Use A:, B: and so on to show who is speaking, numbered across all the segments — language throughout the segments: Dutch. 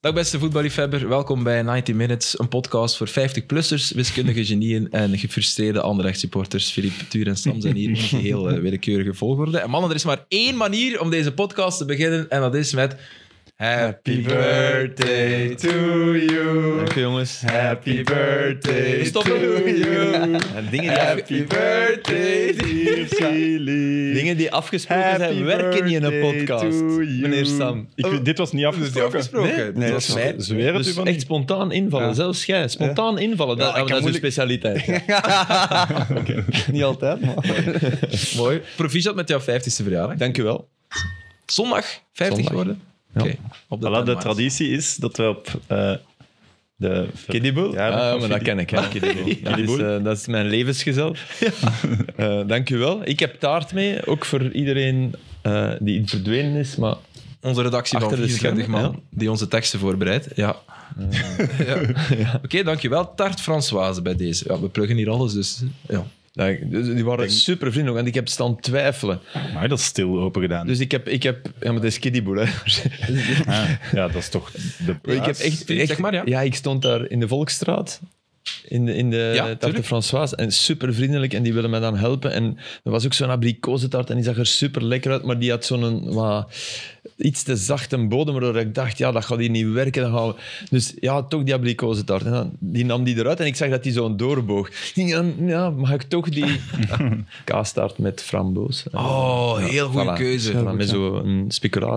A: Dag beste voetballiefhebber, welkom bij 90 Minutes, een podcast voor 50-plussers, wiskundige genieën en gefrustreerde Anderlecht supporters. Filip Tuur en Sam zijn hier in een heel eh, willekeurige volgorde. En mannen, er is maar één manier om deze podcast te beginnen en dat is met... Happy birthday to you.
B: Dank u, jongens.
C: Happy birthday
A: to you.
B: En dingen, die af-
A: Happy birthday,
C: dear
B: dingen die afgesproken zijn, werken niet in een podcast. Meneer Sam.
C: Ik, weet- dit was niet
A: Dat is niet
C: afgesproken.
A: afgesproken.
B: Nee, nee,
C: Nee,
A: dat is
C: dat
A: mij.
C: is zweer het u
B: Dus
C: van
B: echt
C: niet.
B: spontaan invallen,
C: Ja.
B: zelfs jij. Spontaan invallen, dat,
C: ik kan
B: dat is uw
C: moeilijk-
B: specialiteit.
C: Niet altijd, maar...
A: Mooi. Proficiat met jouw 50ste verjaardag.
B: Dank u wel.
A: Zondag 50
B: Zondag.
A: geworden.
B: Ja.
A: Oké. op
C: Voilà, de
A: timeline.
C: traditie is dat we op eh de...
B: Kiddieboel?
C: Ja,
B: Ja,
C: van
B: Ah, maar dat
C: Kiddy-
B: ken ik. Hè. Kiddieboel. Dat, is, eh, dat is mijn levensgezel. Eh, dank u wel. Ik heb taart mee, ook voor iedereen eh, die verdwenen is. Maar
A: Onze redactie
B: Achter
A: van
B: de
A: 24 man,
B: schermen,
A: die onze teksten voorbereidt. Ja. ja. Oké, dankjewel. Tart Françoise bij deze. Ja, we pluggen hier alles, dus ja.
B: ja, dus die waren super vriendelijk en ik heb staan twijfelen.
C: Maar dat is stil open gedaan.
B: Dus ik heb... Ik heb ja, maar dat is kiddieboel, hè.
C: Ah, ja, dat is toch de
B: ik heb echt,
A: Zeg
B: echt,
A: maar, ja.
B: ik stond daar in de Volksstraat. In de, in de
A: Ja,
B: Tarte
A: tuurlijk.
B: Françoise. En super vriendelijk. En die willen mij dan helpen. En er was ook zo'n abrikozentaart. En die zag er super lekker uit. Maar die had zo'n een wat iets te zachte bodem. Waardoor ik dacht, ja, dat gaat hier niet werken. Dan gaan we... Dus ja, toch die abrikozentaart. En dan, die nam die eruit. En ik zag dat die zo'n doorboog. Ja, ja, mag ik toch die kaastaart met framboos?
A: Oh, heel goede
B: Voilà.
A: keuze.
B: Voilà, met zo'n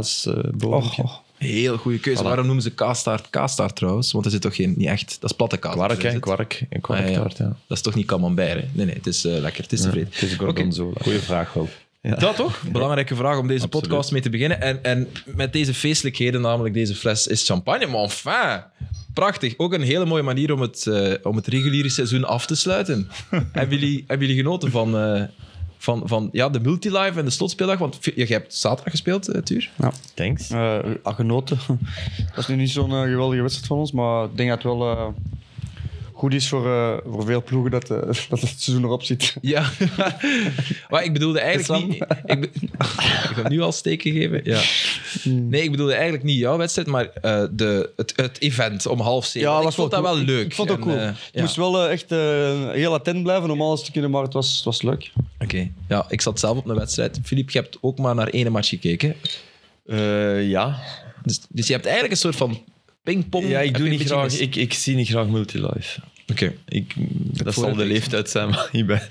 B: speculaasbodempje.
A: Heel goede keuze. Waarom noemen ze kaastaart kaastaart trouwens? Want er zit toch geen, niet echt... Dat is platte kaas.
B: Kwark,
A: Er
B: hè?
A: zit-
B: Kwark. Een
A: Ah, ja, ja.
B: kwarktaart, ja.
A: Dat is toch niet camembert, hè? Nee, nee, het is eh, lekker. Het is tevreden.
B: Het is gorgonzola.
C: Goeie vraag wel.
A: Dat toch? Belangrijke vraag om deze podcast mee te beginnen. En, en met deze feestelijkheden, namelijk deze fles, is champagne. Maar enfin, prachtig. Ook een hele mooie manier om het, eh, om het reguliere seizoen af te sluiten. hebben, jullie, hebben jullie genoten van, eh, van, van ja, de multilive en de slotspeeldag? Want je, je hebt zaterdag gespeeld, eh, Tuur.
B: Thanks.
D: eh ah, genoten. dat is nu niet zo'n eh, geweldige wedstrijd van ons, maar ik denk dat het wel eh, goed is voor, eh, voor veel ploegen dat, eh, dat het seizoen erop zit.
A: Ja. maar ik bedoelde eigenlijk
D: Sam?
A: niet... Ik, be- ik ga nu al steken geven. Ja.
D: Hmm.
A: Nee, ik bedoelde eigenlijk niet jouw wedstrijd, maar eh, de, het, het event om half zeven. ik vond dat
D: cool.
A: wel leuk.
D: Ik vond het ook
A: En,
D: cool.
A: eh,
D: ik
A: ja.
D: moest wel eh, echt eh, heel attent blijven om alles te kunnen, maar het was, het was leuk.
A: Oké, ja, ik zat zelf op een wedstrijd. Filip, je hebt ook maar naar één match gekeken.
B: Eh, ja.
A: Dus, dus je hebt eigenlijk een soort van pingpong.
B: ja, ik,
A: Eh, Heb
B: doe
A: je een
B: niet
A: beetje
B: graag,
A: mis-
B: ik, ik zie niet graag multilife.
A: Oké,
B: Ik, dat zal
A: voordeel
B: de
A: is-
B: leeftijd zijn, maar ik, ben,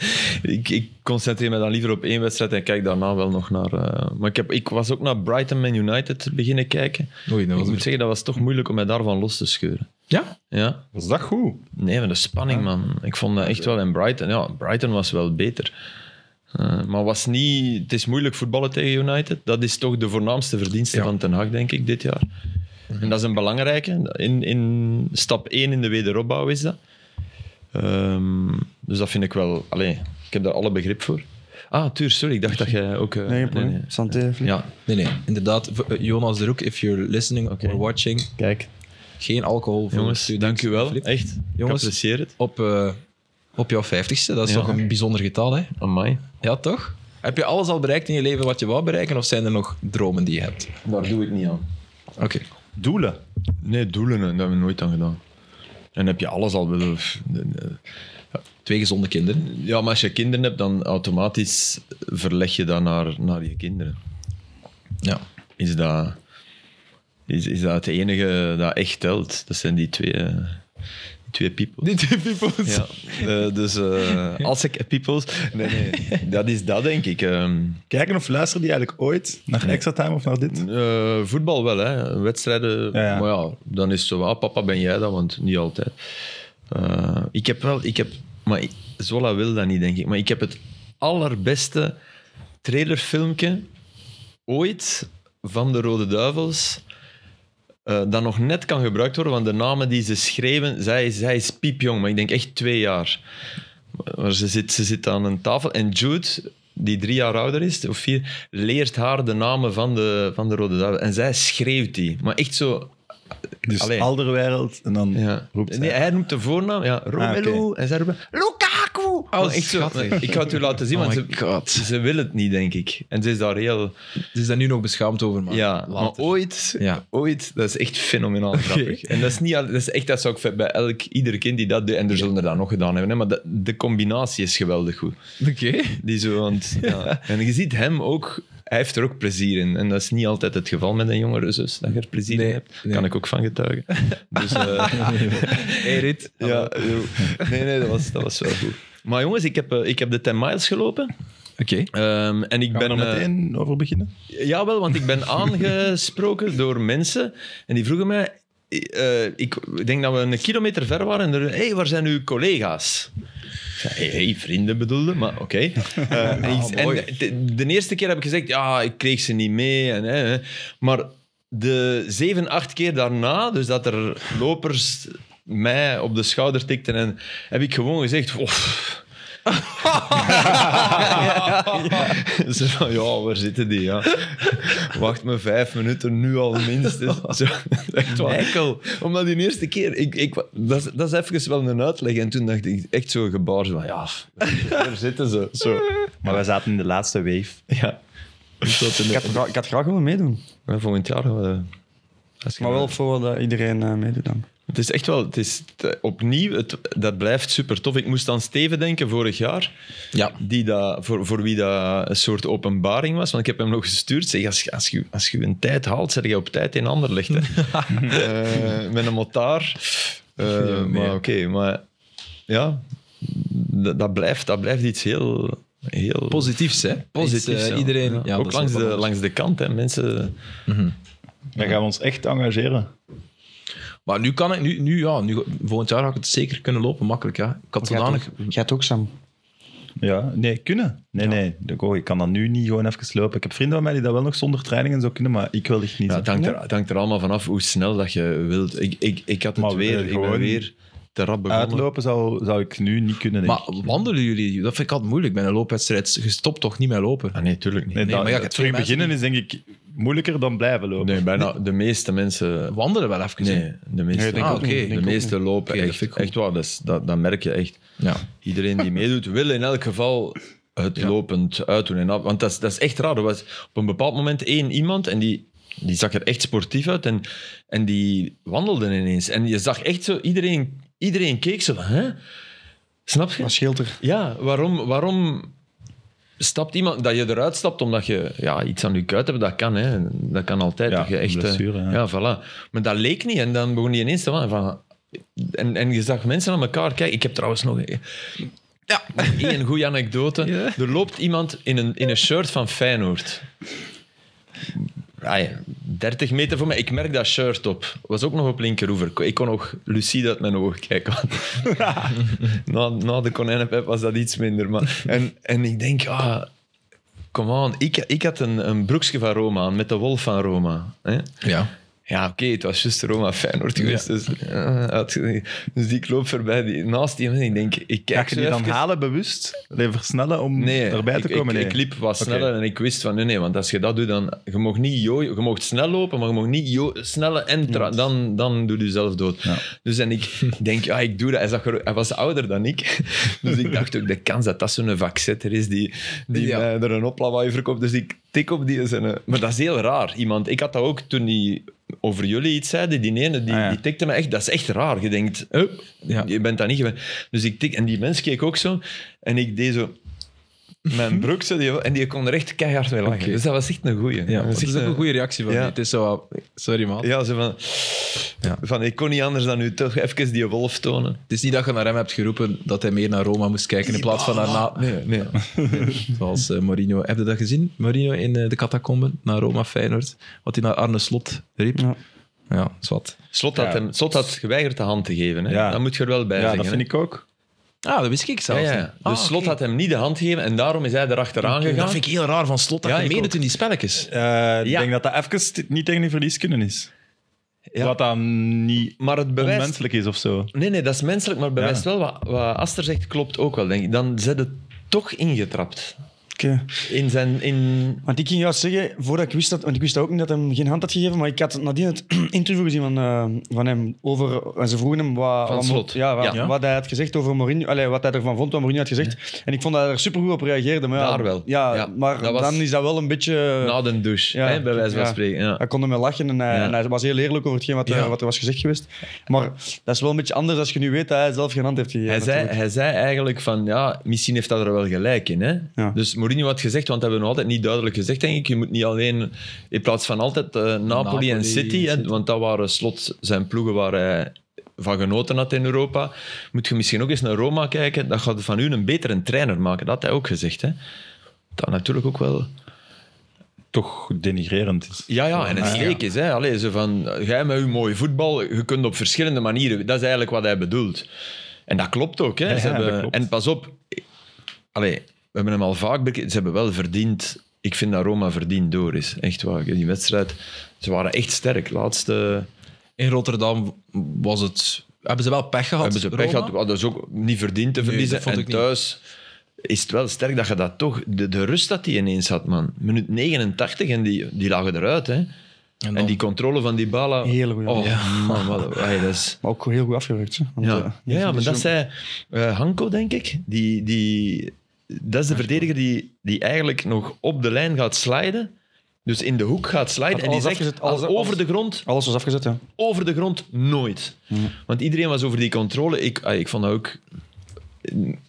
B: ik, ik concentreer me dan liever op één wedstrijd en kijk daarna wel nog naar... eh, maar ik, heb, ik was ook naar Brighton Man United beginnen kijken.
A: Oei, dat
B: ik
A: was
B: moet
A: er-
B: zeggen, dat was toch moeilijk om mij daarvan los te scheuren.
A: Ja?
B: Ja?
C: Was dat goed?
B: Nee, maar de spanning, man. Ik vond dat echt wel. En Brighton, ja, Brighton was wel beter. Eh, maar was niet, het is moeilijk voetballen tegen United. Dat is toch de voornaamste verdienste
A: Ja.
B: van Ten Hag, denk ik, dit jaar. En dat is een belangrijke. In, in stap 1 in de wederopbouw is dat. Ehm, dus dat vind ik wel... Allee, ik heb daar alle begrip voor. Ah, Tuur, sorry. Ik dacht dat jij ook... eh,
D: Nee, geen probleem. Santé, Filip.
B: Ja,
A: Nee, nee, inderdaad. V- eh, Jonas de Roek, if you're listening
B: Oké.
A: or watching,
B: kijk.
A: geen alcohol voor
B: Jongens,
A: studenten.
B: dank u wel.
A: Filip,
B: Echt,
A: Jongens.
B: jongens. ik apprecieer het.
A: Op, eh, op jouw vijftigste, dat is
B: Ja.
A: toch een bijzonder getal, hè?
B: Amai.
A: Ja, toch? Heb je alles al bereikt in je leven wat je wou bereiken, of zijn er nog dromen die je hebt?
B: Daar doe ik niet aan.
A: Oké.
C: Doelen.
B: Nee, doelen, dat hebben we nooit aan gedaan. En heb je alles al... bedoel, pff, nee, nee.
A: Twee gezonde kinderen.
B: Ja, maar als je kinderen hebt, dan automatisch verleg je dat naar, naar je kinderen.
A: Ja.
B: Is dat, is, is dat het enige dat echt telt? Dat zijn die twee, eh, die twee people.
A: Niet de people's.
B: Ja, eh, dus eh, als ik peoples... Nee, nee, dat is dat, denk ik. Ehm,
C: Kijken of luisteren die eigenlijk ooit naar Extra Time of naar dit?
B: eh, voetbal wel, hè. Wedstrijden.
C: Ja, ja.
B: Maar ja, dan is het zo, ah, papa, ben jij dat? Want niet altijd. Eh, ik heb wel, ik heb, maar ik- Zola wil dat niet, denk ik. Maar ik heb het allerbeste trailerfilmpje ooit van de Rode Duivels. eh, dat nog net kan gebruikt worden, want de namen die ze schreven, zij, zij is piepjong, maar ik denk echt twee jaar. Maar ze zit, ze zit aan een tafel en Jude, die drie jaar ouder is, of vier, leert haar de namen van de, van de Rode Duivel. En zij schreeuwt die. Maar echt zo...
C: Dus
B: Allee.
C: Alderwereld en dan
B: Ja.
C: roept
B: nee,
C: hij.
A: Ah,
B: hij noemt de voornaam. Ja, Romelu. En zij roepen... Lukaku! Oh, echt zo. Ik ga het u laten zien,
A: Oh
B: want
A: my God.
B: ze, ze wil het niet, denk ik. En ze is daar heel...
A: Ze is daar nu nog beschaamd over, maar
B: ja,
A: later.
B: maar ooit,
A: Ah, Ja.
B: ooit, dat is echt fenomenaal grappig. En dat is, niet, al- dat is echt, dat zou ik bij elk, ieder kind die dat doet, en er zullen er dat nog gedaan hebben, hè, maar de, de combinatie is geweldig goed.
A: Oké.
B: Die zo, want, ja. En je ziet hem ook, hij heeft er ook plezier in. En dat is niet altijd het geval met een jongere zus, dat je er plezier
A: Nee,
B: in hebt.
A: nee.
B: Kan ik ook van getuigen. Dus, eh,
A: Hey, Rit.
B: ja, joh. nee, nee, dat was, dat was wel goed. Maar jongens, ik heb, eh, ik heb de 10 miles gelopen.
A: Oké.
B: Ehm, en ik
C: Gaan
B: ben
C: we er
B: eh,
C: meteen over beginnen?
B: Jawel, want ik ben aangesproken door mensen en die vroegen mij. eh, ik denk dat we een kilometer ver waren en er. Hé, hey, waar zijn uw collega's? Hé, hey, hey, vrienden bedoelde, maar oké. Eh, en ik- en de, de eerste keer heb ik gezegd: ja, ik kreeg ze niet mee. En, hè, hè. maar de zeven, acht keer daarna, dus dat er lopers mij op de schouder tikten, en, heb ik gewoon gezegd: "Oef." Zo van, ja, waar zitten die? Ja. Wacht me vijf minuten, nu al minstens. Zo, echt waar. Omdat die eerste keer, ik, ik, dat, is- dat is even wel een uitleg. En toen dacht ik echt zo'n gebaar zo van, ja, daar zitten ze. Zo.
E: Maar wij zaten in de laatste wave.
B: Ja. Tot in
D: Ik had,
B: de-
D: gra- ik had graag willen meedoen.
B: Maar volgend jaar eh, gaan we... als je
D: Maar wel voor dat iedereen eh, meedoet dan.
B: Het is echt wel, het is t- opnieuw, het, dat blijft super tof. Ik moest aan Steven denken vorig jaar,
A: Ja.
B: die dat, voor, voor wie dat een soort openbaring was. Want ik heb hem nog gestuurd. Zeg, als, je- als, je, als je een tijd haalt, zet je op tijd in ander ligt. Hè. Eh, met een motaar. Eh, maar oké, maar ja, dat, dat, blijft, dat blijft iets heel. heel
A: Positiefs, hè?
B: positiefs,
A: Iets, eh,
B: ja.
A: Iedereen.
B: Ja,
A: Ja, dat
B: ook
A: is
B: langs
A: wel
B: de,
A: belangrijk.
B: langs de kant, hè, mensen.
C: Dan gaan we ons echt engageren.
A: Maar nu kan ik, nu, nu, ja, nu, volgend jaar ga ik het zeker kunnen lopen, makkelijk. Ja. Ik had
D: Jij
A: zodanig.
D: het ook- Jij het ook, Sam.
C: Ja, nee, kunnen. Nee, nee. Ik- Oh, ik kan dat nu niet gewoon even slopen. Ik heb vrienden van mij die dat wel nog zonder training en zo kunnen, maar ik wil echt niet.
B: Ja,
C: zo.
B: het, hangt er, het hangt er allemaal vanaf hoe snel dat je wilt. Ik, ik, ik had het
C: Maar we
B: weer, ik ben
C: gewoon
B: weer te rap begonnen.
C: Uitlopen zou, zou ik nu niet kunnen. Denk.
A: Maar
C: ik.
A: wandelen jullie? Dat vind ik altijd moeilijk. Bij een loopwedstrijd gestopt toch niet meer lopen.
B: Ah, nee, tuurlijk niet.
C: nee,
A: nee,
C: dan-
A: maar ja, ik
C: het
A: heb
C: terug
A: twee
C: beginnen is denk ik moeilijker dan blijven lopen.
B: Nee, bijna de meeste mensen.
A: Wandelen wel even. hè.
B: Nee, de meeste, Ah,
D: Nee, denk ik
A: ook niet. Denk
B: de
A: ik
B: meeste lopen
A: Oké, dat
B: echt,
A: vind ik goed.
B: echt waar. Dat, is- dat, dat merk je echt.
A: Ja.
B: Iedereen die meedoet wil in elk geval het lopend uitdoen. En af- want dat is, dat is echt raar. Er was op een bepaald moment één iemand en die, die zag er echt sportief uit en, en die wandelde ineens. En je zag echt zo, iedereen, iedereen keek zo van, hè? Snap je?
D: Wat scheelt er?
B: Ja, waarom, waarom stapt iemand dat je eruit stapt omdat je ja, iets aan je kuit hebt? Dat kan, hè. dat kan altijd.
C: Ja,
B: dat je echt, eh,
C: blessure, ja.
B: ja. voilà. Maar dat leek niet en dan begon die ineens te van. van en, en je zag mensen aan elkaar kijken. Ik heb trouwens nog een-
A: Ja.
B: nog één goede anekdote. Er loopt iemand in een, in een shirt van Feyenoord. Ah ja, 30 meter voor mij. Ik merk dat shirt op. Was ook nog op linkeroever. Ik kon nog lucide uit mijn ogen kijken. na, na de konijnenpep was dat iets minder. Maar, en, en ik denk, ah, come on. Ik, ik had een, een broekje van Roma aan, met de wolf van Roma. Hè?
A: ja.
B: Ja, oké, het was juist Roma Feyenoord geweest. Dus, eh, uitge- dus ik loop voorbij die, naast die en ik denk, ik
C: Ga
B: kijk
C: je
B: zo
C: die dan
B: even-
C: halen bewust? Allee, versnellen om
B: Nee,
C: erbij
B: ik,
C: te komen?
B: Ik,
C: Nee.
B: ik liep wat
C: Oké.
B: sneller en ik wist van nee, nee, want als je dat doet, dan je mag niet jo, je mag snel lopen, maar je mag niet jo, snellen en tra- dan, dan doe je jezelf dood. Dus en ik denk, ja, ik doe dat. Hij, zag er- hij was ouder dan ik, dus ik dacht ook de kans dat dat zo'n vaccetter is die, die
A: Ja.
B: mij er een oplawaai verkoopt. Dus ik tik op die zijn. eh, Maar dat is heel raar. Iemand, ik had dat ook toen die over jullie iets zeiden, die ene die,
C: Ah, ja.
B: die tikte me echt, dat is echt raar. Je denkt, hup,
A: Ja.
B: je bent dat niet gewend. Dus ik tik en die mens keek ook zo en ik deed zo. Mijn broek, zo, die, en die kon er echt keihard mee lachen.
A: Oké.
B: Dus dat was echt een goeie.
A: ja.
B: Dat was
A: Dat
B: echt eh,
A: is ook een goede reactie van
B: Ja.
A: je. Het is zo. wat- Sorry, man.
B: Ja, zo van,
A: Ja.
B: van... Ik kon niet anders dan u toch even die wolf tonen.
A: Het is niet dat je naar hem hebt geroepen dat hij meer naar Roma moest kijken in plaats van naar na-
B: Nee, nee.
A: Zoals eh, Mourinho. Heb je dat gezien? Mourinho in eh, de catacomben naar Roma Feyenoord. Wat hij naar Arne Slot riep.
D: Ja.
A: Ja, zwart.
B: Slot had,
C: Ja.
B: hem, Slot had geweigerd de hand te geven. Hè.
C: Ja.
B: Dat moet je er wel bij
C: Ja,
B: zeggen.
C: dat
B: hè.
C: vind ik ook.
A: Ah, dat wist ik
B: Ja,
A: zelfs.
B: ja.
A: niet.
B: Dus
A: Ah,
B: Slot
A: oké.
B: had hem niet de hand gegeven en daarom is hij erachteraan gegaan.
A: Dat vind ik heel raar van Slot dat
B: Ja,
A: hij
B: ik
A: meedoet
B: ook.
A: in die spelletjes.
C: Eh, Ik
B: Ja.
C: denk dat dat even t- niet tegen die verlies kunnen is.
B: Ja.
C: Wat dan niet
B: Maar het bewijst...
C: onmenselijk is of zo.
B: Nee, nee, dat is menselijk, maar het bewijst wel wat, wat Aster zegt, klopt ook wel, denk ik. Dan zet het toch ingetrapt.
D: Oké.
B: In zijn... In...
D: Want ik ging juist zeggen, voordat ik wist dat, want ik wist ook niet dat hij hem geen hand had gegeven, maar ik had nadien het interview gezien van, eh, van hem over, en ze vroegen hem wat,
B: Van
D: wat-
B: Slot.
D: Ja, wat,
B: Ja.
D: wat hij had gezegd over Mourinho, allee, wat hij ervan vond wat Mourinho had gezegd. En ik vond dat hij er supergoed op reageerde. Maar ja,
B: Daar wel.
D: Ja,
B: Ja.
D: maar
B: Dat was-
D: dan is dat wel een beetje...
B: Na de douche,
D: ja.
B: hè, bij wijze van
D: Ja.
B: spreken. Ja.
D: Hij kon ermee lachen en hij,
B: Ja.
D: en hij was heel eerlijk over hetgeen wat, er-
A: Ja.
D: wat er was gezegd geweest. Maar dat is wel een beetje anders als je nu weet dat hij zelf geen hand heeft gegeven.
B: Hij zei,
D: natuurlijk.
B: hij zei eigenlijk van, ja, misschien heeft dat er wel gelijk in. Hè?
D: Ja.
B: Dus Mourinho had gezegd, want dat hebben we nog altijd niet duidelijk gezegd, denk ik. Je moet niet alleen, in plaats van altijd eh, Napoli,
A: Napoli
B: en
A: en
B: City, hè,
A: City.
B: want dat waren slot zijn ploegen waar hij van genoten had in Europa, moet je misschien ook eens naar Roma kijken. Dat gaat van u een betere trainer maken. Dat had hij ook gezegd. Hè? Dat natuurlijk ook wel...
C: toch denigrerend is.
B: Ja, ja, en een
C: Ah, ja.
B: steek is. Hè. Allee, zo van, jij met uw mooie voetbal, je kunt op verschillende manieren. Dat is eigenlijk wat hij bedoelt. En dat klopt ook. Hè.
C: Ja,
B: Ze
C: ja, dat
B: hebben-
C: klopt.
B: En pas op, allee, we hebben hem al vaak bekeken. Ze hebben wel verdiend. Ik vind dat Roma verdiend door is. Echt waar. Die wedstrijd, ze waren echt sterk. Laatste
A: In Rotterdam was het... Hebben ze wel pech gehad?
B: hebben ze pech
A: Roma?
B: gehad. Hadden ze ook niet verdiend te
A: Nee,
B: verliezen.
A: dat vond
B: en
A: ik niet.
B: thuis is het wel sterk dat je dat toch... De, de rust dat hij ineens had, man. Minuut 89 en die, die lagen eruit, hè. En,
A: dan-
B: die controle van die bala.
D: Hele goeie
B: Oh,
D: bal.
B: man, wat, ai, dat is...
D: Maar ook heel goed afgewerkt. hè. Want,
B: Ja,
D: eh,
B: ja, ja, maar
D: dus
B: dat
D: zo-
B: zei eh, Hanko, denk ik. Die, die, dat is de verdediger die, die eigenlijk nog op de lijn gaat sliden. Dus in de hoek gaat sliden.
D: Had
B: En die
D: alles
B: zegt
D: afgezet, alles-
B: al over de
D: alles-
B: grond
D: Alles was afgezet, ja.
B: over de grond nooit. Want iedereen was over die controle. Ik, ah, ik vond dat ook.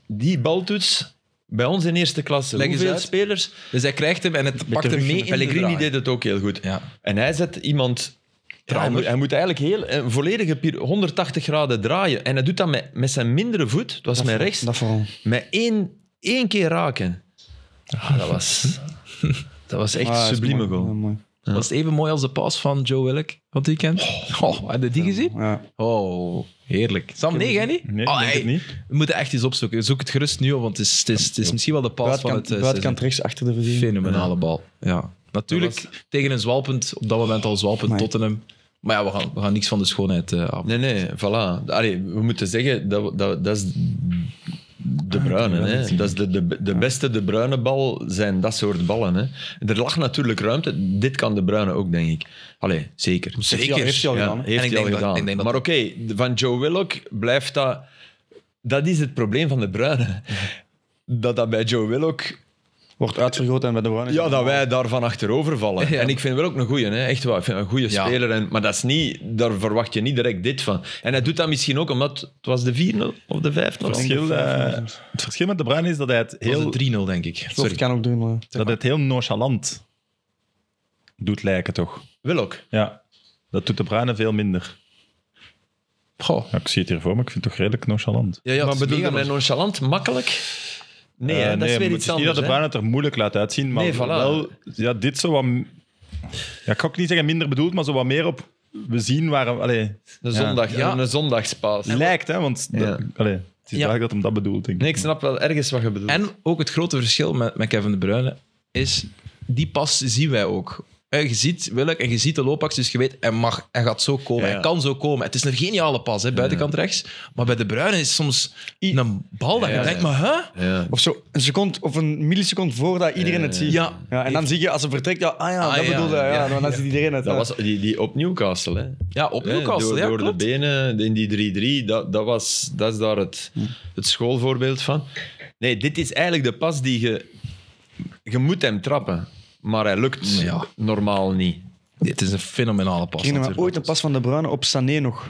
B: Die baltoets bij ons in eerste klasse.
A: Leg eens
B: hoeveel
A: uit.
B: spelers?
A: Dus hij krijgt hem en het pakt hem mee in de
B: Pellegrini
A: draai.
B: deed het ook heel goed.
A: Ja.
B: En hij zet iemand. Ja, hij,
A: Kramer.
B: moet, hij moet eigenlijk heel, een volledige pier- 180 graden draaien. En hij doet dat met, met zijn mindere voet. Het was met rechts.
D: Dat vooral.
B: Met één, één keer raken. Ah, dat was. Dat was echt
D: Ah, dat is
B: sublieme
D: mooi. Ja,
B: goal.
D: mooi.
A: Was het even mooi als de pas van Joe Willek van het weekend? Oh, had je die gezien?
D: Ja.
A: Oh, heerlijk. Sam, nee, jij niet?
C: Nee,
A: Oh,
C: ik denk
A: hey,
C: het niet.
A: We moeten echt eens opzoeken. Zoek het gerust nu op, want het is, het is, het is misschien wel de pas van
D: Buitenkant,
A: het eh,
D: buitenkant
A: seizoen.
D: rechts achter de verdiening.
A: Fenomenale bal. Ja. Natuurlijk tegen een zwalpend, op dat moment al zwalpend
D: Amai.
A: Tottenham. Maar ja, we gaan, we gaan niks van de schoonheid eh af.
B: Nee, nee, voilà. Allee, we moeten zeggen, dat, dat, dat is
D: Ah,
B: de bruine. Hè. Dat is de, de, de beste de bruine bal zijn dat soort ballen. Hè. Er lag natuurlijk ruimte. Dit kan de bruine ook, denk ik. Allee, zeker.
A: Zeker.
D: Heeft hij al- heeft hij al gedaan, hè?
B: heeft
A: En ik
B: hij al
A: denk dat-
B: gedaan.
A: ik denk dat-
B: maar oké, van Joe Willock blijft dat... Dat is het probleem van de bruine. Dat dat bij Joe Willock
D: Wordt uitvergroot en bij de Bruinen.
B: ja, dat wij daarvan achterover vallen.
A: Ja.
B: En ik vind wel ook een goeie, hè. echt waar. Ik vind een goede
A: Ja.
B: speler. En, maar dat is niet, daar verwacht je niet direct dit van. En hij doet dat misschien ook omdat het was de 4-0 of de 5-0.
C: Het verschil, eh, het verschil met De Bruyne is dat hij het
A: Dat was
C: heel,
A: het 3-0, denk ik.
D: Of het
A: Sorry.
D: kan ook doen. maar-
C: dat hij het heel nonchalant doet lijken, toch?
B: Wil ook.
C: Ja. Dat doet De Bruyne veel minder.
A: Goh.
C: Ja, ik zie het hier voor me, ik vind het toch redelijk nonchalant.
A: Ja, ja,
B: maar
A: het is
B: bedoel je
A: mega
B: met
A: nog-
B: nonchalant, makkelijk? Nee,
C: Eh,
B: hè, dat is
C: maar
B: weer
C: het
B: iets
C: niet dat
B: anders.
C: De
B: hè.
C: Bruyne het er moeilijk laat uitzien, maar
B: Nee, voilà.
C: wel... Ja, dit zo wat... Ja, ik ga ook niet zeggen minder bedoeld, maar zo wat meer op... We zien waar... Allee, Ja.
B: Een, zondag,
A: Ja.
B: een zondagspaas.
C: lijkt, hè, want...
B: Ja.
C: dat- allee, het
A: Ja.
C: is duidelijk dat hem dat bedoelt, denk ik.
B: Nee, ik snap wel ergens wat je bedoelt.
A: En ook het grote verschil met, met Kevin De Bruyne is, die pas zien wij ook. Eh, Je ziet Willek en je ziet de loopactie, dus je weet, hij, mag, hij gaat zo komen,
B: Ja, ja.
A: hij kan zo komen. Het is een geniale pas, hè, buitenkant rechts. Maar bij De Bruyne is soms een bal dat je
B: Ja,
A: denkt,
B: ja.
A: maar hè?
B: Ja.
D: Of zo, een seconde of een milliseconde voordat iedereen het ziet.
A: Ja.
D: en dan zie je als ze vertrekt, ja, ah ja,
A: Ah,
D: dat
A: ja,
D: bedoelde hij. Ja,
A: ja,
D: dan ziet iedereen het.
B: Dat
D: ja.
B: was die, die op Newcastle. Hè.
A: Ja, op
B: Hè,
A: Newcastle,
B: door,
A: ja,
B: door de
A: klopt.
B: benen in die 3-3, dat, dat, was, dat is daar het, het schoolvoorbeeld van. Nee, dit is eigenlijk de pas die je... Je moet hem trappen, maar hij lukt
A: Ja.
B: normaal niet.
A: Dit is een fenomenale pas.
D: Ik herinner me
A: natuurlijk.
D: ooit een pas van De Bruyne op Sané nog.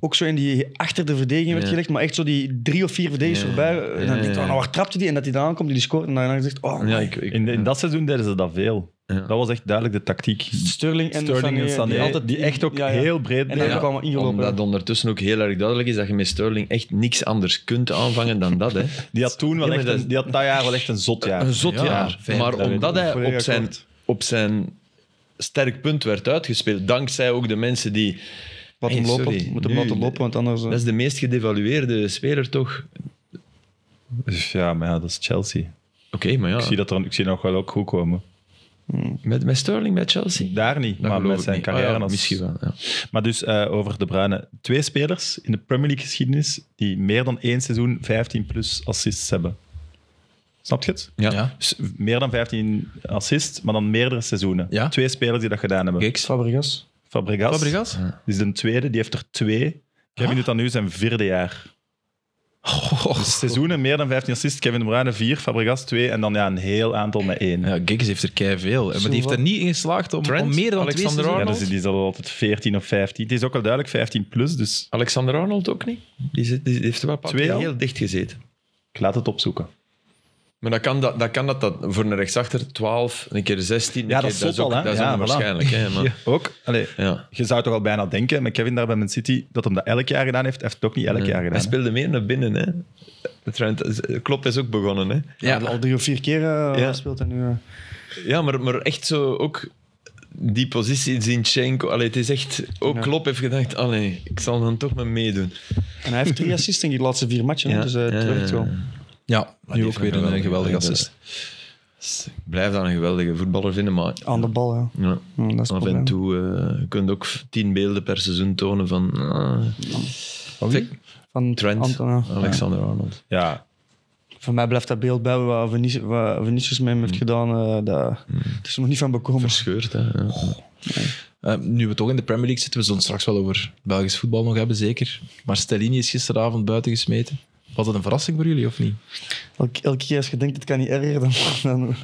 D: Ook zo in die achter de verdediging werd
B: Ja.
D: gelegd, maar echt zo die drie of vier verdedigers
B: Ja.
D: voorbij. En dan
B: Ja,
D: denk ik,
B: ja,
D: oh,
B: ja.
D: nou, waar trapte die? En dat hij dan aankomt, die scoort. En dan zegt, oh,
B: Ja, ik, ik-
C: In, in dat seizoen deden ze dat veel.
B: Ja.
C: Dat was echt duidelijk de tactiek.
D: Sterling en
C: Sterling en Sané,
D: die altijd-
C: die echt ook
D: ja, ja.
C: heel breed
D: En dan
C: bleven.
D: kwam er ingelopen.
B: omdat ondertussen ook heel erg duidelijk is dat je met Sterling echt niks anders kunt aanvangen dan dat. Hè.
C: Die had toen wel
B: Ja, maar
C: echt
B: dat-
C: een, die had dat jaar wel echt een zot jaar.
B: Een zot
A: Ja,
B: jaar.
A: fijn.
B: maar
C: Dat weet
B: omdat
C: ik.
B: hij
D: Volledig
B: op zijn,
D: akkoord.
B: op zijn sterk punt werd uitgespeeld, dankzij ook de mensen die...
D: Wat hem
B: Hey,
D: lopen,
B: sorry,
D: moet hem
B: nu-
D: laten lopen, want anders... eh,
B: Dat is de meest gedevalueerde speler toch?
C: Dus ja, maar ja, dat is Chelsea.
B: Oké, maar ja.
C: Ik zie dat er, ik zie dat nog wel ook goed komen.
B: Met, met Sterling bij Chelsea?
C: Daar niet,
B: Dat
C: maar
B: geloof
C: met
B: ik
C: zijn
B: niet.
C: carrière
B: Ah ja,
C: als...
B: Misschien wel, ja.
C: Maar dus eh, over De Bruyne. Twee spelers in de Premier League geschiedenis die meer dan één seizoen 15 plus assists hebben. Snap je het?
B: Ja.
A: Ja.
C: Dus meer dan 15 assists, maar dan meerdere seizoenen.
A: Ja.
C: Twee spelers die dat gedaan hebben.
A: Giggs.
D: Fabregas.
C: Fabregas.
A: Fabregas?
C: Die is de tweede, die heeft er twee.
B: Ah.
C: Kevin doet dat nu zijn vierde jaar.
A: Oh,
C: Dus seizoenen meer dan 15 assists. Kevin De Bruyne vier, Fabregas twee en dan ja, een heel aantal met één. Ja,
A: Ja, Giggs heeft er kei veel. Maar die heeft er niet in geslaagd om,
B: Trent,
A: om meer dan
B: Alexander
A: twee seizoenen-
C: dus die is al altijd 14 of 15. Het is ook al duidelijk 15 plus, dus
B: Alexander Arnold ook niet. Die, zit, die heeft er wel een paar
C: Twee
B: keer
C: al?
B: heel dicht gezeten.
C: ik laat het opzoeken.
B: Maar dat kan dat, dat, kan dat, dat voor een rechtsachter 12, een keer 16. een
C: Ja, dat
B: keer-
C: is
B: dat is
C: zot
B: ook-
C: al, hè?
B: Dat is
C: Ja,
B: onwaarschijnlijk. Hè, maar, ja.
C: Ook, allee,
B: Ja.
C: je zou toch al bijna denken met Kevin daar bij Man City dat hem dat elk jaar gedaan heeft. Hij heeft het ook niet elk jaar
B: Hij
C: gedaan.
B: speelde meer naar binnen. Hè. Trent, klopt, is ook begonnen. Hè.
A: Ja.
D: Al drie of vier keer eh,
B: Ja.
D: speelt hij nu. eh.
B: Ja, maar, maar echt zo ook die positie Zinchenko. Allee, het is echt... Ook
D: Ja.
B: Klopp heeft gedacht, allee, ik zal dan toch maar meedoen.
D: En hij heeft drie assists in die laatste vier matchen. hè,
B: Ja.
D: Dus eh,
B: Ja,
D: het
B: ja,
D: werkt
B: ja.
D: wel.
A: Ja,
B: die
A: nu ook
B: heeft
A: weer
B: een
A: een eh, geweldige
B: geweldige
A: assist.
B: dus Ik blijf dan een geweldige voetballer vinden, maar...
D: Aan de bal, Ah. ja.
B: Ja.
D: Hm, dat is het
B: Af en
D: probleem.
B: toe, eh, je kunt ook tien beelden per seizoen tonen van ah,
D: Van
B: Trent, Oh.
D: Anton, ja.
B: Alexander Arnold.
C: Ja,
D: Voor mij blijft dat beeld bij wat Vinicius, wat Vinicius met hem
B: Mm.
D: heeft gedaan. eh, dat, Het is nog niet van bekomen.
B: Verscheurd, hè. ja.
A: Eh, nu we toch in de Premier League zitten, we zullen het straks wel over Belgisch voetbal nog hebben, zeker. Maar Stellini is gisteravond buiten gesmeten. Was dat een verrassing voor jullie, of niet?
D: Elke, elke keer als je denkt, het kan niet erger dan... dan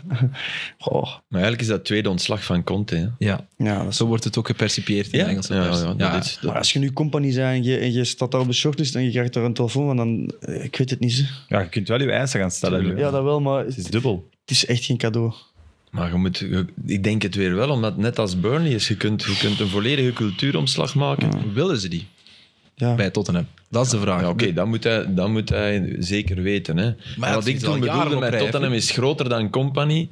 D: Goh.
B: Maar eigenlijk is dat tweede ontslag van Conte, hè.
A: Ja,
D: Ja, dat is
A: zo wordt het ook gepercipieerd in de Engelse
B: ja,
A: pers.
B: ja, dat is-
D: Maar als je nu compagnie zijn en je, en je staat daar op de shortlist en je krijgt er een telefoon van, dan... eh, Ik weet het niet. zeg.
C: ja je kunt wel je eisen gaan stellen.
D: Ja, dat wel, maar het,
C: Het is dubbel.
D: het is echt geen cadeau.
B: Maar je moet, je- ik denk het weer wel, omdat net als Burnley is, je kunt, je kunt een volledige cultuuromslag maken.
A: Willen ze die
D: Ja.
A: bij Tottenham? Dat is de vraag.
B: Ja, oké, dat, moet hij, dat moet hij zeker weten. Hè.
A: Maar
B: Maar
A: dat
B: wat
A: is
B: ik
A: al
B: toen
A: jaren
B: bedoelde
A: op
B: met
A: rij, hè,
B: Tottenham is groter dan Company.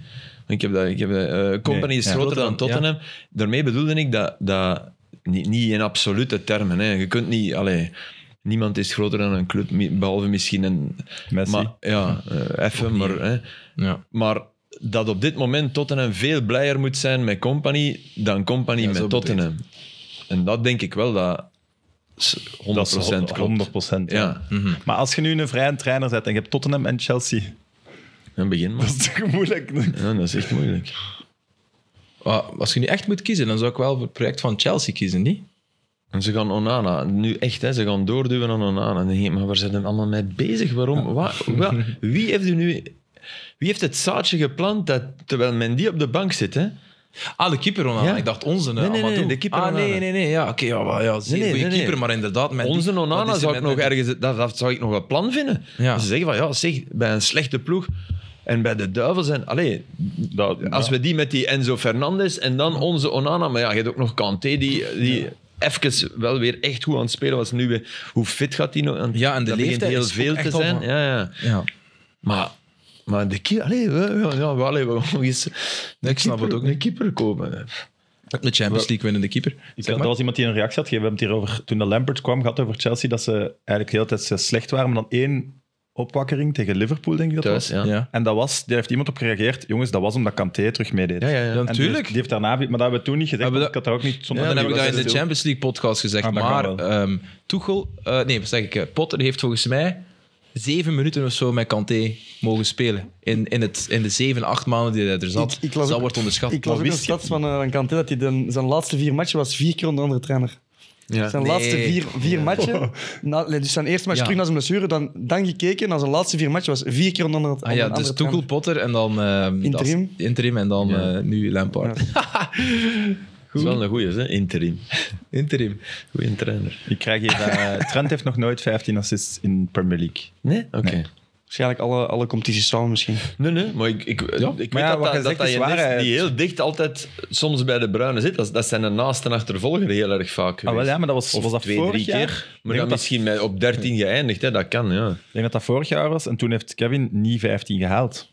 B: Ik heb dat, ik heb dat, eh, company
C: Nee,
B: is
A: ja.
B: groter dan
A: Groter dan-
B: Tottenham. Daarmee bedoelde ik dat, dat niet, niet in absolute termen. Hè. Je kunt niet, allee, niemand is groter dan een club, mi- behalve misschien een.
C: Messi.
B: Maar, ja, eh, even, maar. Hè.
A: Ja.
B: Maar dat op dit moment Tottenham veel blijer moet zijn met Company dan Company
A: Ja, zo
B: met
A: bedoel
B: Tottenham. En dat denk ik wel dat s- 100%
C: Dat is
B: klopt.
C: 100 procent.
B: Ja, Mhm.
C: Maar als je nu een vrije trainer zet en je hebt Tottenham en Chelsea,
B: een begin maar.
C: dat is toch moeilijk?
B: Ja, dat is echt moeilijk.
A: Ah, Als je nu echt moet kiezen, dan zou ik wel voor het project van Chelsea kiezen, niet?
B: En ze gaan Onana, nu echt, hè, ze gaan doorduwen aan Onana. En dan denk je, maar waar zijn ze allemaal mee bezig? Waarom? Wa- wa- wie, heeft er nu, wie heeft het zaadje geplant dat, terwijl Mendy op de bank zit? Hè?
A: Ah, de keeper Onana.
B: Ja.
A: Ik dacht onze.
B: Nee, nee, nee,
A: Amadou.
B: de keeper
A: Ah,
B: Onana.
A: nee, nee, nee. Ja, oké. ja, wel, ja, zeer
B: Nee, nee,
A: goede
B: nee, nee.
A: keeper, maar inderdaad... Met
B: Onze
A: die- wat
B: Onana
A: is er
B: zou ik
A: met-
B: nog
A: met-
B: ergens, dat, dat zou ik nog een plan vinden.
A: Ja.
B: Ze zeggen van ja, zeg, bij een slechte ploeg en bij de duivel zijn. Allee, als we die met die Enzo Fernandes en dan onze Onana, maar ja, je hebt ook nog Kanté die. die Even wel weer echt goed aan het spelen was nu weer. Hoe fit gaat hij nog? Want
A: Ja, en de
B: dat begint
A: leeftijd
B: heel
A: is ook
B: veel
A: echt
B: te
A: al
B: zijn.
A: van-
B: Ja, ja.
A: Ja,
B: Maar, maar de keeper, allee, we, ja, ja, we- allee, we gaan nog eens.
A: ik snap het ook
B: Een keeper komen.
A: de Champions League winnende keeper.
C: Ik
A: Zeg
C: had-
A: maar.
C: Er was iemand die een reactie had gegeven. We hebben het hier over, toen de Lampert kwam, gehad over Chelsea, dat ze eigenlijk de hele tijd zo slecht waren. Maar dan één opwakkering tegen Liverpool, denk ik dat
B: Thuis,
C: was.
B: ja.
A: Ja.
C: En dat was, daar heeft iemand op gereageerd. Jongens, dat was omdat Kanté terug meedeed.
B: Ja, ja, ja.
C: En die-
A: Natuurlijk.
C: Die, heeft daarna, maar dat hebben we toen niet gezegd.
A: Hebben
C: want Ik had dat ook niet zonder
A: Ja, dan heb
C: die
A: ik dat
C: was
A: in de
C: stil.
A: Champions League podcast gezegd.
C: Ah, dat kan
A: maar
C: wel.
A: ehm Tuchel, eh, nee, wat zeg ik, eh, Potter heeft volgens mij zeven minuten of zo met Kanté mogen spelen. In, in, het, in de zeven, acht maanden die hij er zat.
D: Ik- ik las
A: dat
D: ook-
A: wordt onderschat.
D: Ik las ook een stats van eh, van Kanté dat hij dan- zijn laatste vier matchen was vier keer onder andere trainer.
B: Ja.
D: Zijn
A: Nee.
D: laatste vier, vier matchen, na, dus zijn eerste match
A: Ja.
D: terug na zijn blessure, dan, dan gekeken naar zijn laatste vier matchen was vier keer onder andere
A: Ah ja, dus Tuchel, Potter en dan... ehm, dat is-
D: Interim.
A: interim en dan
B: Ja.
A: eh, nu Lampard.
B: Dat is wel een goeie, hè? interim.
A: Interim.
B: Goeie trainer.
C: Ik krijg hier, eh, Trent heeft nog nooit 15 assists in Premier League.
B: Nee? Oké.
D: Waarschijnlijk alle, alle competities samen misschien.
B: Nee, nee, maar ik, ik, ik weet
C: Maar ja,
B: dat
C: wat
B: dat,
C: je
B: dat,
C: zegt
B: dat
C: is
B: je nest
C: waarheid.
B: die heel dicht altijd soms bij de bruine zit. Dat, dat zijn de naaste achtervolger heel erg vaak.
C: Ah, wel,
B: geweest.
C: ja, maar dat was,
B: Of
C: was dat
B: twee,
C: vorig
B: drie
C: jaar?
B: keer.
C: Ik
B: Maar
C: denk
B: dan
C: dat dat-
B: misschien met, op 13 geëindigd, hè? dat kan, ja.
C: Ik denk dat dat vorig jaar was en toen heeft Kevin niet 15 gehaald.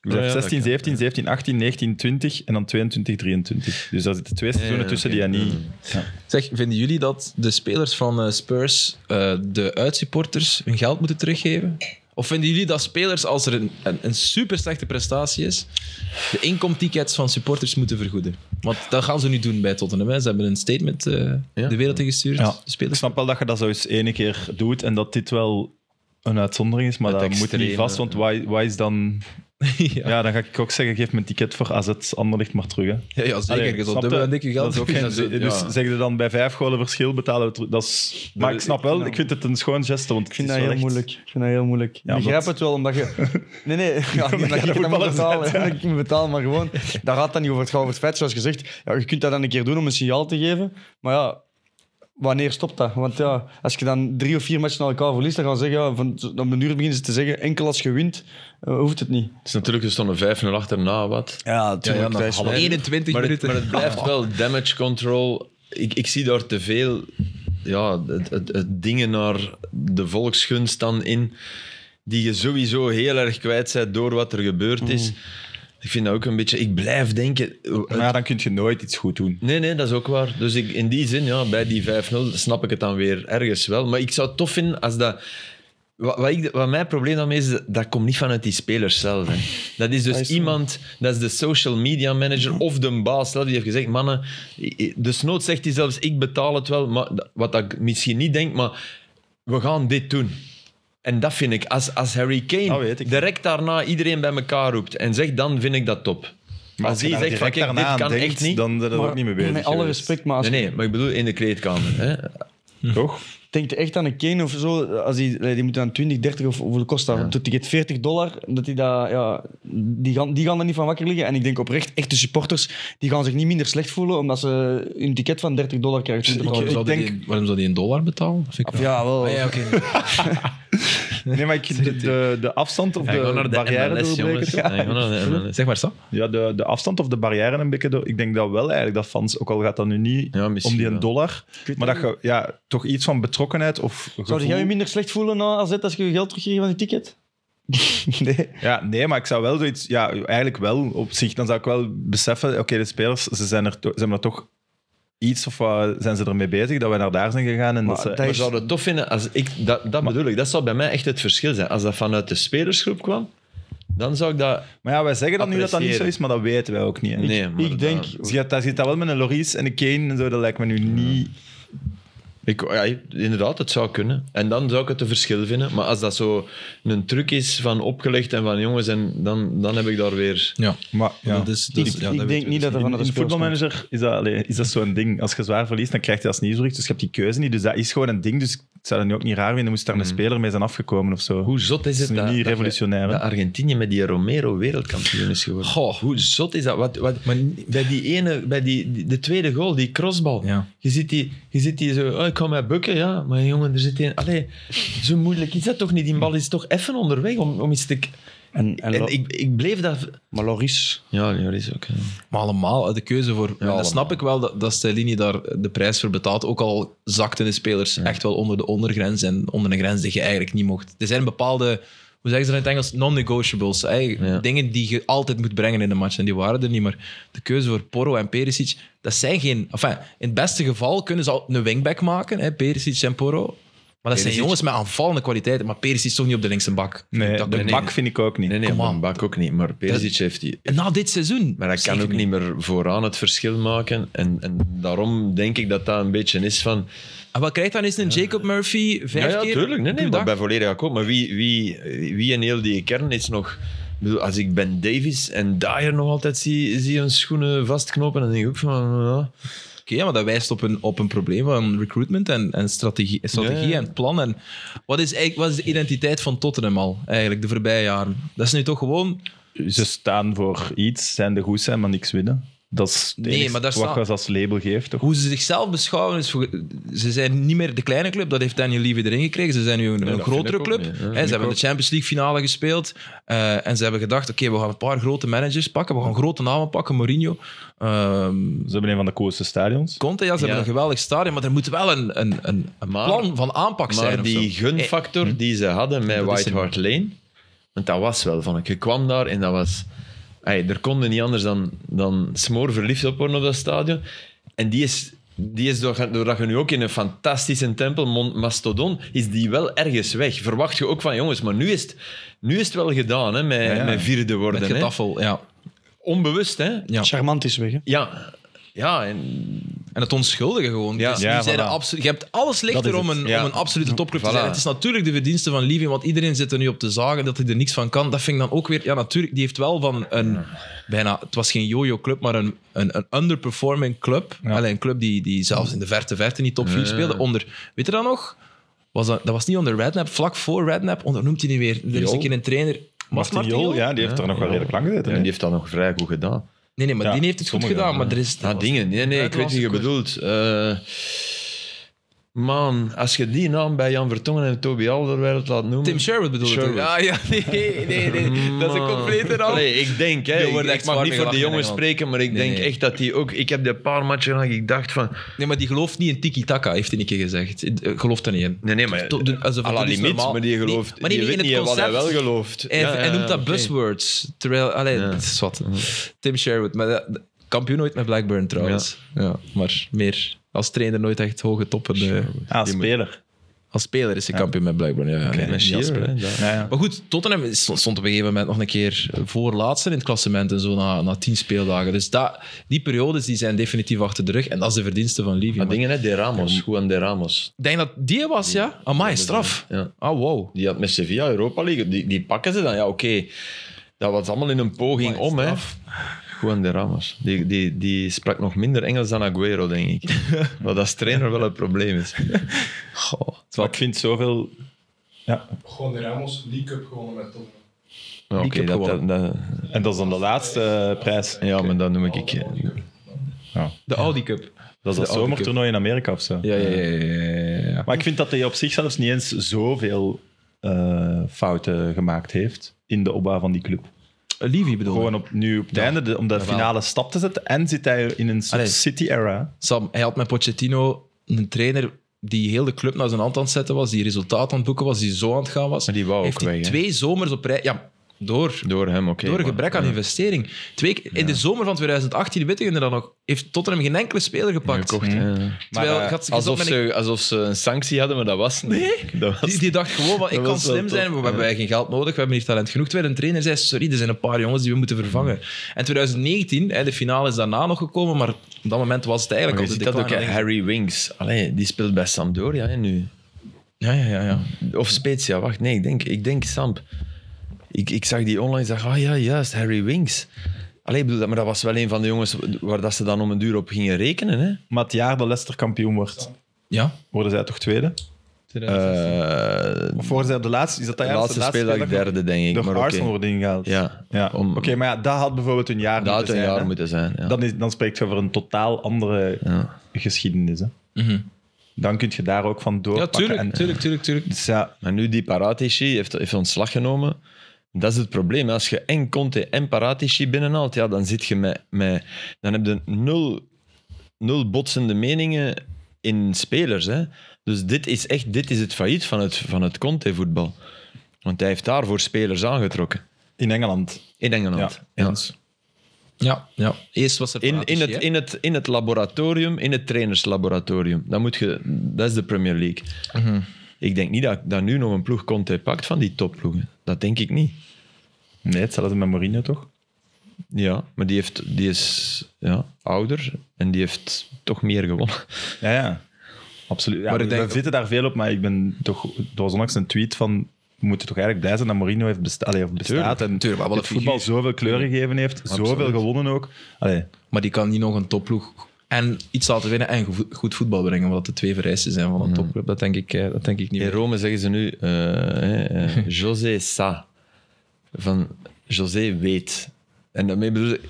C: Dus hij
B: Ja, ja,
C: heeft 16,
B: dat kan,
C: 17, 17, 18, 19, 20 en dan 22, 23. Dus daar zitten twee seizoenen
B: ja,
C: tussen
B: oké. Mm.
C: die hij niet. Ja.
A: Zeg, vinden jullie dat de spelers van eh, Spurs eh, de uitsupporters hun geld moeten teruggeven? Of vinden jullie dat spelers, als er een, een, een super slechte prestatie is, de inkomtickets van supporters moeten vergoeden? Want dat gaan ze nu doen bij Tottenham. hè. Ze hebben een statement eh,
B: Ja.
A: de wereld ingestuurd.
C: Ja.
A: De
C: Ik
A: spelers.
C: snap wel dat je dat zo eens ene keer doet en dat dit wel een uitzondering is, maar
B: Het
C: dat moet niet
B: extreme,
C: vast, want
B: ja.
C: wat wat is dan
A: ja.
C: Ja, dan ga ik ook zeggen, geef mijn ticket voor AZ Anderlicht maar terug. Hè.
A: Ja, ja, zeker.
C: Allee,
A: je zult
C: snap
A: dubbel
C: je?
A: en dikke
C: Dat
A: geld
C: is ook geen zin.
A: verdienen.
C: Dus
A: Ja.
C: zeg je dan bij vijf golen verschil betalen we terug. Dat is, maar ik snap wel, ik vind het een schoon geste. Want
D: Ik vind
C: het
D: dat
C: is
D: heel
C: wel echt-
D: moeilijk. Ik vind dat heel moeilijk.
C: Ja,
D: ik begrijp
C: omdat-
D: het wel, omdat je... Nee, nee, ja, niet
C: jij
D: omdat ik het dan moet
C: voetballer
D: betalen.
C: bent,
D: hè, dat ik moet betalen, maar gewoon... Daar gaat dan niet over. Het gaat over het feit, zoals gezegd. Ja, je kunt dat dan een keer doen om een signaal te geven. Maar ja, wanneer stopt dat? Want ja, als je dan drie of vier matchen na elkaar verliest, dan gaan ze zeggen... Ja, van, op een uur beginnen ze te zeggen, enkel als je wint, eh, hoeft het niet.
B: Het is natuurlijk, er stonden 5-0 achter na wat.
D: Ja, natuurlijk.
A: Ja, ja, nog 21
B: Maar het,
A: minuten.
B: maar het blijft wel damage control. Ik, ik zie daar te veel ja, het, het, het dingen naar de volksgunst dan in, die je sowieso heel erg kwijt bent door wat er gebeurd is.
C: Mm.
B: Ik vind dat ook een beetje... Ik blijf denken... eh,
C: Maar ja, dan kun je nooit iets goed doen.
B: Hm. Nee, nee, dat is ook waar. Dus ik, in die zin, ja, bij die 5-0 snap ik het dan weer ergens wel. Maar ik zou het tof vinden als dat... Wat, wat, ik, wat mijn probleem daarmee is, dat komt niet vanuit die spelers zelf. Hè. Dat is
C: Ah,
B: dus iemand, dat is de social media manager of de baas zelf, die heeft gezegd, mannen, i- i- dus nood zegt hij zelfs, ik betaal het wel, maar, dat- wat dat ik misschien niet denk, maar we gaan dit doen. En dat vind ik, als, als Harry
C: Dat
B: Kane
C: weet ik.
B: direct daarna iedereen bij elkaar roept en zegt, dan vind ik dat top. Maar als
C: je
B: die
C: daar
B: zegt, van,
C: direct
B: kijk, dit
C: daarna aan
B: kan
C: denkt,
B: echt niet.
C: Dan ben je er
D: Maar
C: ook niet mee bezig
D: Met alle
C: geweest.
D: respect, maar als
B: Nee, nee, maar ik bedoel in de kleedkamer. Hè?
C: Toch?
D: Denk je echt aan een Kane of zo? Als die, die moet dan 20, 30 of hoeveel kost dat? Doet die het 40 dollar? Dat die, dat, ja, die, gaan, die gaan er niet van wakker liggen. En ik denk oprecht, echte supporters die gaan zich niet minder slecht voelen omdat ze een ticket van 30 dollar krijgen. 20
A: Waarom
D: dollar.
A: zou die een- waarom zou die een dollar betalen? Dat Vind ik raar.
D: ja, wel.
A: Ah, ja, oké.
C: Nee, maar ik, de, de, de afstand of de, barrière doorbreken. toch?
A: Zeg maar, Sam.
C: Ja, de, de afstand of de barrière een beetje door. Ik denk dat wel eigenlijk dat fans, ook al gaat dat nu niet
B: Ja,
C: om
B: misschien
C: die een
B: wel.
C: dollar,
D: weet
C: maar dat je ja, toch iets van betrokkenheid of gevoel-
D: Zou jij je minder slecht voelen na AZ als je je geld teruggeeft van je ticket? nee.
C: Ja, nee, maar ik zou wel zoiets... Ja, eigenlijk wel op zich. Dan zou ik wel beseffen, oké, de spelers, ze zijn er, to- ze hebben er toch iets of wat zijn ze ermee bezig, dat wij naar daar zijn gegaan en dat ze...
D: dat
B: Maar
D: is-
B: zou het tof vinden als ik... Dat, dat bedoel ik, dat zou bij mij echt het verschil zijn. Als dat vanuit de spelersgroep kwam, dan zou ik dat...
C: Maar ja, wij zeggen dan nu dat dat niet zo is, maar dat weten wij ook niet. hè.
B: Nee, maar
D: ik denk,
C: Dus je, daar zit dat wel met een Loris en een Kane en zo, dat lijkt me nu niet...
B: Ik, ja, inderdaad, het zou kunnen. En dan zou ik het een verschil vinden. Maar als dat zo een truc is van opgelegd en van jongens, en dan, dan heb ik daar weer...
A: Ja.
C: Maar ja.
A: Dat is, dat is-
D: ik,
A: ja,
D: ik
A: dat
D: denk
A: weten we
D: niet dat
A: dus
D: er
C: In,
D: van de
C: in
D: spelers komt.
C: voetbalmanager is dat, allee, is dat zo'n ding. Als je zwaar verliest, dan krijg je dat als nieuwsbericht. Dus je hebt die keuze niet. Dus dat is gewoon een ding. Dus ik zou dat nu ook niet raar vinden. Moest daar een speler mee zijn afgekomen of zo.
B: Hoe zot is
C: Dat is
B: het
C: nu
B: dat,
C: niet
B: dat-
C: revolutionair. hè?
B: dat Argentinië met die Romero wereldkampioen is geworden?
A: Goh.
B: Hoe zot is dat? Wat, wat, bij die ene, bij die, die- de tweede goal, die crossbal.
A: Ja.
B: Je, ziet die, je ziet die zo, oh, ik ga mij bukken, ja. Maar jongen, er zit een... Allee, zo moeilijk is dat toch niet? Die bal is toch even onderweg om, om iets te... k-
D: En, en,
B: En,
D: Lo-
B: ik, ik bleef dat...
D: maar Loris,
B: Ja, dat is ook...
A: Maar allemaal, de keuze voor... en
B: allemaal.
A: dat snap ik wel, dat, dat Stellini daar de prijs voor betaalt. Ook al zakten de spelers echt wel onder de ondergrens en onder een grens die je eigenlijk niet mocht. Er zijn bepaalde, hoe zeggen ze dat in het Engels, non-negotiables. hè.
B: Ja.
A: Dingen die je altijd moet brengen in de match. En die waren er niet, maar de keuze voor Porro en Perisic, dat zijn geen... Enfin, in het beste geval kunnen ze al een wingback maken, hè, Perisic en Porro. Maar dat zijn jongens met aanvallende kwaliteiten. Maar Perisic is toch niet op de linkse bak.
C: Nee,
A: dat
C: de
A: kan
C: bak
A: niet.
C: vind ik ook niet.
B: Nee, nee,
A: Kom
B: Van
A: aan.
B: Bak ook niet. Maar Perisic heeft die...
A: En na dit seizoen...
B: Maar dat kan
A: zeker
B: ook niet meer vooraan het verschil maken. En, en daarom denk ik dat dat een beetje is van...
A: En Ah, wat krijgt dan eens een Jacob Murphy vijf
B: ja,
A: keer?
B: ja, tuurlijk. Nee,
A: op
B: nee,
A: uw
B: maar
A: dag?
B: bij volledig akkoord. Maar wie, wie, wie in heel die kern is nog... Ik bedoel, als ik Ben Davies en Dyer nog altijd zie, zie hun schoenen vastknopen, dan denk ik ook van... ja.
A: Oké, ja, maar dat wijst op een, op een probleem van recruitment en, en strategie, strategie
B: Ja, ja.
A: en plan. En wat, is eigenlijk, wat is de identiteit van Tottenham al, eigenlijk, de voorbije jaren? Dat is nu toch gewoon...
C: Ze staan voor iets, zijn de goed zijn, maar niks winnen. Dat is het
A: Nee,
C: enige
A: maar daar
C: wat
A: staan-
C: je als label geeft, toch?
A: Hoe ze zichzelf beschouwen is... voor- Ze zijn niet meer de kleine club, dat heeft Daniel Levy erin gekregen. Ze zijn nu een, een
B: dat
A: grotere
B: vind ik ook
A: club.
B: niet, hè.
A: Hè, ze hebben de Champions League finale gespeeld. eh, en ze hebben gedacht, oké, we gaan een paar grote managers pakken. We gaan grote namen pakken. Mourinho, ehm,
C: Ze hebben een van de coolste stadions.
A: Conte, ja, ze hebben
B: Ja.
A: een geweldig stadion. Maar er moet wel een, een, een, een
B: Maar-
A: plan van aanpak zijn.
B: Maar
A: of
B: die
A: zo. Eh,
B: gunfactor die ze hadden met
A: Dat is
B: White
A: hem.
B: Hart Lane, want dat was wel van ik. Je kwam daar en dat was. Ey, er konden niet anders dan, dan smoor verliefd op worden op dat stadion. En die is. Die is door- doordat je nu ook in een fantastische tempel, Mon- Mastodon, is die wel ergens weg. Verwacht je ook van jongens, maar nu is het, nu is het wel gedaan hè, met,
C: ja.
B: met vierde worden.
A: Met
B: hè.
A: getaffel, ja.
B: Onbewust, hè?
A: Ja.
D: charmant is weg. Hè?
B: Ja, ja en
A: En het onschuldige gewoon.
B: Ja.
A: Dus die
C: Ja,
A: zeiden
C: voilà.
A: absolu- je hebt alles lichter om een,
B: Ja.
A: om een absolute topclub te
B: Voilà.
A: zijn. Het is natuurlijk de verdienste van Living, want iedereen zit er nu op te zagen dat hij er niks van kan. Dat vind ik dan ook weer... Ja, natuurlijk, die heeft wel van een... Bijna, het was geen yo-yo-club, maar een, een, een underperforming club. Allee, een club die, die zelfs in de verte verte niet top 4 speelde. Onder, weet je dat nog? Was dat, dat was niet onder Redknapp, vlak voor Redknapp. Onder, noemt hij niet weer? Er is een keer een trainer... Was
C: Martin Jol, ja, die heeft er nog wel redelijk lang gezeten.
B: En
C: hè?
B: die heeft dat nog vrij goed gedaan.
A: Nee, nee, maar
C: Ja,
A: die heeft het goed
C: sommige,
A: gedaan.
C: ja.
A: Maar er is...
B: Ah, dingen. Nee, nee, ik weet niet wat je bedoelt. Eh, man, als je die naam bij Jan Vertongen en Toby Alderweireld laat noemen...
A: Tim Sherwood bedoel je? toch?
B: Sherwood.
A: Ja, ja, nee, nee, nee. Dat is een
B: Man.
A: complete naam.
B: Allee, ik denk, hè,
A: Je
B: ik,
A: wordt
B: ik
A: echt
B: mag
A: zwaar
B: niet voor de
A: meegelachen in
B: jongen
A: Engeland.
B: spreken, maar ik
A: Nee,
B: denk
A: nee.
B: echt dat die ook... Ik heb die paar matchen gedaan, ik dacht van...
A: Nee, maar die gelooft niet in tiki-taka, heeft hij een keer gezegd. Eh, Gelooft er niet in.
B: Nee, nee, maar...
A: Tot- doen alsof
B: à la
A: het is
B: limiet,
A: normaal.
B: maar die
A: Nee,
B: gelooft...
A: maar nee,
B: die
A: niet
B: weet
A: in het
B: niet wat hij
A: concept.
B: wel gelooft.
A: Hij,
B: Ja,
A: hij noemt dat
B: oké.
A: buzzwords. Terwijl, allee,
B: Ja.
A: het is wat. Tim Sherwood, maar dat- dat- kampioen ooit met Blackburn trouwens. Ja. maar meer als trainer nooit echt hoge toppen. eh.
C: Ah, speler.
A: als speler is hij kampioen met Blackburn. Ja, ja, nee,
B: Met
A: niet als
B: Shearer,
A: speler.
B: hè, daar.
C: Ja, ja.
A: Maar goed, Tottenham stond stond op een gegeven moment nog een keer voorlaatste in het klassement en zo na, na tien speeldagen. Dus dat, die periodes die zijn definitief achter de rug en dat is de verdienste van Livio.
B: Maar dingen, hè, De Ramos. Goed aan De Ramos.
A: Ik denk dat die was, ja? Amai, straf.
B: Ja.
A: Ah, wow.
B: Die had met Sevilla Europa League. Die, die pakken ze dan. Ja, oké. Dat was allemaal in een poging
A: Maar
B: om, hè.
A: straf.
B: Juan de Ramos. Die, die, die sprak nog minder Engels dan Aguero, denk ik. Wat als trainer wel een probleem is. Goh.
C: Maar ik vind zoveel...
F: Gewoon de Ramos, League Cup gewonnen met Tottenham.
B: Ja, oké,
A: heb
B: dat, dat,
A: gewonnen.
B: dat-
C: En dat is dan de laatste eh, prijs.
B: ja maar dat noem ik... ik
A: Oh.
B: eh,
A: De Audi Cup.
C: Dat is dat
A: De Audi
C: zomertoernooi in Amerika of zo.
A: Ja, ja, ja. ja, ja, ja.
C: Maar ik vind dat hij op zich zelfs niet eens zoveel eh, fouten gemaakt heeft in de opbouw van die club.
A: Livy Eh, bedoel
C: Gewoon op, nu op het einde, de- om de finale stap te zetten. En zit hij in een soort
A: Allee.
C: city-era.
A: Sam, hij had met Pochettino een trainer die heel de club naar zijn hand aan het zetten was, die resultaat aan het boeken was, die zo aan het gaan was.
B: Maar die wou ook
A: Heeft hij
B: weg, hè?
A: twee zomers op rij... Ja, door.
B: door hem, oké.
A: Door
B: maar-
A: gebrek aan investering. Twee, keer- in de zomer van 2018, weet je er dan nog, heeft Tottenham geen enkele speler gepakt.
B: Gekocht, hè.
A: Terwijl,
C: eh,
A: gaat ze-
B: Alsof,
A: gezond met
B: ze, alsof ze een sanctie hadden, maar dat was niet. Dat
A: een-
B: was
A: die, die dacht gewoon, van, ik kan
B: was wel
A: slim
B: top.
A: zijn, maar we hebben geen geld nodig, we hebben hier talent genoeg. Terwijl een trainer zei, sorry, er zijn een paar jongens die we moeten vervangen. En 2019, hè, de finale is daarna nog gekomen, maar op dat moment was het
B: Maar
A: eigenlijk
B: je
A: al
B: ziet
A: de
B: dat ook,
A: decline.
B: hè. Harry Winks. Allee, die speelt bij Sampdoria hè, nu.
A: Ja, ja, ja. ja.
B: Of Spezia, wacht. Nee, ik denk, ik denk Samp. Ik, ik zag die online en dacht, ah ja, juist, Harry Winks. Allee, ik bedoel, dat- maar dat was wel een van de jongens waar dat ze dan om een duur op gingen rekenen. Hè?
C: Maar het jaar dat Leicester kampioen wordt,
A: ja.
C: worden zij toch tweede?
B: Eh,
C: Of worden zij de laatste? Is dat dat
B: de
C: jaar dat
B: laatste
C: ze de
B: speeldag
C: speeldag
B: derde, denk ik.
C: Door
B: maar oké.
C: Arsenal worden ingehaald.
B: Ja,
C: ja.
B: om-
C: Oké, maar ja, dat had bijvoorbeeld een jaar
B: dat had
C: moeten
B: een
C: zijn,
B: jaar
C: hè.
B: moeten zijn. Ja.
C: Dan, is, dan spreekt je over een totaal andere
B: Ja.
C: geschiedenis. Hè.
A: Mhm.
C: Dan kun je daar ook van
A: Ja,
C: doorpakken.
A: tuurlijk,
C: En-
A: tuurlijk, tuurlijk, tuurlijk.
C: dus ja,
B: Maar nu die Paratici heeft, heeft ontslag genomen. Dat is het probleem. Als je en Conte en Paratici binnenhaalt, ja, dan zit je met, met dan heb je nul, nul botsende meningen in spelers. Hè? Dus dit is echt dit is het failliet van het, van het Conte voetbal. Want hij heeft daarvoor spelers aangetrokken.
C: in Engeland.
B: In
C: Ja,
B: Engeland. Ja.
C: eens.
A: Ja, ja. Eerst was er
B: In, in,
A: Paratici,
B: het,
A: hè?
B: in, het, in het laboratorium, in het trainerslaboratorium. Dat, moet je, dat is de Premier League. Ik denk niet dat, dat nu nog een ploeg Conte pakt van die topploegen. Dat denk ik niet.
C: Nee, hetzelfde met Mourinho toch?
B: Ja, maar die, heeft, die is ja, ouder en die heeft toch meer gewonnen.
C: Ja, ja. Absoluut. Ja,
A: Maar ik
C: we,
A: denk-
C: we zitten daar veel op, maar ik ben toch... Er was onlangs een tweet van... We moeten toch eigenlijk blij zijn dat Mourinho heeft besta allee, of bestaat. en
A: tuurlijk, maar wat
C: het
A: een
C: voetbal zoveel kleur gegeven heeft. Zoveel gewonnen ook. Allee,
A: Maar die kan niet nog een topploeg en iets laten winnen en gevo- goed voetbal brengen, omdat de twee vereisten zijn
B: Hmm.
A: van een topclub. Dat denk ik, eh, dat denk ik niet
B: In
A: meer.
B: Rome zeggen ze nu eh, hè, eh, José Sa. Van José weet. En daarmee bedoel ze,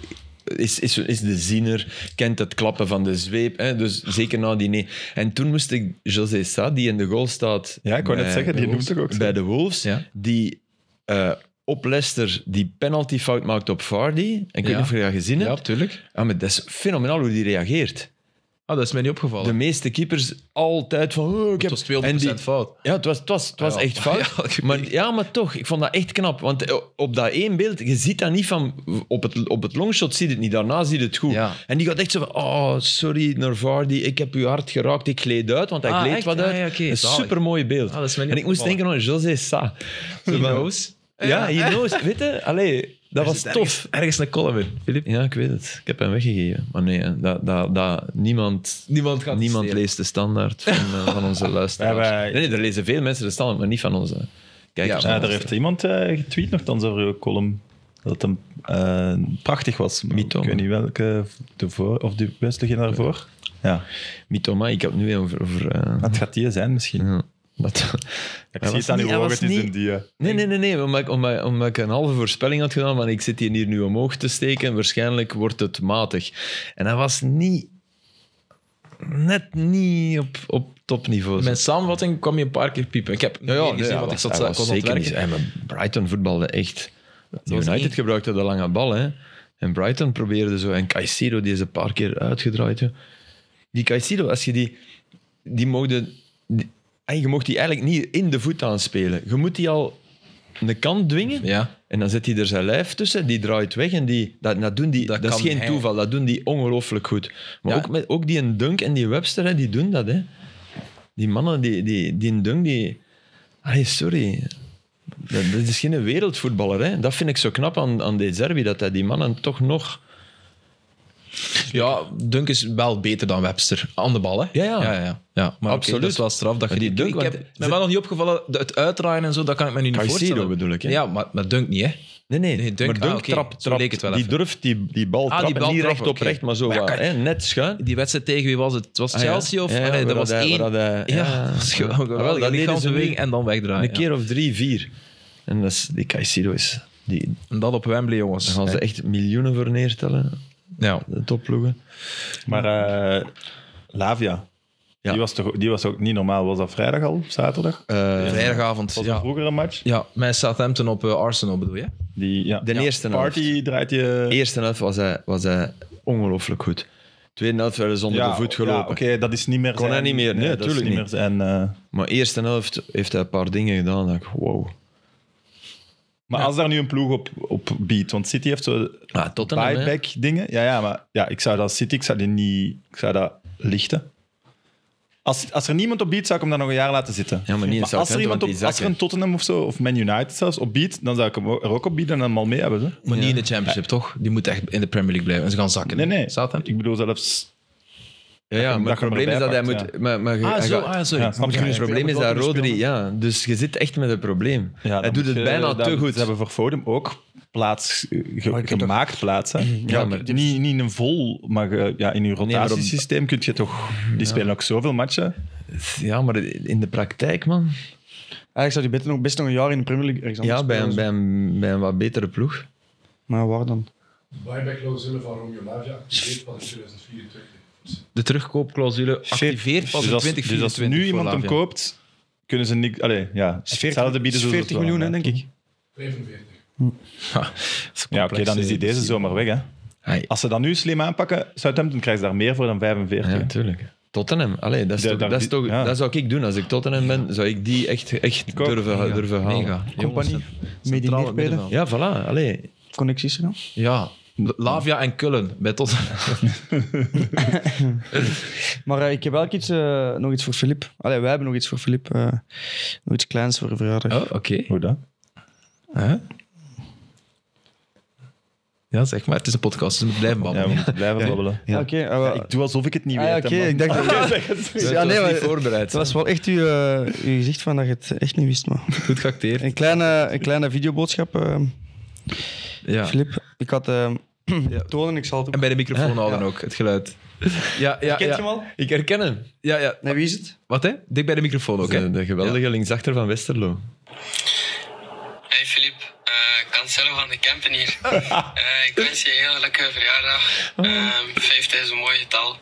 B: Is, is, is de ziener, kent het klappen van de zweep. Hè? Dus zeker na die nee. En toen moest ik José Sa, die in de goal staat.
C: Ja, ik wou net
B: bij-
C: zeggen, die
B: bij
C: noemt
B: Wolves-
C: toch ook zo?
B: Bij de Wolves,
A: Ja.
B: die eh, op Leicester die penaltyfout maakt op Vardy. En ik weet
A: Ja.
B: niet of je dat gezien
A: Ja,
B: hebt.
A: tuurlijk.
B: Ja, maar dat is fenomenaal hoe die reageert.
A: Ah, dat is mij niet
B: De
A: opgevallen.
B: meeste keepers altijd van... Oh, ik
A: Het
B: heb...
A: was 200%
B: en die-
A: fout.
B: Ja, het was, het was, het was
A: Ah, ja.
B: echt fout.
A: Ja, ik
B: maar, ja, maar toch, ik vond dat echt knap. Want eh, op dat één beeld, je ziet dat niet van... Op het, op het longshot zie je het niet, daarna zie je het goed.
A: Ja.
B: En die gaat echt zo van... Oh, sorry, Narvardi, ik heb u hard geraakt. Ik gleed uit, want hij
A: Ah,
B: gleed
A: echt?
B: wat
A: Ah,
B: uit.
A: ja, oké,
B: Een
A: zalig.
B: supermooi beeld.
A: Ah, dat is mij niet
B: en ik moest
A: opgevallen.
B: denken aan José Sa.
A: He knows. Eh.
B: Ja, he knows. Weet je, allee,
A: Dat
B: Er
A: was
B: zit
A: tof. Ergens een column in. Filip?
B: Ja, ik weet het. Ik heb hem weggegeven. Maar nee, hè, dat, dat, dat, niemand,
A: Niemand gaat het
B: niemand
A: stelen.
B: leest de standaard van, eh, van onze luisteraars.
C: Ja, wij-
B: Nee, nee, er lezen veel mensen de standaard, maar niet van onze kijkers.
A: Ja,
C: Ja, daar heeft iemand eh, getweet nogthans over uw column. Dat hem eh, prachtig was. Maar
B: Mythoma.
C: Ik weet niet welke, de voor, of de beste ging daarvoor. Ja,
B: Mythoma, ik heb het nu weer over... over
A: Ah.
B: eh,
C: het gaat die zijn misschien.
B: ja, dat,
C: Ik
B: Hij
C: zie
B: was
C: het aan
B: niet-
C: uw
B: hij
C: ogen,
B: was
C: het is
B: niet-
C: een die. eh.
B: Nee, nee, nee, nee. Omdat ik, omdat, omdat ik een halve voorspelling had gedaan van ik zit hier nu omhoog te steken. Waarschijnlijk wordt het matig. En hij was niet... Net niet op, op topniveau.
A: Mijn samenvatting kwam je een paar keer piepen. Ik heb niet meer gezien, want ik zat
B: hij
A: zelf
B: was
A: kon aan het
B: zeker
A: werken.
B: niet. Hey, maar Brighton voetbalde echt.
A: was
B: United
A: één-
B: gebruikte de lange bal, hè. En Brighton probeerde zo. En Caicedo, die is een paar keer uitgedraaid. hè. Die Caicedo, als je die... Die mochten... die- en je mocht die eigenlijk niet in de voet aanspelen. Je moet die al een kant dwingen.
A: Ja.
B: En dan zet hij er zijn lijf tussen, die draait weg en die, dat, dat, doen die,
A: Dat
B: dat, is
A: kan
B: geen
A: hij.
B: toeval, dat doen die ongelooflijk goed. Maar
A: Ja.
B: ook, met, ook die een Dunk en die Webster, hè, die doen dat. Hè. Die mannen, die, die, die een Dunk, die... Allee, sorry. Dat, dat is geen wereldvoetballer. Hè. Dat vind ik zo knap aan, aan De Zerbi, dat hij die mannen toch nog...
A: ja, Dunk is wel beter dan Webster. Aan de bal, hè?
B: Ja, ja.
A: ja. ja, ja. Maar Absoluut.
B: Absoluut.
A: dat is wel straf. Dat je
B: Maar die
A: die
B: Dunk,
A: ik heb
B: want-
A: me wel nog niet opgevallen, de- het uitdraaien en zo, dat kan ik me nu niet
B: Caicedo
A: voorstellen.
B: bedoel ik, hè?
A: Ja, maar, maar Dunk niet, hè?
B: Nee, nee,
A: Nee, Dunk-
B: maar Dunk
A: ah, oké.
B: trapt,
A: Zo
B: trapt.
A: leek het wel
B: die
A: even. Ah,
B: durft die, die bal
A: die
B: trappen,
A: bal
B: niet
A: trappen,
B: recht op
A: oké.
B: recht, maar zo
A: Maar
B: wat,
A: kan-
B: hè, net schuin.
A: Die wedstrijd tegen wie was het? Het was
B: Ah, ja.
A: Chelsea of...
B: Ja,
A: nee, dat
B: waar
A: was
B: hij-
A: één.
B: waar hij-
A: ja,
B: ja.
A: dat is
B: Ah, wel,
A: geweldig.
B: dat
A: Een
B: deden ze
A: lichaamsbeweging
B: niet.
A: en dan wegdraaien.
B: Een
A: ja.
B: keer of drie, vier. En dat is, die Caicedo is... Die,
A: En dat op Wembley,
B: daar
A: jongens.
B: gaan ze echt miljoenen voor neertellen,
A: Ja.
B: de topploegen.
C: Maar eh, Lavia,
B: Ja.
C: die, was toch, die was ook niet normaal. Was dat vrijdag al, of zaterdag?
B: Eh,
A: Vrijdagavond.
C: was
A: Ja.
C: een vroegere match.
A: ja, met Southampton op eh, Arsenal bedoel je?
C: Die, ja.
B: De eerste helft.
C: Party draait je...
B: De eerste helft was hij, was hij ongelooflijk goed. Tweede helft werden ze onder de voet gelopen.
C: Ja, oké, dat is niet meer
B: Kon hij
C: zijn-
B: niet meer, nee,
C: dat is
B: tuurlijk niet.
C: meer zijn, eh,
B: Maar eerste helft heeft hij een paar dingen gedaan. Dat ik, wow.
C: maar als daar nu een ploeg op, op biedt, want City heeft zo
B: Ah, Tottenham, hè.
C: buyback dingen. Ja, ja, maar ja, ik zou dat City, ik zou die niet, ik zou dat lichten. Als, als er niemand op biedt, zou ik hem dan nog een jaar laten zitten.
B: Ja, maar niet in
C: als er
B: Southampton,
C: iemand
B: want
C: op,
B: die
C: als er een
B: zakken.
C: Tottenham of zo, of Man United zelfs, op biedt, dan zou ik hem er ook op bieden en hem al mee hebben. Ze.
A: Maar niet in de Championship, toch? Die moet echt in de Premier League blijven. En ze gaan zakken.
C: Nee, nee.
A: Southampton.
C: Ik bedoel zelfs...
B: Ja, ja, maar
C: dat
B: het
C: je hem
B: probleem is dat hij
C: erbij
B: moet...
C: pakt,
B: Maar, maar,
A: Ah,
B: hij
A: zo.
B: gaat-
A: Ah, sorry.
C: Ja, snap je?
B: het probleem is
C: Ja,
B: dat Rodri... Ja, dus je zit echt met een probleem.
C: dan
B: hij doet
C: moet
B: het
C: je-
B: bijna
C: dan
B: te
C: moet-
B: goed.
C: Ze hebben voor Foden ook plaats eh, ge- gemaakt plaats. Hè? Ja,
B: maar-
D: dus-
C: niet, niet een vol, maar ge- ja, in je
B: maar op-
C: rotatiesysteem kun je toch... Die spelen ook zoveel matchen.
B: Ja, maar in de praktijk, man.
D: Eigenlijk zou die beter nog, best nog een jaar in de Premier League ergens
B: Ja,
D: anders
B: bij een,
D: spelen.
B: bij, een, bij een wat betere ploeg.
D: Maar waar dan?
F: Buyback-clausule van Romeo Lavia activeert pas in 2024.
A: De terugkoopclausule activeert pas
C: dus
A: in
C: als, dus
A: 2024.
C: als nu
A: voor
C: iemand hem
A: Lavia.
C: koopt, kunnen ze niet... Allee, ja, hetzelfde bieden ze
D: 40
C: wel
D: miljoen,
C: aan,
D: hè, denk ik.
F: 45.
C: Ja, oké, dan is die deze zomer weg. Hè.
B: Hij-
C: Als ze dat nu slim aanpakken, Southampton krijgt daar meer voor dan 45.
B: Ja, natuurlijk. Tottenham, Allee, dat, is
C: Ja,
B: toch,
C: daar-
B: dat, is toch,
C: ja.
B: dat zou ik doen. Als ik Tottenham ben, zou ik die echt, echt
C: ook.
B: durven, durven halen.
A: Mega.
D: Compagnie,
A: Centrale
D: medineren,
A: middenveld.
B: Ja, voilà. Allee.
D: connecties. Ja.
A: Ja. Lavia en Kullen bij Tottenham.
D: Maar eh, ik heb ook iets, eh, nog iets voor Filip. Allee, wij hebben nog iets voor Filip. eh, nog iets kleins voor verjaardag.
A: Oh, oké.
C: Hoe dat?
A: Hè? Ja, zeg maar. Het is een podcast, dus we moeten blijven
C: Ja,
A: babbelen.
C: we moeten blijven babbelen.
D: Ja, Oké, eh, wel-
C: Ik doe alsof ik het niet
D: Ah, ja,
C: weet.
D: oké, ik dacht... ja, nee, maar, het was wel echt uw, eh, uw gezicht van dat je het echt niet wist. Maar.
A: Goed geacteerd.
D: Een, kleine, een kleine videoboodschap, eh,
A: Ja.
D: Filip. Ik had... eh Toon en ik zal het
A: En
D: ook...
A: bij de microfoon
B: Ah,
A: houden ook, het geluid. Ja, ja,
D: Kent je
A: ja.
D: hem al?
B: Ik herken hem.
A: Ja, ja.
D: Nee, wie is het?
A: Wat hè? Dik bij de microfoon ook, hè?
B: De, de geweldige linksachter van Westerlo.
G: Hey Filip, eh Cancelo van de Kempen hier. Eh, ik wens je een heel lekkere verjaardag. Ehm 50 is een mooi getal.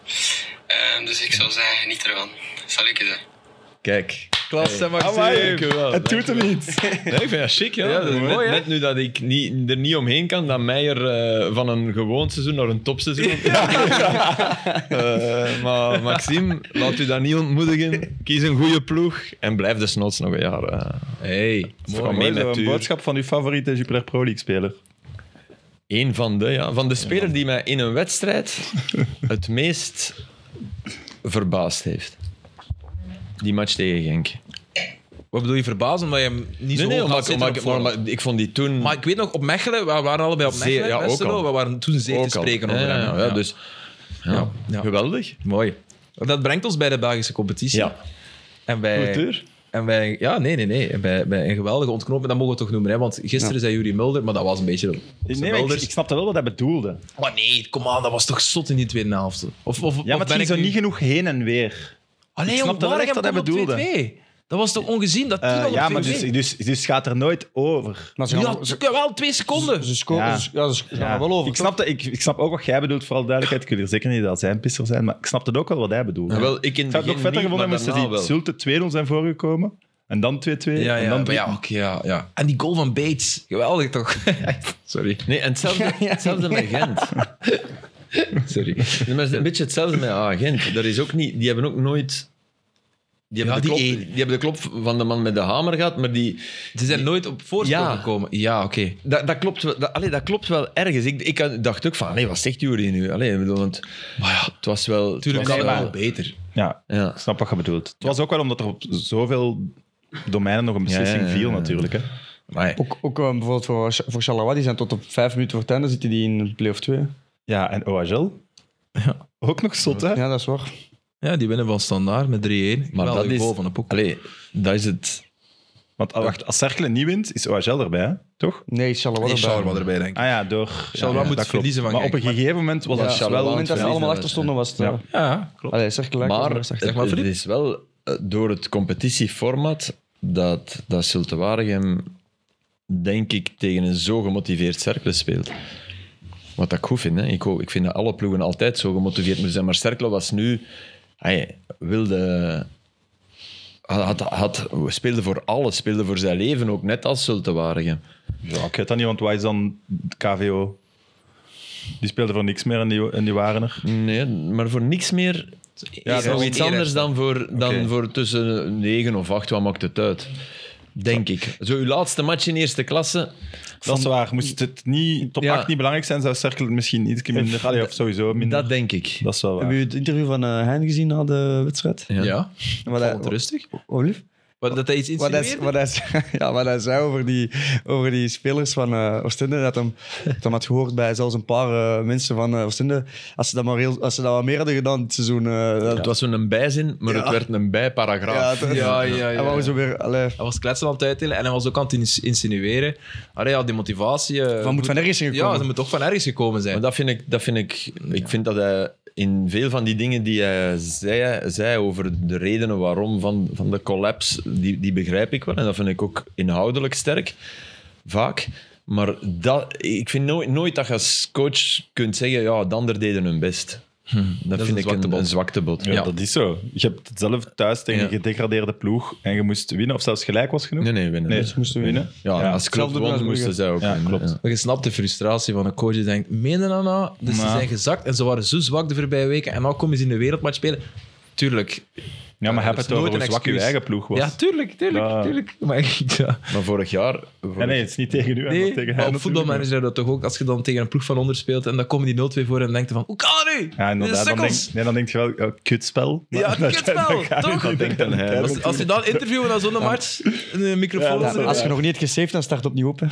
G: Ehm, dus ik zou zeggen, geniet ervan. Salut, gedaan.
B: Kijk.
A: Klasse, Maxime.
B: Dankjewel,
C: Het doet hem niet.
B: Nee, ik vind dat chic, ja.
A: dat is
B: net,
A: mooi, hè?
B: net nu dat ik niet, er niet omheen kan dat Meijer eh, van een gewoon seizoen naar een topseizoen... Eh, maar Maxime, laat u dat niet ontmoedigen. Kies een goede ploeg en blijf de snots nog een jaar. eh,
A: Hey,
B: Van
A: mooi.
B: mij
C: Mooi,
B: met
C: zo, een
B: Tuur.
C: boodschap van uw favoriete Jupiler Pro League speler.
B: Eén van de, ja. Van de speler die mij in een wedstrijd het meest verbaasd heeft. Die match tegen Genk.
A: Wat bedoel je verbaasd? Omdat je hem niet
B: Nee,
A: zo
B: nee,
A: hoog
B: maar,
A: had zitten
B: maar-
A: op
B: maar-
A: voorhand. maar,
B: maar ik vond die toen...
A: ik weet nog, op Mechelen, we waren allebei op
B: Zeer-
A: Mechelen,
B: ja, ook
A: Westerlo,
B: al.
A: we waren toen zeer te
B: ook al.
A: spreken
B: Ja,
A: over hem.
B: ja, ja, Dus ja,
A: Ja, ja.
B: geweldig.
A: Mooi. Dat brengt ons bij de Belgische competitie.
B: Ja.
A: En wij,
C: Eh,
B: Amateur.
A: en wij, ja, nee, nee, nee. En Bij, bij een geweldige ontknoping, dat mogen we toch noemen. Hè? Want gisteren zei Jurie Mulder, maar dat was een beetje.
C: Nee,
A: zijn
C: maar ik,
A: Mulders.
C: ik snapte wel wat hij bedoelde.
A: Maar nee, kom aan, dat was toch zot in die tweede helft. Of, of,
C: Ja, maar het ging zo niet genoeg heen en weer.
A: Alleen
C: ik snapte wel echt wat hij bedoelde.
A: Dat was toch ongezien dat
C: Eh,
A: Tino
C: ja, maar dus, dus, dus gaat er nooit over.
D: Maar ze
A: Ja,
D: gaan,
A: natuurlijk
D: ze,
A: wel twee seconden.
D: ze scoren,
C: Ja.
D: ze, ja, ze gaan
C: Ja.
D: er wel over.
C: Ah, Ik, snapte, ik, ik snap ook wat jij bedoelt, vooral duidelijkheid. Ik wil er zeker niet dat zij een pisser zijn, maar ik snapte ook wel wat hij bedoelde.
B: Ja, wel, ik in
C: Ik
B: het
C: zou het nog
B: begin
C: vetter
B: niet,
C: gevonden
B: maar
C: hebben
B: daarna
C: als ze die Zulte 2-0 zijn voorgekomen. En dan 2-2.
A: Ja, ja,
C: en dan
A: maar ja, oké, ja, ja. En die goal van Bates, geweldig toch? Sorry.
B: Nee, en hetzelfde, hetzelfde met Gent.
A: Sorry.
B: Nee, maar het is een beetje hetzelfde met ah, Gent. Daar is ook niet, die hebben ook nooit... Die
A: Ja,
B: hebben, de klop,
A: die
B: die, hebben de klop van de man met de hamer gehad, maar die...
A: Ze zijn nooit op voorsprong
B: Ja.
A: gekomen. Ja, oké.
B: Dat, dat, klopt, wel, dat, allee, dat klopt wel ergens. Ik, ik had- dacht ook van, allee, wat zegt Jury nu? Allee, ik bedoel, want het was wel... het
A: Tuurlijk
B: was
A: kan
B: wel-
A: het wel beter.
C: Ja,
B: Ja.
C: ik snap wat je bedoelt. Het was ook wel omdat er op zoveel domeinen nog een beslissing
B: Ja, ja, ja,
C: viel,
B: ja.
C: natuurlijk. Hè.
B: Maar,
D: Ook, ook eh, bijvoorbeeld voor, voor Charleroi, die zijn tot op vijf minuten voor het einde, zitten die in play-off 2.
C: Ja, en OHL? Ook nog zot, hè?
D: Ja, dat is waar.
A: Ja, die winnen van standaard met 3-1.
B: maar
A: Geweldige
B: dat is...
A: goal van de Poek.
B: Allee, dat is het...
C: Want ah, wacht, als Cerkelen niet wint, is OHL erbij, hè? toch?
D: Nee, Charleroi
A: Nee,
D: erbij.
A: Charleroi erbij, denk ik.
C: Ah ja, door. Ja,
A: Charleroi moet
C: ja, dat klopt.
A: verliezen van
C: Maar op
A: Genk,
C: een gegeven moment was
D: Ja,
C: dat
D: op het
C: Charleroi.
D: moment dat ze
B: verliezen,
D: allemaal
B: dat
D: achter
B: is-
D: stonden, was het... eh,
A: Ja, klopt.
D: Allee, zeg gelijk.
B: Maar,
D: was het achter-
A: Zeg maar,
B: het,
A: Filip.
B: het is wel eh, door het competitieformat dat, dat Zulte Waregem, denk ik, tegen een zo gemotiveerd cerkel speelt. Wat ik goed vind. Hè. Ik, ho- ik vind dat alle ploegen altijd zo gemotiveerd moeten zijn. Maar Cercle was nu... Hij wilde... Had, had, speelde voor alles. Speelde voor zijn leven ook. Net als Zulte Waregem.
C: Ja, ik weet dat niet, want waar is dan KVO? Die speelden voor niks meer en die, en die waren er.
B: Nee, maar voor niks meer... Ja, is
A: dat
B: nog
A: is
B: iets
A: eerder.
B: anders dan voor, dan
C: Oké.
B: voor tussen 9 of 8. Wat maakt het uit? Denk ik. Zo, uw laatste match in eerste klasse.
C: Dat is waar. Moest het niet, top
B: Ja.
C: 8 niet belangrijk zijn, zou Cerkel misschien iets minder... Allee, of sowieso minder.
B: Dat
C: Dat,
B: denk ik.
C: is wel waar.
D: Hebben jullie het interview van eh Hein gezien na de wedstrijd?
B: Ja.
A: Ja,
D: Wat hij,
A: valt rustig.
D: oh, lief?
A: Wat, dat hij iets
D: Wat hij,
A: insinueerde?
D: wat, hij, ja, wat hij zei over die, over die spelers van eh Oostende, dat hem, dat hem had gehoord bij zelfs een paar eh, mensen van eh Oostende. Als ze, dat maar heel, als ze dat wat meer hadden gedaan dit seizoen. eh dat,
B: Het was zo'n bijzin, maar het werd een bijparagraaf.
D: dat-
A: Ja, ja, ja,
D: Hij wou
A: ja.
D: zo weer... Allee,
A: Hij was kletsen aan het uitdelen en hij was ook aan het ins- insinueren. Allee, ja, die motivatie... eh,
D: van moet van ergens in
A: Ja,
D: gekomen.
A: ze moet toch van ergens gekomen zijn.
B: Maar dat vind ik, dat vind ik, ik vind dat hij in veel van die dingen die hij zei, zei over de redenen waarom van, van de collapse, die, die begrijp ik wel. En dat vind ik ook inhoudelijk sterk, vaak. Maar dat, ik vind nooit, nooit dat je als coach kunt zeggen, ja, de ander deden hun best.
C: Hm.
B: Dat,
A: is een
B: vind ik een,
A: zwaktebod.
B: een zwaktebod.
C: Ja, dat is zo. Je hebt het zelf thuis tegen
B: Ja.
C: een gedegradeerde ploeg en je moest winnen, of zelfs gelijk was genoeg.
B: Nee, nee, winnen.
C: Nee,
B: Dus-
D: moesten
C: winnen.
B: Ja,
C: Ja,
B: als club
D: hetzelfde doen als
B: won, moesten
D: Brugge.
B: zij ook
C: Ja,
B: winnen.
C: klopt.
A: Maar je snapt de frustratie van een coach die denkt, minder dan nou? Dus ze
C: Ja.
A: zijn gezakt en ze waren zo zwak de voorbije weken en nou komen ze in de wereldmatch spelen. Tuurlijk.
C: Ja, maar heb
A: dat is
C: het over
A: nooit
C: hoe
A: een
C: zwak je
A: excuus.
C: eigen ploeg was.
A: Ja, tuurlijk, tuurlijk,
C: Ja.
A: tuurlijk. Maar, ja.
B: Maar vorig jaar... vorig-
C: Ja, nee, het is niet tegen u, maar
A: Nee,
C: tegen
A: maar
C: hem
A: op voetbalmanager zou dat toch ook, als je dan tegen een ploeg van onder speelt en dan komen die 0-2 voor en denkt van, hoe kan dat nu?
C: Ja, inderdaad.
A: Dit
C: Dan
A: is
C: denk,
A: sukkels.
C: nee, dan denk je wel, oh, kutspel. Maar
A: Ja, kutspel,
C: dan ga je
A: toch?
C: dan denken, hè.
A: Als, als je dan interviewen na zo'n match, een microfoon...
C: Ja,
A: onder-
D: Als je nog niet hebt gesaved, dan start opnieuw op. hè.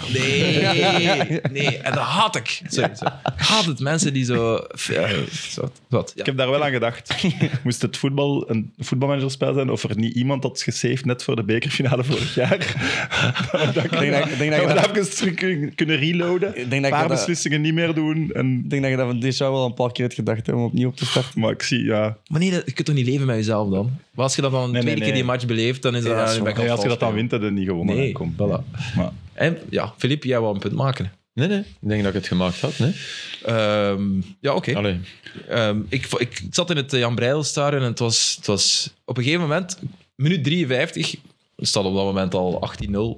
A: Nee, nee. En dat haat ik. Sorry, sorry. Ik Haat het mensen die zo... Ja, zo wat, ja.
C: Ik heb daar wel aan gedacht. Moest het voetbal een voetbalmanagerspel zijn of er niet iemand had gesaved net voor de bekerfinale vorig jaar?
D: Ik denk dat- ik denk dat je
C: Zou we
D: dat-
C: dat even terug kun- kunnen reloaden?
D: Ik denk dat
C: Een
D: ik
C: paar
D: dat-
C: beslissingen niet meer doen. En,
D: ik denk dat je dat van dit jaar wel een paar keer hebt gedacht hè, om opnieuw op te starten.
C: maar ik zie, ja.
A: Maar nee, dat- je kunt toch niet leven met jezelf dan? Maar als je dat dan een
C: nee,
A: tweede keer
C: nee.
A: die match beleeft, dan is dat...
D: Ja,
A: Ja,
D: zo.
A: nu ben ik
C: Nee,
A: aan
C: als je dat
A: het
C: dan wint, dan heb je niet gewonnen.
A: Nee,
C: hè. Kom.
A: voilà.
C: Maar,
A: En ja, Filip, jij wou een punt maken.
B: Nee, nee. Ik denk dat ik het gemaakt had, nee.
A: Ehm, ja, oké.
B: Allee.
A: Ehm, ik, vo- ik, ik zat in het eh, Jan Breidelstadion en het was, het was op een gegeven moment, minuut 53, het staat op dat moment al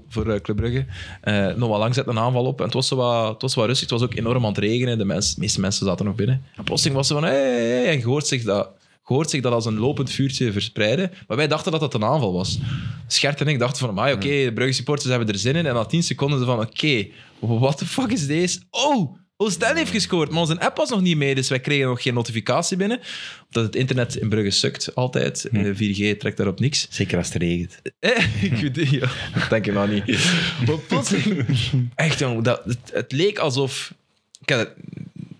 A: 18-0 voor eh, Club Brugge, Eh, nog wel lang zet een aanval op en het was, zo wat, het was wat rustig, het was ook enorm aan het regenen, de, mens, de meeste mensen zaten nog binnen. En plotseling was ze van, hé, hey, hey, hey, en je hoort zich dat... je hoort zich dat als een lopend vuurtje verspreiden. Maar wij dachten dat dat een aanval was. Schert en ik dachten van, "Amai, oké, de Brugge supporters hebben er zin in. En na 10 seconden ze van, oké, what the fuck is deze? Oh, Oostende heeft gescoord, maar onze app was nog niet mee, dus wij kregen nog geen notificatie binnen. Omdat het internet in Brugge sukt altijd. Eh, 4G trekt daarop niks.
B: Zeker als het regent.
A: Eh, ik weet het, ja. Dat denk je nou niet. Maar plotseling... Echt, jong, dat, het, het leek alsof... Ik had het-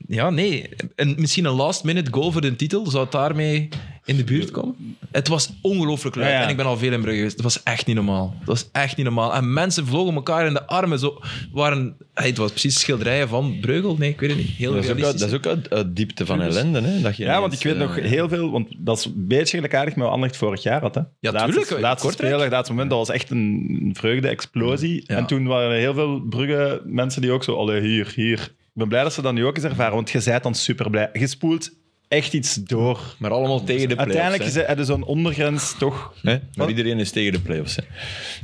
A: ja, nee. En misschien een last-minute goal voor de titel zou het daarmee in de buurt komen. Het was ongelooflijk leuk.
C: Ja, ja.
A: En ik ben al veel in Brugge geweest. Het was echt niet normaal. Het was echt niet normaal. En mensen vlogen elkaar in de armen. Zo, waren, hey, het was precies schilderijen van Breugel. Nee, ik weet het niet. Heel
B: Dat is ook, uit,
A: realistisch.
B: dat is ook uit, uit diepte van ellende. Hè? Dat je
C: Ja, want ik
B: ineens,
C: weet nog
B: eh,
C: heel veel, want dat is een beetje gelijkaardig met wat Anderlecht vorig jaar had. Hè. laatste,
A: tuurlijk, eh,
C: Laatste
A: Kortrijk.
C: speeldag, laatste moment, dat was echt een vreugde-explosie.
A: Ja.
C: En toen waren er heel veel Brugge mensen die ook zo, allee, hier, hier. Ik ben blij dat ze dat nu ook eens ervaren, want je bent dan super blij. Je spoelt echt iets door.
B: Maar allemaal tegen de playoffs.
C: dus Uiteindelijk is Oh.
B: hè.
C: er zo'n ondergrens toch.
B: Hè? Maar iedereen is tegen de playoffs. Hè?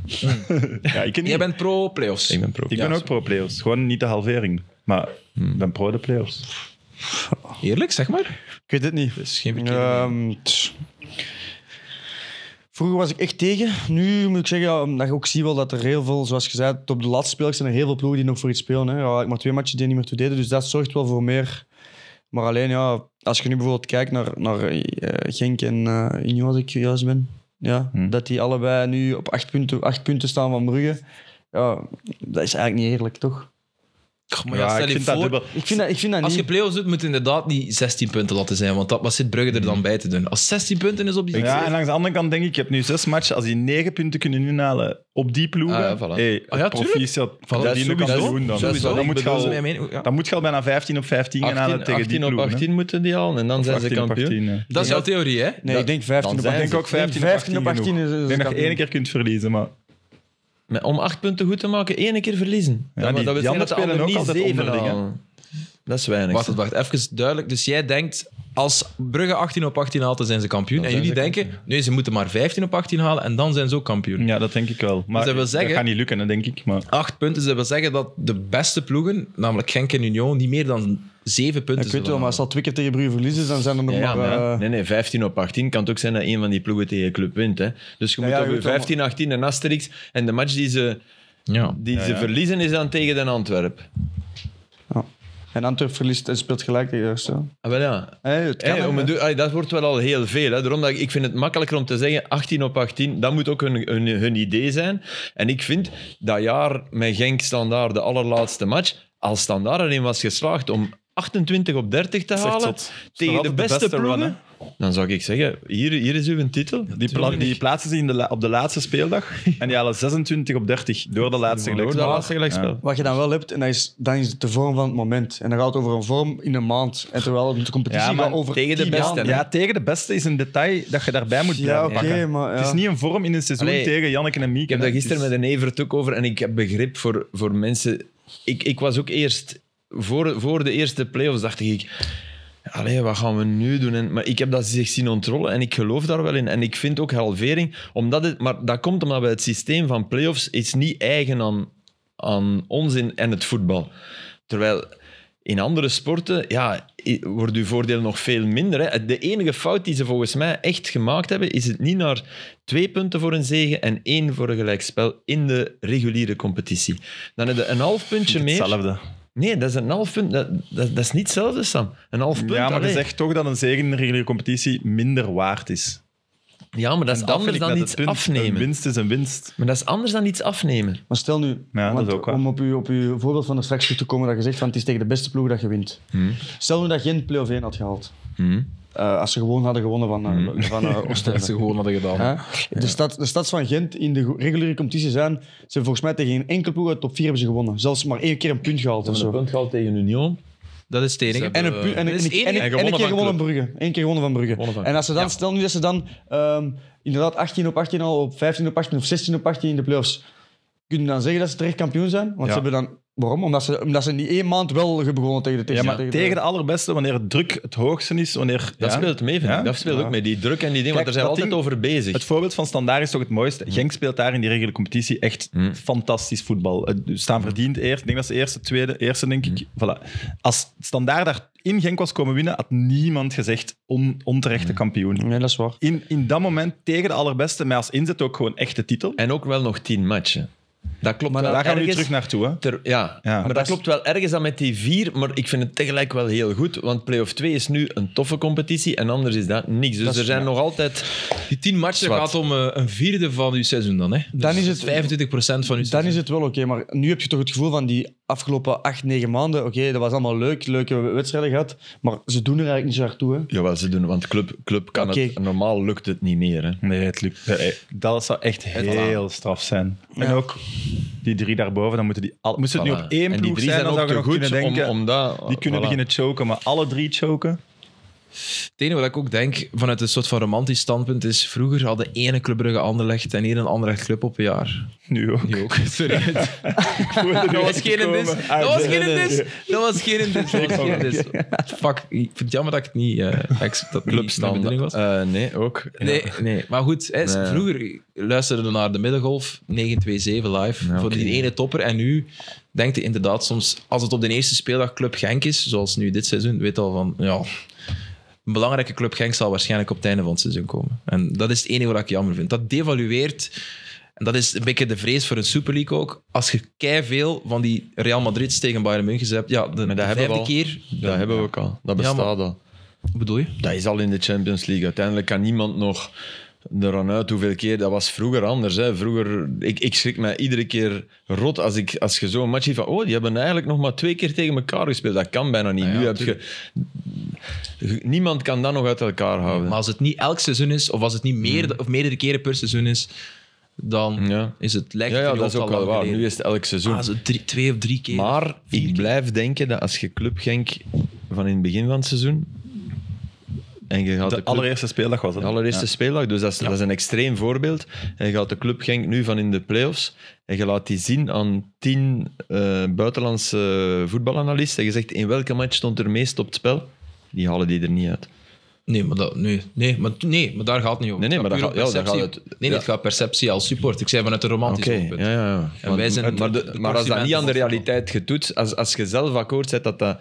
C: Ja, ik, ken niet.
A: Jij bent pro-playoffs.
B: Ik ben pro.
C: ik
B: Ja,
C: ben ook pro-playoffs, gewoon niet de halvering. Maar
A: Hmm.
C: ik ben pro de playoffs.
A: Eerlijk, zeg maar.
D: Ik weet het niet.
A: Dat is geen verkeerde
D: Ehm, tss. Vroeger was ik echt tegen. Nu moet ik zeggen, ja, omdat je ook zie wel dat er heel veel, zoals gezegd, op de laatste speelers zijn er heel veel ploegen die nog voor iets spelen. Hè. Ja, ik maar twee matchen die niet meer toe deden, dus dat zorgt wel voor meer. Maar alleen, ja, als je nu bijvoorbeeld kijkt naar, naar eh, Genk en eh Union, als ik juist ben, ja, dat die allebei nu op acht punten, acht punten staan van Brugge, ja, dat is eigenlijk niet eerlijk, toch?
A: Maar ja, stel je
C: vind
A: voor...
C: dat dubbel.
D: Ik vind dat, ik vind dat
A: Als
D: niet.
A: je play-offs doet, moet je inderdaad niet 16 punten laten zijn. Want dat, wat zit Brugge er dan bij te doen? Als 16 punten is op die...
C: Ja, en langs de andere kant denk ik, ik heb nu zes matchen. Als die negen punten kunnen inhalen op die ploegen,
B: Ah, ja, voilà.
C: hey,
A: Ah, ja, tuurlijk.
C: proficiat,
A: dat
C: dat
A: is
C: die nu kan
A: sowieso.
C: doen dan.
A: Sowieso.
C: Dan,
A: Ik
C: moet je
A: bedoel,
C: al,
A: mijn mening, ja.
C: dan moet je al bijna 15 op 15 gaan
B: 18,
C: halen tegen die
B: 18 op
C: ploegen. hè.
B: 18 moeten die halen en dan zijn ze
C: 18 op
B: kampioen.
C: 18, hè.
A: Dat is jouw theorie, hè?
D: Nee, ik denk 15 op
B: dan
D: 18.
B: zijn
C: Ik denk ook
D: Ik denk
C: 15 op 18
D: op 18
C: genoeg.
D: is- is
C: Ik denk dat je
D: kampioen.
C: één keer kunt verliezen, maar...
B: Maar om acht punten goed te maken, één keer verliezen.
C: Ja,
B: maar
C: die-
B: dat wil
C: die
B: zeggen dat de
C: anderen
B: anderen niet
C: spelen ook
B: zeven
C: altijd onderling, hè.
B: halen. Dat is weinig.
A: Wacht, wacht, even duidelijk. Dus jij denkt, als Brugge 18 op 18 haalt, dan zijn ze kampioen.
B: Dan
A: en
B: zijn
A: jullie
B: ze
A: denken, nee, ze moeten maar 15 op 18 halen en dan zijn ze ook kampioen.
C: Ja, dat denk ik wel. Maar
A: Dus dat wil zeggen-
C: dat gaat niet lukken, hè, denk ik. Maar...
A: Acht punten, dat wil zeggen dat de beste ploegen, namelijk Genk en Union, niet meer dan zeven punten
D: Ik weet wel,
A: zullen
D: maar als
A: halen.
D: dat twee keer tegen Brugge verliezen, dan zijn er nog
B: Ja, ja,
D: maar...
B: maar ja.
D: eh,
B: nee, nee, 15 op 18 kan het ook zijn dat een van die ploegen tegen een club wint. Hè. Dus je
D: Ja,
B: moet
D: ja,
B: op
D: je
B: je
D: weet wel,
B: 15, 18 een asterix. En de match die ze,
A: Ja.
B: die ze verliezen is dan tegen de Antwerp.
D: En Antwerp verliest en speelt gelijk tegen Eerst. hè.
B: Ah, wel ja.
D: Hé, het kan
B: Hey, om
D: hè.
B: het doel- ay, dat wordt wel al heel veel. Hè. Daarom dat ik, ik vind het makkelijker om te zeggen 18 op 18. Dat moet ook hun, hun, hun idee zijn. En ik vind dat jaar met Genk Standaard, de allerlaatste match, als Standaard erin was geslaagd om 28 op 30 te
C: echt
B: halen
C: zot. Dat is
B: tegen
C: nog
B: de
C: altijd
B: beste,
C: de beste run,
B: ploegen, dan zou ik zeggen, hier, hier is uw titel.
C: Die, pla- die plaatsen ze in de la- op de laatste speeldag en die halen 26 op 30 door de laatste
B: Door dat
C: gelijkspel.
B: laatste gelijkspel.
C: Ja.
D: Wat je dan wel hebt, en dat is, dan is het de vorm van het moment. En dan gaat het over een vorm in een maand. En terwijl de competitie
C: Ja, maar
D: gaat over
B: tegen de
D: tien
B: beste,
D: maanden.
B: hè.
C: Ja, tegen de beste is een detail dat je daarbij moet
D: Ja,
C: blijven
D: oké,
C: pakken.
D: maar... Ja.
C: Het is niet een vorm in een seizoen
B: Allee,
C: tegen Janneke en Mieke.
B: Ik heb
C: hè.
B: daar gisteren
C: Het
B: met
C: is-
B: een Evert ook over en ik heb begrip voor, voor mensen. Ik, ik was ook eerst, voor, voor de eerste play-offs dacht ik, allee, wat gaan we nu doen? En, maar ik heb dat zich zien ontrollen en ik geloof daar wel in. En ik vind ook halvering, omdat het, maar dat komt omdat we het systeem van play-offs is niet eigen aan, aan ons in, en het voetbal. Terwijl in andere sporten ja, i- wordt uw voordeel nog veel minder. Hè. De enige fout die ze volgens mij echt gemaakt hebben, is het niet naar twee punten voor een zege en één voor een gelijkspel in de reguliere competitie. Dan heb je een half puntje meer.
C: Hetzelfde.
B: Nee, dat is een half punt. Dat, dat, dat is niet hetzelfde, Sam. Een half punt.
C: Ja, maar je
B: allee.
C: zegt toch dat een zegen in de reguliere competitie minder waard is.
B: ja, maar dat is
C: Dat vind
B: anders
C: ik
B: dan
C: net
B: iets
C: het punt. Een
B: afnemen.
C: winst is een winst.
B: Maar dat is anders dan iets afnemen.
D: Maar stel nu,
C: Ja, dat
D: want
C: is ook waar.
D: om op uw, op uw voorbeeld van de straks terug te komen, dat je zegt, van, het is tegen de beste ploeg dat je wint. Stel nu dat geen play-off 1 had gehaald.
B: Hm.
D: Eh, als ze gewoon hadden gewonnen van, eh van eh, Oostende.
A: Dat ze gewoon hadden gedaan.
D: Hè? De, stad, de stads van Gent in de go- reguliere competitie zijn, ze hebben volgens mij tegen geen enkel ploeg uit de top 4 hebben ze gewonnen. Zelfs maar één keer een punt gehaald of zo.
B: punt gehaald tegen Union.
A: Dat is het enige.
D: En een, pu- en,
A: Er
D: en,
A: is
D: en,
A: één-
D: en,
A: en
D: en een
B: gewonnen
D: keer
B: van
D: gewonnen van Brugge. Eén keer gewonnen van Brugge.
B: Gewonnen van
D: en als ze dan,
B: Brugge.
D: stel nu dat ze dan ehm, inderdaad 18 op 18 al, op 15 op 18 of 16 op 18 in de playoffs, kunnen dan zeggen dat ze terecht kampioen zijn? Want ze hebben dan, waarom? Omdat ze, omdat ze in die één maand wel hebben gewonnen tegen de
C: Ja,
D: tegen,
C: maar
D: tegen de-
C: tegen de allerbeste, wanneer het druk het hoogste is, wanneer...
B: Dat
C: ja.
B: speelt mee, vind ik.
C: Ja?
B: Dat speelt ook mee. Die druk en die dingen, want daar
C: Kijk,
B: zijn we
C: dat
B: altijd over bezig.
C: Het voorbeeld van Standaard is toch het mooiste.
B: Mm.
C: Genk speelt daar in die reguliere competitie echt fantastisch voetbal. Eh, Ze
B: Mm.
C: staan verdiend eerst. Ik denk dat ze eerste, tweede, eerste denk ik. Voilà. Als Standaard daar in Genk was komen winnen, had niemand gezegd on,
B: Mm.
C: onterechte kampioen.
D: Nee, dat is waar.
C: In, in dat moment tegen de allerbeste, maar als inzet ook gewoon echte titel.
B: En ook wel nog tien matchen. Dat klopt
D: Maar
B: wel
C: Daar gaan we nu
B: ergens.
C: terug naartoe. Hè?
B: Ter- ja.
C: Ja.
B: maar
C: Maar
B: dat,
C: dat is-
B: klopt wel ergens dan met die vier, maar ik vind het tegelijk wel heel goed, want play-off 2 is nu een toffe competitie en anders is dat niks. Dus er zijn nog altijd...
A: Die tien matchen
B: Zwart.
A: gaat om eh, een vierde van uw seizoen dan. Hè?
D: Dan is het-
A: 25% van uw
D: Dan
A: seizoen.
D: is het wel oké, maar nu heb je toch het gevoel van die afgelopen acht, negen maanden. Oké, dat was allemaal leuk, leuke wedstrijden gehad, maar ze doen er eigenlijk niet zo hard toe. Hè?
B: Jawel, ze doen, want club, club kan het...
D: Oké.
B: Normaal lukt het niet meer. Hè.
C: Nee, het lukt. nee, Dat zou echt heel straf zijn. En
D: Ja.
C: ook die drie daarboven, dan moeten die al, moest het nu
B: Voilà.
C: op één
B: En
C: ploeg
B: die drie
C: zijn,
B: zijn
C: dan
B: ook
C: zou je nog
B: te
C: kunnen
B: goed om-
C: denken.
B: om dat-
C: die kunnen
B: voilà.
C: beginnen choken, maar alle drie choken.
A: Het enige wat ik ook denk, vanuit een soort van romantisch standpunt, is vroeger hadden ene Club Brugge Anderlecht en één een Anderlecht Club op een jaar.
C: Nu ook.
A: Nu ook. Sorry. dat was geen dis.
C: Ah,
A: Dat was
D: Ah,
A: geen dis. Dat was geen dis. Dat was geen dis. Fuck, ik vind het jammer dat ik het niet... eh ex, dat niet mijn
B: Clubstanden.
A: bedoeling was.
B: Eh, nee, ook.
A: Nee, nee, maar goed. Hè,
B: Nee.
A: Vroeger luisterde we naar de Middengolf, 927 live,
B: Ja,
A: voor
B: oké.
A: die ene topper. En nu denkt je inderdaad soms, als het op de eerste speeldag Club Genk is, zoals nu dit seizoen, weet al van, ja... Een belangrijke Club Genk zal waarschijnlijk op het einde van het seizoen komen. En dat is het enige wat ik jammer vind. Dat devalueert... En dat is een beetje de vrees voor een Super League ook. Als je kei veel van die Real Madrid's tegen Bayern München hebt, ja, de,
B: Maar dat
A: de
B: hebben
A: vijfde
B: we al.
A: keer...
B: Dat hebben we ook al. Dat
A: Ja, maar-
B: bestaat al.
A: Wat bedoel je?
B: Dat is al in de Champions League. Uiteindelijk kan niemand nog eraan uit hoeveel keer. Dat was vroeger anders. Hè. Vroeger, ik, ik schrik mij iedere keer rot als, ik, als je zo'n match ziet van. Oh, die hebben eigenlijk nog maar twee keer tegen elkaar gespeeld. Dat kan bijna niet.
A: Ah ja,
B: nu heb je. Niemand kan dat nog uit elkaar houden. Hmm.
A: Maar als het niet elk seizoen is, of als het niet meer, of meerdere keren per seizoen is, dan
B: Ja.
A: is het lekker.
B: ja, ja, dat is ook wel waar. Nu is het elk seizoen.
A: ah, zo drie, twee of drie keer.
B: Maar ik blijf denken dat als je Club Genk van in het begin van het seizoen. En je gaat de
C: De
B: club-
C: allereerste speeldag was het.
B: De allereerste speeldag, dus dat is, dat is een extreem voorbeeld. En je gaat de club Genk nu van in de play-offs en je laat die zien aan tien eh, buitenlandse voetbalanalisten. En je zegt, in welke match stond er meest op het spel? Die halen die er niet uit.
A: Nee, maar dat, nee, nee, maar, nee, maar daar gaat het niet over.
B: Nee, nee, maar
A: puur
B: dat
A: om
B: gaat- ja, daar
A: perceptie.
B: gaat het-
A: Nee, nee, het
B: ja.
A: gaat perceptie als support. Ik zei vanuit een romantisch
B: Oké,
A: oogpunt.
B: ja, ja, ja.
A: En wij zijn
B: maar, de-
A: de
B: maar als dat niet aan de
A: consumenten van
B: realiteit getoetst, als, als je zelf akkoord zet dat, dat,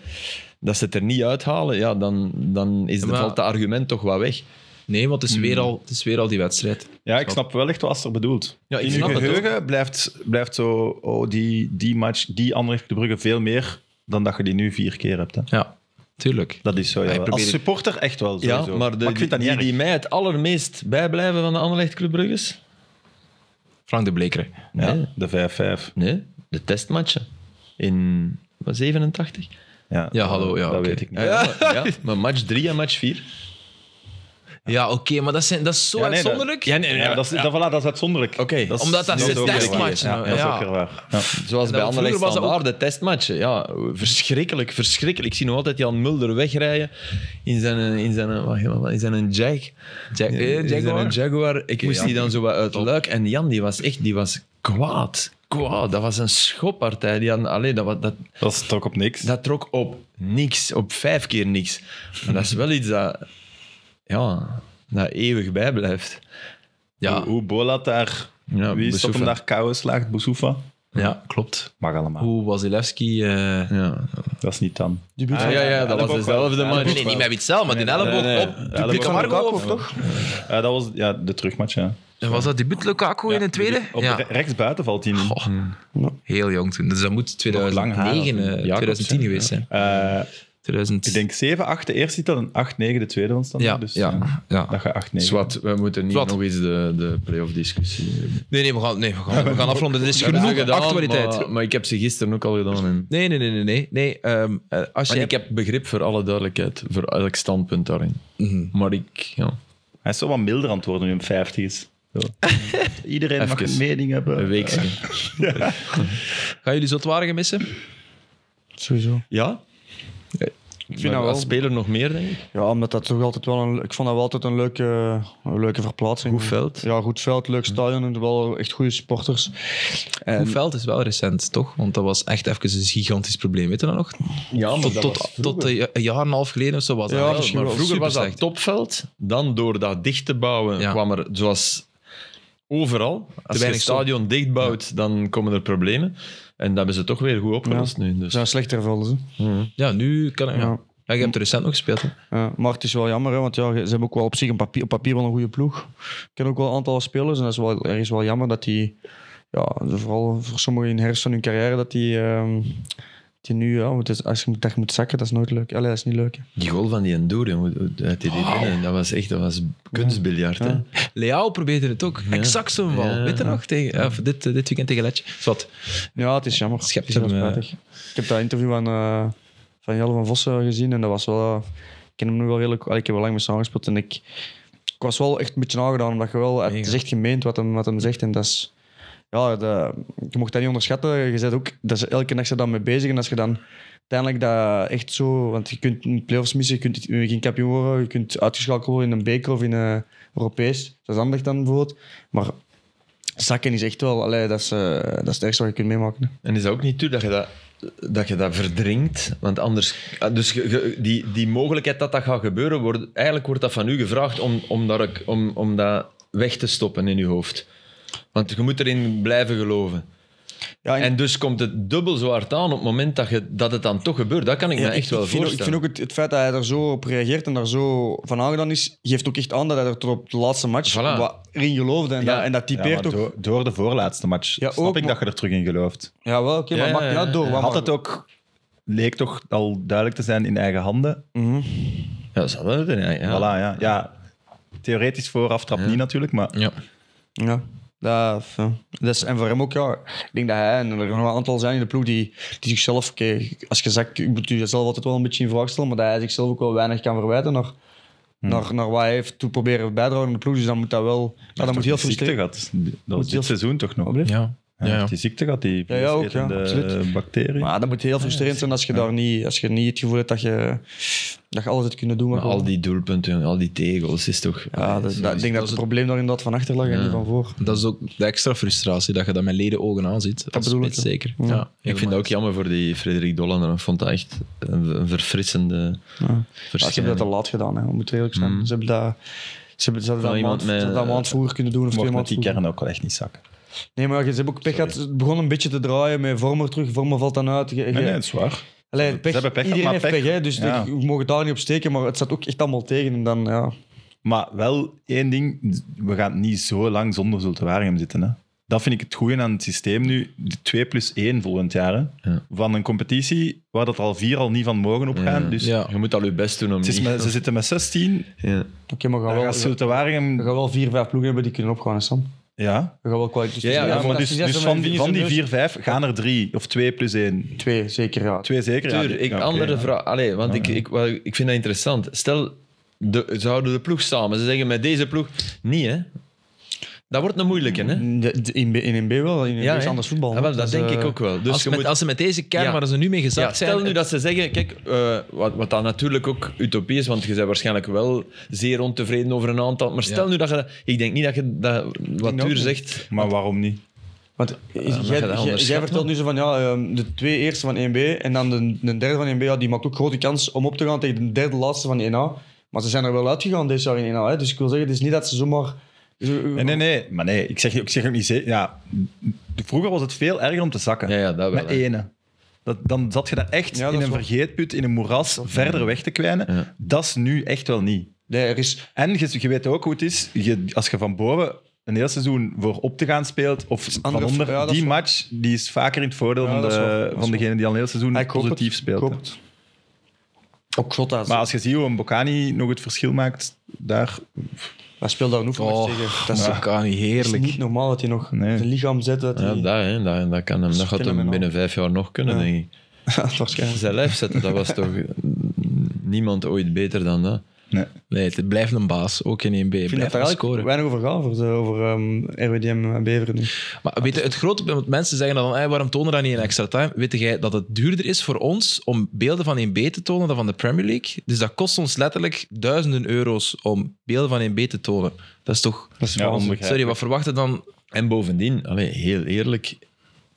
B: dat ze het er niet uithalen, ja, dan, dan is
A: Maar-
B: het, valt dat argument toch wat weg.
A: Nee, want het is,
B: Hmm.
A: weer al, het is weer al die wedstrijd.
C: Ja, ik snap wel echt wat Aster bedoelt.
B: Ja, ik
C: In uw
B: snap het
C: geheugen blijft, blijft zo oh, die, die match, die andere de Brugge veel meer dan dat je die nu vier keer hebt. Hè.
A: Ja, tuurlijk.
C: Dat is zo.
A: ik
C: Ja,
A: probeer
C: als
A: het-
C: supporter echt wel.
B: Ja,
C: sowieso.
B: maar, de,
C: ik vind dat niet
B: die,
C: erg.
B: die mij het allermeest bijblijven van de Anderlecht Club Brugge's?
A: Frank de Bleker.
C: Ja,
B: Nee.
C: de 5-5.
B: Nee, de testmatchen. In wat, 87?
C: Ja,
A: Ja, hallo, ja,
C: Dat
A: oké.
C: weet ik niet.
B: Ja, Eh, ja, maar, ja, maar match 3 en match 4.
A: Ja, oké, maar dat, zijn, dat is zo
C: Ja, nee, dat-
A: uitzonderlijk.
C: Ja, maar dat, is, dat, voilà, dat is uitzonderlijk.
B: Oké.
C: Dat is-
A: Omdat dat
C: dat
A: zijn
C: is ook weer
A: testmatchen.
C: waar. Ja, dat is ook weer waar. Ja.
B: Zoals
A: En
B: bij
A: dat-
B: Anderlecht
A: vroeger was dat
B: standaard, de testmatchen. Ja, verschrikkelijk, verschrikkelijk. Ik zie nog altijd Jan Mulder wegrijden in zijn, in zijn, wacht, even, wat, in zijn een Jag.
A: Jack, eh,
B: In zijn
A: Jaguar.
B: een Jaguar. Ik moest die dan zo wat uit het luik. En Jan, die was echt die was kwaad. Kwaad. Dat was een schoppartij. Die had, allee, dat, wa- dat,
C: Dat is toch op niks.
B: dat trok op niks. Op vijf keer niks. Maar dat is wel iets dat, ja, dat eeuwig bijblijft.
A: Ja,
C: Hoe, hoe Bolat daar...
B: Ja,
C: wie is op hem
B: Boussoufa.
C: daar kou slaagt? Boussoufa?
A: ja, klopt.
C: Mag allemaal.
A: Hoe Wasilewski... eh,
B: Ja,
C: Dat is niet dan.
D: Die buurt
B: Ah, ja, ja, dat
C: elleboog
B: was dezelfde
C: wel.
B: match.
A: Nee, nee, niet met Witzel, maar die elleboog
C: nee, nee.
A: op
C: Elleboog
A: publiek
C: van
A: Marco.
D: Lukaku,
A: of-
D: toch?
C: Eh, dat was ja, de terugmatch, ja.
A: En was dat debuut Lukaku in de Hmm. tweede?
C: Op
A: ja,
C: re- rechtsbuiten valt hij in.
A: Goh. heel jong toen. Dus dat moet
C: lang haar
A: 2009, eh,
C: Jacobs,
A: 2010
C: hè?
A: geweest zijn.
C: Eh,
A: 2000...
C: ik denk 7-8 de eerste titel en 8-9 de tweede ontstond.
A: ja,
C: dus, eh,
A: ja, ja.
C: Dat gaat 8-9.
B: Zwat, Dus we moeten niet
A: Zwat.
B: nog eens de, de play-off discussie hebben.
A: Nee, nee, we gaan, nee, we gaan, we gaan afronden. Er is
B: Ik heb
A: genoeg
B: ze gedaan,
A: actualiteit.
B: Maar, maar ik heb ze gisteren ook al gedaan. En,
A: Nee, nee, nee, nee. nee, nee ehm, eh, als
B: en
A: je...
B: ik heb begrip voor alle duidelijkheid, voor elk standpunt daarin.
A: Mhm.
B: Maar ik, ja,
C: Hij is zo wat milder aan het worden nu hij 50 is. Zo. Iedereen mag
B: Even.
C: een mening hebben.
B: een weekje.
A: Gaan jullie Zotwaardigen missen?
D: Sowieso.
B: Ja? Ik
D: dat wel.
B: Als speler nog meer, denk ik.
D: Ja, omdat dat toch altijd wel een, ik vond dat wel altijd een leuke, een leuke verplaatsing.
B: Goed veld.
D: Ja, goed veld, leuk stadion en wel echt goede supporters. En,
A: Hoeveel Eh, is wel recent, toch? Want dat was echt even een gigantisch probleem. Weet je dat nog?
B: Ja, maar
A: Tot, tot, tot een ja- een jaar en een half geleden of zo was dat.
D: Ja,
A: wel,
D: misschien
A: maar
D: wel.
B: Vroeger was dat
A: superslecht.
B: topveld. Dan door dat dicht te bouwen
A: Ja.
B: kwam er, zoals overal, als je het
A: weinig zon.
B: stadion dichtbouwt, dan komen er problemen. En dat hebben ze toch weer goed opgelost nu.
D: er
B: Dus.
D: zijn slechter velden. ze.
A: Ja, nu kan ik... Ja.
D: Ja.
A: Ja, je hebt er recent nog gespeeld. hè?
D: Ja, maar het is wel jammer, hè, want ja, ze hebben ook wel op zich een papier, op papier wel een goede ploeg. Ik ken ook wel een aantal spelers en dat is wel, er is wel jammer dat die ja, vooral voor sommigen in de herfst van hun carrière, dat die, ehm, die nu, ja, want het is- als je moet- dat je moet zakken, dat is nooit leuk. Allee, dat is niet leuk. hè.
B: Die goal van die Endure, hoe- hoe- uit die
D: Oh.
B: binnen, dat was echt dat was kunstbiljart. Hè?
A: Leao probeerde het ook. Exact zo'n bal.
B: Ja.
A: Weet je nog? Tegen, of dit, eh, dit weekend tegen Letje. Zwat.
D: Ja, het is jammer.
A: Schept
D: Het is wel
A: hem, eh,
D: spijtig. Ik heb dat interview van, eh, van Jelle van Vossen gezien en dat was wel... eh, ik ken hem nog wel redelijk... allee, ik heb wel lang met samen gespeeld en ik, ik was wel echt een beetje aangedaan, omdat je wel... Het is echt gemeend wat hem, wat hem zegt en dat is... Ja, dat- je mocht dat niet onderschatten. Je zet ook... Dat is elke nacht ze dan mee bezig en als je dan... Uiteindelijk dat echt zo, want je kunt in de playoffs missen, je kunt eh, geen kampioen worden, je kunt uitgeschakeld worden in een beker of in een Europees. Dat is handig dan bijvoorbeeld. Maar zakken is echt wel, allee, dat, is, eh, dat is het ergste wat je kunt meemaken. hè.
B: En is dat ook niet toe dat je dat, dat, je dat verdringt? Want anders, ah, dus ge- ge- die, die mogelijkheid dat dat gaat gebeuren, wordt, eigenlijk wordt dat van u gevraagd om, om, dat, ook- om, om dat weg te stoppen in je hoofd. Want je moet erin blijven geloven.
D: Ja, en-
B: En dus komt het dubbel zo hard aan op het moment dat, je, dat het dan toch gebeurt. Dat kan ik me
D: Ja,
B: echt wel
D: vind ook-
B: voorstellen.
D: ik vind ook het, het feit dat hij er zo op reageert en daar zo van aangedaan is, geeft ook echt aan dat hij er tot op de laatste match
B: Voilà.
D: wat in geloofde. En,
B: Ja.
D: dat, en dat
C: Ja, maar
D: typeert ook.
C: door, door de voorlaatste match
D: Ja,
C: snap
D: ook,
C: ik
D: maar-
C: dat je er terug in gelooft.
D: Ja, wel, oké,
B: Ja,
D: maar
B: ja,
D: maakt niet
B: ja,
D: uit door.
B: ja.
D: wat
C: Had
D: maar-
C: het ook, leek toch al duidelijk te zijn in eigen handen.
D: Mhm.
B: Ja, dat zal wel zijn, ja, ja.
C: Voilà, ja. ja. Theoretisch voor aftrap niet natuurlijk, maar
A: Ja.
D: Ja. Dat, ja. Dat is, en voor hem ook, ja. Ik denk dat hij en er nog een aantal zijn in de ploeg die, die zichzelf, oké, als je zegt, ik moet jezelf altijd wel een beetje in vraag stellen, maar dat hij zichzelf ook wel weinig kan verwijten naar,
B: Hmm.
D: naar, naar wat hij heeft toe proberen bijdragen in de ploeg. Dus dan moet dat wel, ja, dat moet heel
C: die ziekte
D: frustrerend
C: gehad. Dat was dit
D: heel-
C: seizoen toch nog?
D: Wat bleef?
A: Ja.
C: Ja,
A: Ja, ja.
C: heeft Die ziekte gehad, die
D: Ja, ja, ook, ja,
C: vleesetende,
D: absoluut.
C: eh, bacterie.
D: Maar dat moet heel frustrerend zijn als je, daar niet, als je niet het gevoel hebt dat je, dat je alles hebt kunnen doen. wat
B: Maar
D: je
B: al
D: wil.
B: die doelpunten, al die tegels, is toch...
D: ja, dat, dat- ik denk dat het probleem daar inderdaad van achter lag en niet van voor.
A: Dat is ook de extra frustratie dat je dat met leden ogen aanziet. Dat
D: bedoel ik, ja.
A: zeker.
D: Ja.
A: Ja.
B: Ik vind dat ook jammer voor die Frederik Dollander. Ik vond dat echt een, een verfrissende
D: Ja. Ja, ze
B: verschijning.
D: hebben dat te laat gedaan, hè. we moeten eerlijk zijn. Ze hebben dat... Ze hebben ze hadden
B: Van
D: dat een
B: iemand
D: maand, ze
B: met-
D: hadden dat een maand vroeger kunnen doen of twee
C: mocht met
D: maanden
C: die
D: vroeger.
C: kern ook wel echt niet zakken.
D: Nee, maar ja, ze hebben ook pech gehad. Het begon een beetje te draaien met Vormer terug. Vormer valt dan uit. Je- je-
C: Nee, nee, dat is waar.
D: Allee, pech.
C: hebben pech gehad,
D: Iedereen
C: maar
D: heeft pech,
C: pech-
D: hè, dus
C: Ja.
D: de- we mogen daar niet op steken. Maar het zat ook echt allemaal tegen. En dan, ja.
C: Maar wel één ding, we gaan niet zo lang zonder Zulte Waregem zitten. Hè. Dat vind ik het goede aan het systeem nu. De 2 plus 1 volgend jaar. hè.
B: Ja.
C: Van een competitie waar dat al vier al niet van mogen opgaan.
B: Ja.
C: Dus
A: Ja.
B: Je moet al je best doen om
C: het is
B: niet...
C: met- ze zitten met 16.
B: Ja.
D: Oké, maar we gaan
C: Dan
D: wel,
C: gaat Zulte Waregem...
D: we gaan wel vier, vijf ploegen hebben die kunnen opgaan, hè, Sam.
C: Ja.
D: We gaan wel kwalitatief.
B: Ja, ja,
C: Ja,
B: maar
C: maar dus, dus van, die- van die 4, 5 gaan er 3 of 2 plus 1.
D: Twee, zeker, ja.
C: 2 zeker. ja.
B: Tuur, ik,
C: Ja, oké,
B: andere
C: ja.
B: vraag. Allee, want ik, ik, wel, ik vind dat interessant. Stel, de, ze houden de ploeg samen. Ze zeggen met deze ploeg... Niet, hè. Dat wordt een moeilijke, hè.
D: De- de- In, B- in 1B wel, in 1B is
B: hè.
D: anders voetbal.
B: Ah, wel,
D: hè.
B: Mm, dat
D: is,
B: denk ik
D: eh,
B: ook wel. Dus
A: als,
B: je
A: met,
B: moet-
A: als ze met deze kern
B: Ja.
A: waar ze nu mee gezakt
B: Ja,
A: zijn...
B: stel nu dat ze zeggen, kijk, eh, wat, wat dan natuurlijk ook utopie is, want je bent waarschijnlijk wel zeer ontevreden over een aantal. Maar stel nu dat je dat- Ik denk niet dat je dat, wat
D: ook
B: Tuur
D: niet.
B: zegt...
C: Maar waarom niet?
D: Want eh, jij-
B: dat
D: jij,
B: onderschat,
D: jij vertelt
B: man.
D: nu zo van ja, ehm, de twee eerste van 1B en dan de, de derde van 1B, ja, die maakt ook grote kans om op te gaan tegen de derde laatste van 1A. Maar ze zijn er wel uitgegaan dit jaar in 1A. Hè? Dus ik wil zeggen, het is niet dat ze zomaar. eh,
C: Nee, nee, nee. Maar nee, ik zeg, ik zeg ook niet zeker. Ja, vroeger was het veel erger om te zakken.
B: Ja, ja, dat wel.
C: Met
B: hè.
C: ene. Dat, dan zat je daar echt
D: Ja, dat
C: in
D: is
C: een
D: waar.
C: vergeetput, in een moeras, verder weg te kwijnen.
B: Ja.
C: Dat is nu echt wel niet.
D: Nee, er is.
C: En je, je weet ook hoe het is, je, als je van boven een heel seizoen voor op te gaan speelt, of van
D: andere-
C: onder,
D: ja, dat is
C: die
D: waar.
C: match die is vaker in het voordeel
D: Ja,
C: van,
D: dat is waar,
C: de,
D: dat is
C: van degene die al een heel seizoen
D: Hij koopt
C: positief
D: het,
C: speelt.
D: koopt het. Ook Grotta.
C: Maar als je ziet hoe een Bocani nog het verschil maakt, daar...
D: Hij speelt daar een oefenmatch
A: Oh,
D: tegen. Dat
A: dat
D: is,
A: is kan niet
D: dat is
A: heerlijk.
D: niet normaal dat hij nog
C: Nee.
D: zijn lichaam zet. Dat
B: Ja,
D: hij,
B: dat, hè, dat, dat, kan hem, dat gaat hem
D: fenomenaal.
B: binnen vijf jaar nog kunnen,
D: Ja.
B: denk ik.
D: waarschijnlijk.
B: Zijn lijf zetten, dat was toch niemand ooit beter dan dat.
C: Nee.
A: Nee, het blijft een baas. Ook in 1B.
D: Ik vind
A: Blijft
D: dat daar
A: maar
D: eigenlijk
A: scoren.
D: weinig over gaat, over, de- over ehm, RWDM en Beveren. nu.
A: Maar weet je, het grote punt, want mensen zeggen dan, hey, waarom tonen we dat niet in extra time? Weet jij dat het duurder is voor ons om beelden van 1B te tonen dan van de Premier League? Dus dat kost ons letterlijk duizenden euro's om beelden van 1B te tonen. Dat is toch...
D: Dat is
C: Ja,
D: waanzin.
C: onbegrijpelijk.
A: Sorry, wat verwachten dan...
B: En bovendien, allee, heel eerlijk,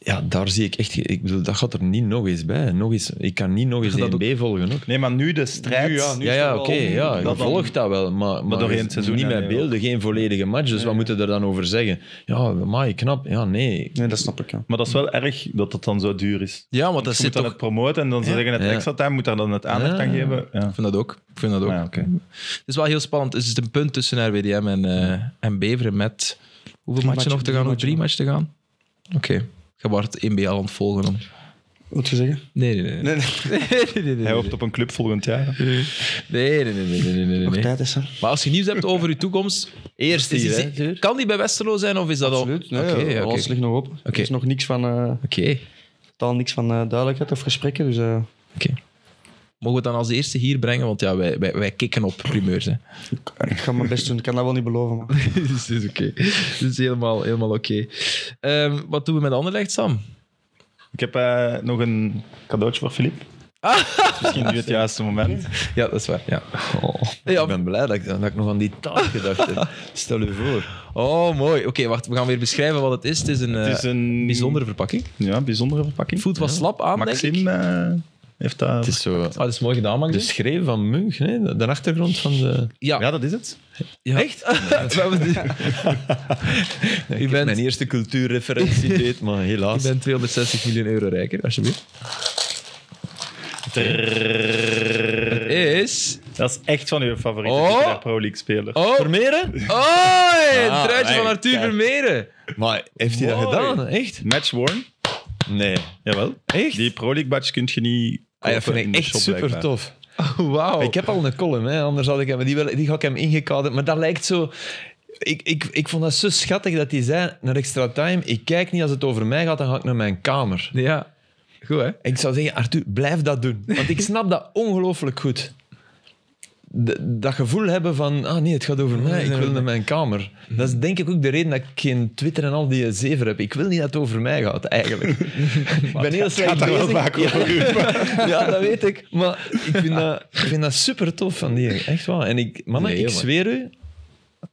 B: ja, daar zie ik echt... ge- Ik bedoel, dat gaat er niet nog eens bij. Nog eens, ik kan niet nog eens 1B volgen ook.
C: Nee, maar nu de strijd...
D: Nu, ja, nu.
B: Ja, ja
D: is
B: oké.
D: dat wel-
B: ja, je
C: dat dan-
B: volgt dat wel. Maar, maar
C: doorheen
B: je-
C: het seizoen,
B: niet
C: ja,
B: met
C: nee,
B: beelden, geen volledige match. Dus wat moeten we er dan over zeggen? Ja, maar knap. Ja, nee.
D: Nee, dat snap ik. Ja.
C: Maar dat is wel erg dat dat dan zo duur is.
A: Ja, want dat
C: Je
A: zit
C: moet dan
A: toch...
C: het promoten en dan zeggen het
B: Ja.
C: extra time, moet daar dan het aandacht aan
B: Ja.
C: geven. Ja.
A: Ik vind dat ook. Ik vind dat ook.
C: Ah, ja, oké.
A: Het is wel heel spannend. Het is een punt tussen RWDM en, eh en Beveren met... Hoeveel matchen
D: matchen,
A: nog te
D: drie
A: gaan? Nog
D: matchen.
A: drie matchen te gaan? Oké. Je wordt 1BL aan het volgen dan.
D: Wat je zeggen?
A: Nee, nee, nee.
D: Nee, nee.
A: nee, nee,
C: Hij
A: nee.
C: hoopt op een club volgend jaar.
A: Nee, nee, nee, nee, nee, nee, nee, nee.
D: Tijd is er.
A: Maar als je nieuws hebt over je toekomst, eerst
B: hier,
A: is-
B: hè, deur.
A: kan die bij Westerlo zijn of is dat
D: Absoluut.
A: al?
D: Nee,
A: Oké,
D: ja,
A: ja,
D: alles
A: oké.
D: ligt nog open. Er is nog niks van, eh,
A: Oké.
D: totaal niks van eh, duidelijkheid of gesprekken. Dus, eh,
A: Mogen we het dan als eerste hier brengen? Want ja, wij, wij, wij kicken op primeurs. Hè.
D: ik ga mijn best doen. Ik kan dat wel niet beloven. Maar.
A: dus is oké. Dus is helemaal, helemaal oké. Ehm, wat doen we met Anderlecht, Sam?
C: Ik heb eh, nog een cadeautje voor Filip. Het is Misschien nu het juiste moment.
A: Ah. Ja, dat is waar. Ja.
B: Oh, Ik ben blij dat ik, dat ik nog aan die taart gedacht heb. Stel u voor.
A: Oh, mooi. Oké, wacht. We gaan weer beschrijven wat het is. Het is een, eh,
C: Het is een
A: bijzondere verpakking.
C: ja, bijzondere
A: Het
C: verpakking.
A: voelt wat slap aan, denk ik.
C: Maxim eh, heeft dat.
B: Het is zo...
A: Ah, dat is mooi gedaan,
B: De
A: Maxim.
B: schreef van Munch, hè? de de achtergrond van de...
A: ja.
C: ja, dat is het.
A: Echt? We hebben de-
B: Ja, ik
A: U
B: heb
A: bent-
B: mijn eerste cultuurreferentie deed, maar
A: Ik
B: helaas.
A: ben 260 miljoen euro rijker, alsjeblieft. Het is...
C: Dat is echt van uw favoriete
A: Oh.
C: Super Pro League speler.
A: Oh,
B: Vermeeren?
A: oh het
B: Ah,
A: truitje van
B: nee,
A: Arthur
B: kijk.
A: Vermeeren.
B: Maar heeft hij dat
C: Mooi.
B: gedaan? Echt?
C: Match worn.
B: Nee.
C: Jawel.
B: Echt?
C: Die Pro League badge kun je niet.
B: Ah, dat
C: kopen
B: vind
C: in de
B: ik echt
C: shop,
B: super
C: blijkbaar.
B: tof.
A: Wauw.
B: Ik heb al een column, hè. anders had ik hem, die, wel, die had ik hem ingekaderd. Maar dat lijkt zo. Ik, ik, ik vond dat zo schattig dat hij zei naar extra time: ik kijk niet als het over mij gaat, dan ga ik naar mijn kamer.
A: Ja. Goed, hè?
B: Ik zou zeggen, Arthur, blijf dat doen. Want ik snap dat ongelooflijk goed. D- dat gevoel hebben van, ah nee, het gaat over mij, ik wil naar mijn kamer. Dat is denk ik ook de reden dat ik geen Twitter en al die zever heb. Ik wil niet dat het over mij gaat, eigenlijk. ik ben heel slecht
C: daar wel
B: bezig.
C: vaak over,
B: ja, ja, dat weet ik. Maar ik vind dat, ik vind dat super tof van die, echt waar. En ik, mannen,
A: Nee,
B: ik
A: man.
B: zweer u,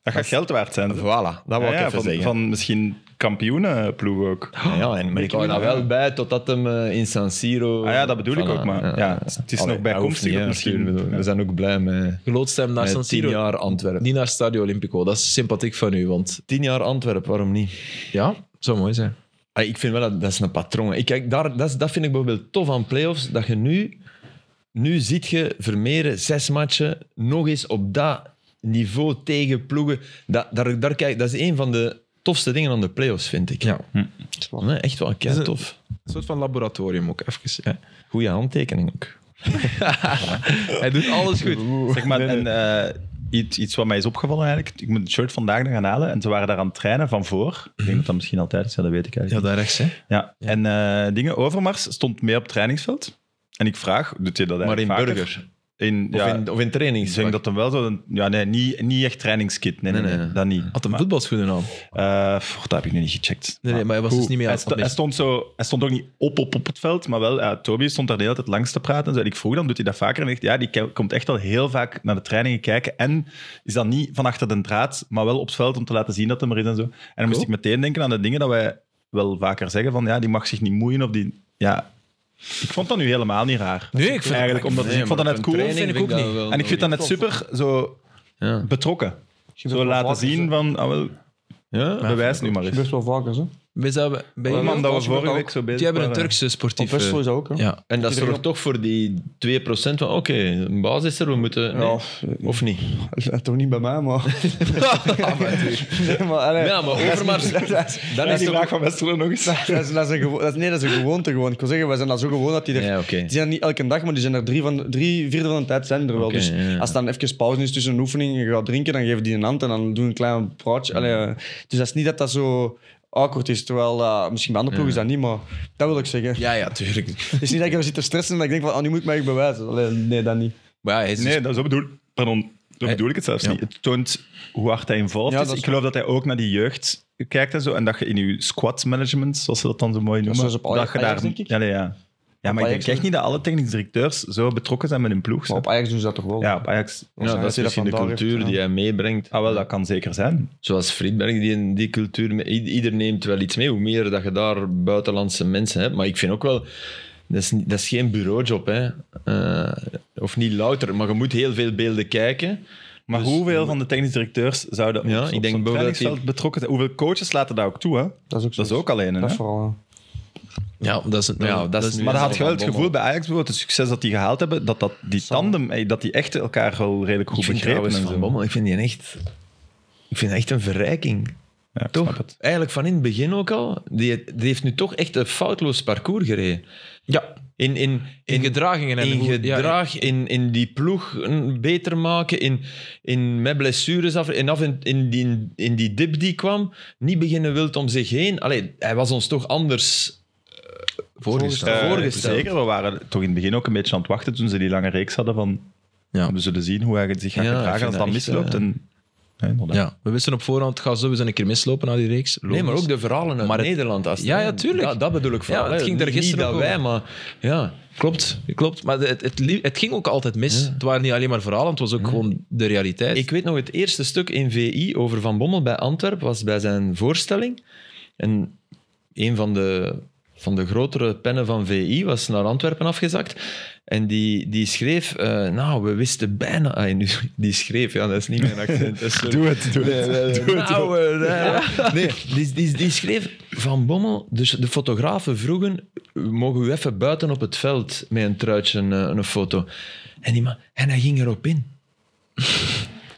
C: Dat gaat geld waard zijn. Dat
B: voilà, dat wou ik even
C: van,
B: zeggen. Ah,
C: van misschien kampioenenploeg ook.
B: ja, en, maar Oh, ik hou daar wel bij totdat hem eh, in San Siro...
C: Ah ja, dat bedoel ik
B: Voilà,
C: ook, maar ja, het is- het is nog
B: dat hoeft
C: bijkomstig
B: niet, hè,
C: misschien.
B: Arthur. Ik bedoel, We zijn ook blij met...
A: Geloodst hem naar
B: Met
A: San
B: tien
A: Siro.
B: jaar Antwerpen.
A: Niet naar Stadio Olimpico. Dat is sympathiek van u, want...
B: Tien jaar Antwerpen, waarom niet?
A: Ja, zou mooi zijn.
B: Ah, ik vind wel dat dat is een patroon. Ik kijk, daar, dat, is- dat vind ik bijvoorbeeld tof aan playoffs. Dat je nu, nu ziet je Vermeeren zes matchen nog eens op dat niveau tegen ploegen. Dat, daar, daar kijk, dat is een van de tofste dingen aan de playoffs, vind ik.
A: Ja.
B: Nee, echt wel kei tof.
A: Een soort van laboratorium ook, even. Hè.
B: Goeie handtekening ook.
A: Hij doet alles goed.
C: Zeg maar, en, eh, iets, iets wat mij is opgevallen eigenlijk. Ik moet het shirt vandaag nog gaan halen. En ze waren daar aan het trainen van voor. Ik denk dat dat misschien altijd is, ja, dat weet ik eigenlijk.
A: daar rechts, hè.
C: Ja. En eh, dingen, Overmars stond mee op het trainingsveld. En ik vraag, doet hij dat
B: Maar in
C: eigenlijk vaker?
B: burger.
C: In,
B: Of,
C: ja,
B: in, of in
C: ik denk
B: trainingspak.
C: dat hem wel zo'n... Ja, nee, niet, niet echt trainingskit. Nee, nee,
B: Nee,
C: nee,
B: nee, nee.
C: dat niet.
A: Had hem
C: Maar-
A: voetbalschoenen aan.
C: Eh, pff, dat heb ik nu niet gecheckt.
A: Nee, nee, maar hij was
C: goed.
A: dus niet mee aan
C: hij,
A: het
C: sto- hij stond zo, hij stond ook niet op, op op het veld, maar wel, eh, Toby stond daar de hele tijd langs te praten. En zo. En ik vroeg dan, doet hij dat vaker? En hij zegt, ja, die ke- komt echt al heel vaak naar de trainingen kijken. En is dan niet van achter de draad, maar wel op het veld om te laten zien dat hem er is en zo. En dan moest ik meteen denken aan de dingen dat wij wel vaker zeggen van, ja, die mag zich niet moeien of die... Ja, ik vond dat nu helemaal niet raar.
A: Nee, ik vind-
C: Eigenlijk, omdat
B: Nee,
C: ik vond
B: maar
C: dat net
B: op
C: cool.
B: een
A: vind ik
B: training
A: ook
B: dat
A: niet.
B: wel
C: En ik vind dat net
B: tof.
C: super zo
B: Ja.
C: betrokken. Zo
D: wel
C: laten
D: vaker,
C: zien
D: zo.
C: van, ah, wel,
B: Ja?
C: bewijs nu maar eens.
D: Best wel vaker, hè?
A: Wij zouden- bij
D: Ja,
A: jullie-
C: Man, dat was
D: Als je dat
C: vorige
D: ook-
C: week zo eh, bezig.
A: Die hebben een
C: waren.
A: Turkse
D: Op
A: sportief.
D: Westerlo is dat ook, hè?
A: eh, Ja.
B: En dat zorgt toch voor die 2% van oké, een baas is er, we moeten... nee.
D: Ja,
B: Of niet?
D: Toch niet bij mij,
B: Ah,
D: maar... nee, maar allee.
B: Ja, maar Overmars...
D: Dat is-
B: Dan
C: Ja,
B: is
C: die
B: toch...
C: vraag van Westerlo nog eens.
D: dat is- dat is een gewo- dat is- Nee, dat is een gewoonte gewoon. Ik wil zeggen, wij zijn dat zo gewoon dat die er...
B: Ja, oké.
D: Die zijn er niet elke dag, maar die zijn er drie, van, drie vierde van de tijd zijn er wel.
B: Oké,
D: dus
B: ja, ja.
D: als dan even pauze is tussen een oefening en je gaat drinken, dan geven die een hand en dan doen we een klein praatje. Allee, eh, dus dat is niet dat dat zo awkward is. Terwijl, eh, misschien bij andere ploegen is dat niet, maar dat wil ik zeggen.
A: ja, ja, tuurlijk.
D: Het is niet dat ik er zit te stressen en dat ik denk van, oh, nu moet ik mij echt bewijzen. Allee, nee, dat niet.
A: Maar ja, hij is dus-
C: Nee, dat, zo, bedoel, pardon, zo bedoel ik het zelfs niet. Het toont hoe hard hij involved
D: Ja,
C: is.
D: dat is
C: Ik geloof dat hij ook naar die jeugd kijkt en zo. En dat je in je squad management, zoals ze dat dan zo mooi noemen,
D: zoals op Ajax-
C: je daar...
D: Ajax, denk ik.
C: Ja, nee, ja. ja maar ik
D: Ajax
C: denk echt niet dat alle technisch directeurs zo betrokken zijn met hun ploeg.
D: Maar op Ajax doen ze dat toch wel?
C: Ja, op Ajax.
B: Ja, dat
D: dat
B: is
D: hij dat
B: misschien de
D: vandaag
B: cultuur
D: heeft,
B: die
D: ja.
B: hij meebrengt.
C: Ah, wel, dat kan zeker zijn.
B: Zoals Friedberg, die, die cultuur... mee- i- Ieder neemt wel iets mee. Hoe meer dat je daar buitenlandse mensen hebt. Maar ik vind ook wel... Dat is, niet- dat is geen bureaujob, hè. Eh, of niet louter, maar je moet heel veel beelden kijken.
C: Maar hoeveel van de technisch directeurs zouden
B: Ja,
C: op,
B: ik
C: op
B: denk
C: zo'n
B: bijvoorbeeld dat die-
C: trainingsveld betrokken zijn? Hoeveel coaches laten daar ook toe, hè?
D: Dat is ook zo.
C: Dat is ook alleen een,
D: Dat
C: hè?
D: vooral, ja.
A: dus- ja, dat is, dat,
B: Ja, dat is nu-
C: Maar dan had je wel
B: Van
C: het gevoel bij Ajax bijvoorbeeld, het succes dat die gehaald hebben, dat, dat die tandem, eh, dat die echt elkaar wel redelijk goed
B: Ik vind
C: begrepen
B: trouwens
C: en
B: Van
C: zo.
B: Bommel, ik vind die echt... Ik vind dat echt een verrijking.
C: Ja, ik
B: Toch?
C: snap het.
B: Eigenlijk van in het begin ook al. Die, die heeft nu toch echt een foutloos parcours gereden.
A: Ja,
B: In, in,
A: in,
B: in,
A: gedragingen en
B: in
A: hoe- ja,
B: gedrag, in, in die ploeg een beter maken, in, in met blessures af en af in, in, die, in die dip die kwam, niet beginnen wild om zich heen. Allee, hij was ons toch anders eh,
A: voorgesteld.
C: Eh,
B: voorgesteld.
C: Zeker, we waren toch in het begin ook een beetje aan het wachten toen ze die lange reeks hadden van...
A: Ja.
C: We zullen zien hoe hij zich gaat
B: Ja, ik
C: gedragen
B: vind
C: als
B: dat
C: dat
B: echt,
C: misloopt.
B: eh,
C: En, ja, inderdaad.
A: Ja, we wisten op voorhand, het gaat sowieso een keer mislopen na die reeks.
B: Nee, maar
A: Logisch.
B: ook de verhalen uit
A: Maar het-
B: Nederland. Als het-
A: Ja, ja, tuurlijk.
B: Dat, dat bedoel ik vooral.
A: Ja, het
B: hè.
A: ging daar
B: Niet-
A: gisteren
B: niet
A: ook
B: dat wij, maar ja.
A: Klopt, klopt. Maar het, het, lie- het ging ook altijd mis. Het waren niet alleen maar verhalen, het was ook gewoon de realiteit.
B: Ik weet nog, het eerste stuk in VI over Van Bommel bij Antwerpen was bij zijn voorstelling. En een van de, van de grotere pennen van VI was naar Antwerpen afgezakt. En die, die schreef, eh, nou, we wisten bijna... Ah, nu, die schreef, ja, dat is niet mijn accent. hè, sorry.
C: Doe het, doe het. doe het.
B: Nou, eh, nee, die, die, die schreef Van Bommel, dus de fotografen vroegen, mogen u even buiten op het veld met een truitje een, eh, een foto? En, die man, en hij ging erop in.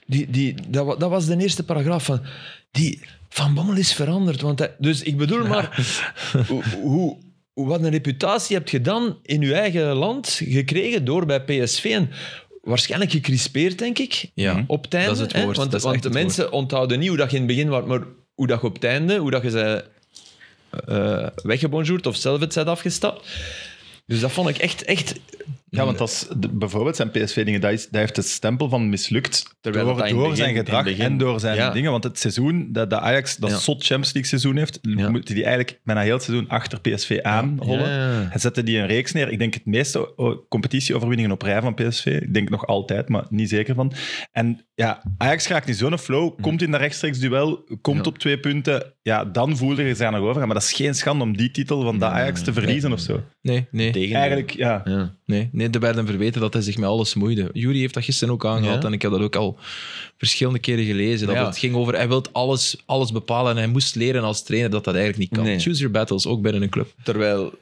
B: Die, die, dat, wa- dat was de eerste paragraaf van, die, Van Bommel is veranderd. Want hij, dus ik bedoel maar, hoe, hoe, hoe- wat een reputatie heb je dan in je eigen land gekregen door bij PSV? En waarschijnlijk gecrispeerd, denk ik,
A: Ja,
B: op tijd.
A: dat is het woord,
B: Want,
A: dat is
B: want
A: echt
B: de
A: het woord.
B: mensen onthouden niet hoe dat je in het begin was, maar hoe dat je op het einde, hoe dat je zij eh weggebonjourd of zelf het zijt afgestapt. Dus dat vond ik echt, echt
C: Ja, want als de- bijvoorbeeld zijn PSV-dingen, dat, is- dat heeft het stempel van mislukt
B: Terwijl
C: door,
B: dat in
C: door
B: begin-
C: zijn gedrag
B: in begin-
C: en door zijn
B: Ja.
C: dingen. Want het seizoen dat de Ajax dat
B: Ja.
C: zot Champions League seizoen heeft, moeten die eigenlijk bijna heel het seizoen achter PSV aanrollen.
B: Ja.
C: Hij zette die een reeks neer. Ik denk het meeste o- competitieoverwinningen op rij van PSV. Ik denk nog altijd, maar niet zeker van. En ja, Ajax raakt in zo'n flow, komt in dat rechtstreeks duel, komt op twee punten. Ja, dan voelde je zich nog over. Maar dat is geen schande om die titel van de Ajax te verliezen of zo.
A: Nee, nee.
B: tegen.
C: Eigenlijk, ja.
B: Ja.
A: Nee, nee, er werden verweten dat hij zich met alles moeide. Jury heeft dat gisteren ook aangehaald
B: Ja.
A: en ik heb dat ook al verschillende keren gelezen. Dat
B: Ja.
A: het ging over, hij wil alles, alles bepalen en hij moest leren als trainer dat dat eigenlijk niet kan.
B: Nee.
A: Choose your battles, ook binnen een club.
B: Terwijl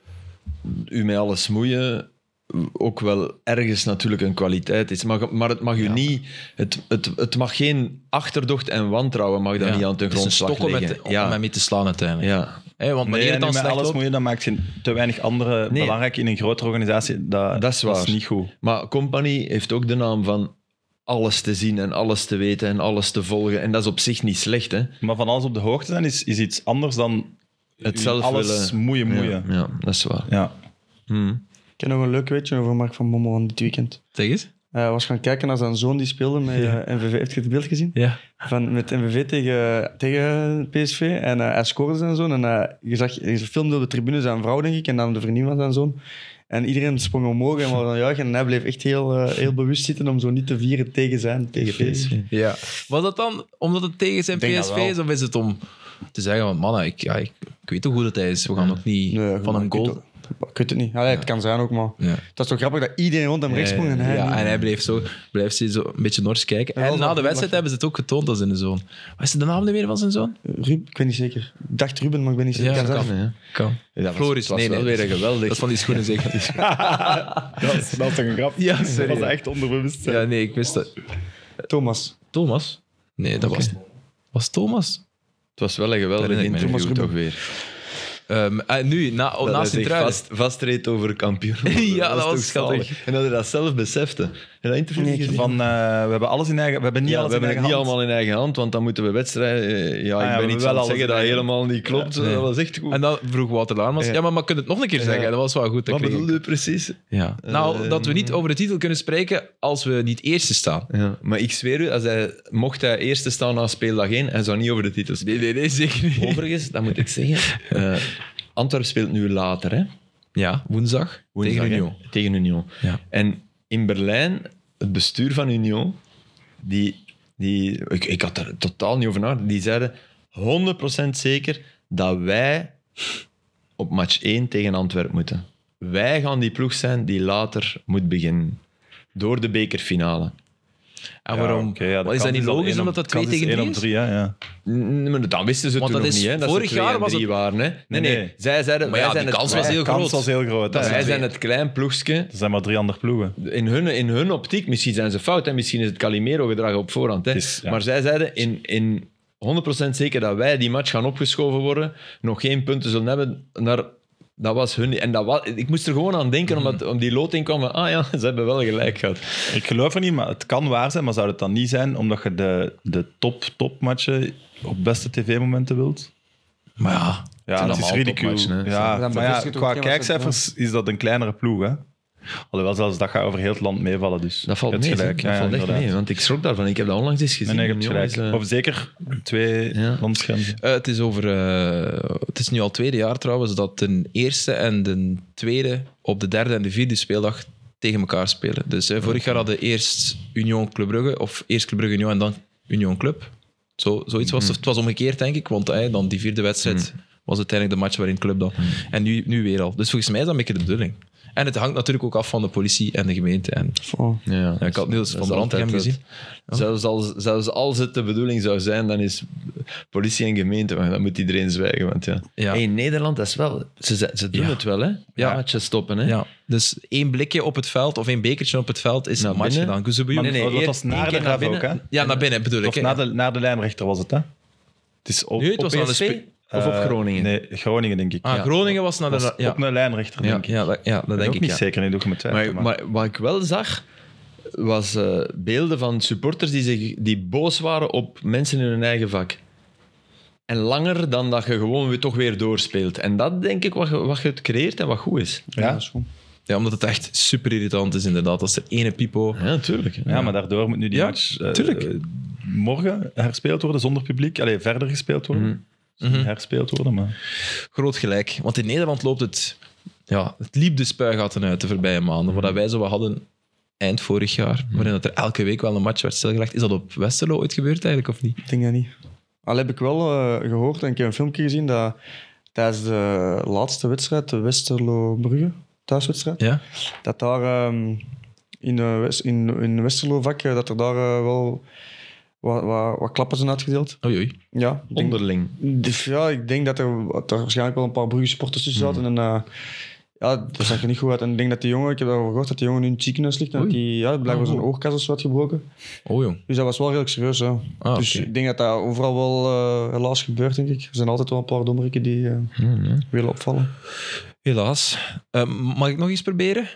B: u met alles moeien ook wel ergens natuurlijk een kwaliteit is. Maar, maar het mag u niet... Het, het, het mag geen achterdocht en wantrouwen mag daar
A: Ja.
B: niet aan ten
A: Het is een
B: grondslag
A: stok om,
B: liggen.
A: met, om
B: ja.
A: hem mee te slaan uiteindelijk.
B: ja.
A: Hè, want wanneer
C: Nee,
A: het
C: en
A: dan
C: nu met
A: slecht
C: alles
A: loopt-
C: moet je, dan maakt je te weinig andere
B: Nee.
C: belangrijk in een grotere organisatie. Dat,
B: Dat is waar.
C: niet goed.
B: Maar Company heeft ook de naam van alles te zien en alles te weten en alles te volgen. En dat is op zich niet slecht, hè?
C: Maar van alles op de hoogte zijn is, is iets anders dan
B: Het
C: u
B: zelf
C: alles
B: willen.
C: moeien,
B: Ja,
C: moeien. Ja.
B: ja, dat is waar.
D: Ik heb nog een leuk weetje over Mark van Bommel van dit weekend.
A: Zeg eens.
D: Hij was gaan kijken naar zijn zoon die speelde met eh, MVV. Heb je het beeld gezien?
A: Ja.
D: Van, met MVV tegen, tegen PSV. En eh, hij scoorde zijn zoon. En eh, je, zag, je filmde op de tribune zijn vrouw, denk ik. En dan de vriendin van zijn zoon. En iedereen sprong omhoog en was aan het juichen. En hij bleef echt heel, eh, heel bewust zitten om zo niet te vieren tegen zijn, tegen PSV.
A: Ja. Was dat dan omdat het tegen zijn
C: denk dat
A: PSV
C: wel.
A: is, of is het om te zeggen, want mannen, ik, ja, ik, ik weet toch hoe dat hij is. We gaan ook niet
D: Nee,
A: van
D: maar
A: een
D: ik weet
A: goal...
D: het- Ik weet het niet. Allee, Het kan zijn ook, maar...
A: Ja.
D: Dat is toch grappig dat iedereen rond hem rechts sprong en hij
A: Eh, ja,
D: niet.
A: en hij bleef zo, bleef ze zo een beetje nors kijken.
D: was
A: En
D: wel
A: na de
D: goed,
A: wedstrijd
D: maar-
A: hebben ze het ook getoond als in de zoon. Wat is de naam nu weer van zijn zoon?
D: Ruben, ik weet niet zeker. Ik dacht Ruben, maar ik ben niet zeker.
A: Ja,
D: Kan
A: dat
D: zijn.
B: Kan, hè?
A: Kan.
B: Ja,
A: Floris,
B: was
A: nee,
B: wel
A: nee.
B: weer een geweldig...
A: Dat is van die schoenen zeker.
C: Dat, is, dat is toch een grap?
A: Ja, sorry.
C: Dat was echt onderbewust.
A: Ja, nee, ik wist dat.
D: Thomas.
A: Thomas? Nee, dat was... Was Thomas?
B: Het was wel
A: Dat
B: een geweldig
A: herinner ik
D: me.
B: interview,
D: Thomas
B: toch weer.
A: Ehm, eh, nu, na, oh,
B: Dat hij
A: naast
B: zich
A: Sint-Truiden.
B: vast, vastreed over kampioen.
A: Ja, dat was
B: toch
A: schattig.
B: zalig. En dat hij dat zelf besefte. Heb je dat interview
D: Nee,
B: niet gezien?
C: Van, eh, we hebben alles in eigen... We hebben niet
B: Ja,
C: alles
B: we
C: in
B: hebben het
C: eigen
B: niet
C: hand.
B: allemaal in eigen hand, want dan moeten we wedstrijden... eh, Ja, ik
C: ja, we
B: ben niet
C: hebben wel
B: aan het
C: alles
B: zeggen
C: in
B: dat
C: eigen-
B: helemaal niet klopt.
A: nee.
B: Dat was echt goed.
A: En dan vroeg Wouter Laarmans, ja, maar, maar kun je het nog een keer zeggen? Dat was wel goed. dat
B: Wat
A: kreeg ik.
B: bedoelde je precies?
A: Ja. Nou, dat we niet over de titel kunnen spreken als we niet eerste staan.
B: Ja, maar ik zweer u, als hij, mocht hij eerste staan na speeldag 1, hij zou niet over de titel spelen.
A: Nee, nee, nee, zeker niet.
B: Overigens, dat moet ik zeggen, eh Antwerp speelt nu later, hè?
A: Ja, woensdag,
B: Woensdag,
A: tegen
B: hè?
A: Union.
B: Tegen Union.
A: Ja.
B: En in Berlijn, het bestuur van Union, die, die, ik, ik had er totaal niet over nagedacht, die zeiden 100% zeker dat wij op match 1 tegen Antwerpen moeten. Wij gaan die ploeg zijn die later moet beginnen. Door de bekerfinale.
A: En
C: Ja,
A: waarom?
C: oké, ja, de
A: Wat is dat
C: kans
A: niet
C: al
A: logisch,
C: één
A: omdat
C: op-
A: dat 2
C: kans is
A: tegen 3
C: één op
A: is?
C: drie, hè, ja.
B: Mm, Maar dan wisten ze
A: Want
B: toen
A: dat
B: nog
A: is-
B: niet, hè, dat
A: vorig
B: ze twee
A: jaar
B: en
A: was
B: drie
A: het-
B: waren. Hè. Nee, nee,
C: nee.
B: Zij zeiden...
A: Maar ja, die
B: wij zijn het-
A: kans was
B: wij-
A: heel
C: kans
A: groot.
C: was heel groot. hè.
B: Wij
C: Er
B: zijn het klein ploegje.
C: zijn maar drie andere ploegen.
B: In hun, in hun optiek, misschien zijn ze fout en misschien is het Calimero-gedrag op voorhand. Hè.
C: Is- ja.
B: Maar zij zeiden, in, in 100% zeker dat wij die match gaan opgeschoven worden, nog geen punten zullen hebben naar... Dat was hun... En dat was, ik moest er gewoon aan denken,
C: Mhm.
B: omdat om die loting kwam van, ah ja, ze hebben wel gelijk gehad.
C: Ik geloof er niet, maar het kan waar zijn. Maar zou het dan niet zijn omdat je de, de top, topmatchen op beste tv-momenten wilt?
A: Maar ja,
C: Ja, het is
B: allemaal
C: ridicule.
B: topmatchen, hè.
C: Ja,
D: Ja, maar
C: maar ja,
D: dat is toch
C: qua
D: geen wedstrijd,
C: kijkcijfers is dat een kleinere ploeg, hè? Alhoewel, zelfs dat gaat over heel het land meevallen, dus.
B: Dat valt
C: Je
B: mee,
C: hebt
B: hè.
C: gelijk.
B: dat
C: Ja,
B: valt echt
C: inderdaad.
B: mee, want ik schrok daarvan. Ik heb dat onlangs eens gezien.
C: Nee, nee, je
B: En
C: hebt
B: jongens,
C: gelijk. Oh.
B: eh,
C: Of zeker twee
B: Ja.
C: landsgrenzen.
A: Eh, het is over. eh, het is nu al het tweede jaar trouwens dat de eerste en de tweede op de derde en de vierde speeldag tegen elkaar spelen. Dus eh, vorig jaar hadden eerst Union Club Brugge, of eerst Club Brugge Union en dan Union Club. Zo, zoiets was het. Of
B: Mhm.
A: Het was omgekeerd, denk ik, want eh, dan die vierde wedstrijd was uiteindelijk de match waarin Club
B: Mhm.
A: dan. En nu, nu weer al. Dus volgens mij is dat een beetje de bedoeling. En het hangt natuurlijk ook af van de politie en de gemeente. En eh,
D: Oh.
B: Ja,
A: ik had Niels
B: Dat
A: van
B: is
A: der Land
B: altijd
A: hem
B: het.
A: gezien.
B: Zelfs, als, zelfs als het de bedoeling zou zijn, dan is politie en gemeente, maar dan moet iedereen zwijgen. Want ja.
A: Ja.
B: Hey, in Nederland, dat is wel, ze, ze- ze doen
A: Ja.
B: het wel, hè?
A: Ja.
B: Matchen stoppen, hè?
A: Ja, dus één blikje op het veld of één bekertje op het veld is
B: Naar
A: een match
B: binnen.
A: gedaan. Kuzubuyu.
C: Maar nee, Oh, dat
B: eer-
C: was
B: één
C: na de
B: keer naar
C: graf ook, hè?
B: binnen.
A: Ja, naar binnen bedoel ik.
C: Of
A: hè.
C: na de, na de lijnrechter was het, hè? Het is op,
A: Nee, het was
C: op
A: aan de
B: PSV
A: spe-
B: of op
C: eh,
B: Groningen?
C: Nee, Groningen, denk ik.
A: Ah,
B: Ja.
A: Groningen was naar de...
C: Was
A: ja.
C: Op een lijnrechter,
A: ja,
C: denk ik.
A: ja, dat, ja, dat
C: Ik ben
A: denk
C: ook
A: ik,
C: niet
A: ja.
C: zeker, nee, doe ik me twijfel. Maar,
B: Maar, maar wat ik wel zag, was eh, beelden van supporters die, zich, die boos waren op mensen in hun eigen vak. En langer dan dat je gewoon weer, toch weer doorspeelt. En dat denk ik wat, je- wat je het creëert en wat goed is.
C: ja?
A: Ja, omdat het echt super irritant is, inderdaad. Als er ene pipo...
B: Ja, natuurlijk.
C: Ja, maar daardoor moet nu die
A: Ja,
C: match eh,
A: tuurlijk.
C: eh, morgen herspeeld worden zonder publiek. Allee, verder gespeeld worden. Dus niet Herspeeld worden, maar...
A: Groot gelijk. Want in Nederland loopt het... Ja, het liep de spuigaten uit de voorbije maanden. Wat dat wij zo wat hadden eind vorig jaar, waarin dat er elke week wel een match werd stilgelegd. Is dat op Westerlo ooit gebeurd eigenlijk, of niet?
D: Ik denk dat niet. Al heb ik wel eh, gehoord en ik heb een filmpje gezien dat tijdens de laatste wedstrijd, de Westerlo-Brugge thuiswedstrijd,
A: Ja?
D: dat daar ehm, in, eh, West- in, in Westerlo-vak, eh, dat er daar eh, wel wat, wat, wat klappen zijn uitgedeeld.
A: Oei, oei.
D: Ja, ik denk,
B: Onderling.
D: dus ja, ik denk dat er, dat er waarschijnlijk wel een paar Brugge supporters tussen zaten.
B: Hmm.
D: En, eh, ja, dat zag er niet goed uit. En ik denk dat die jongen, ik heb daarover gehoord, dat die jongen nu in het ziekenhuis ligt. En dat die ja, blijkbaar
B: Oh.
D: zijn oorkas of zo had gebroken.
A: Oh, jong.
D: Dus dat was wel redelijk serieus. Hè.
A: Ah,
D: dus
A: oké.
D: ik denk dat dat overal wel eh, helaas gebeurt, denk ik. Er zijn altijd wel een paar dommerikken die eh, willen opvallen.
A: Helaas. Eh, mag ik nog iets proberen?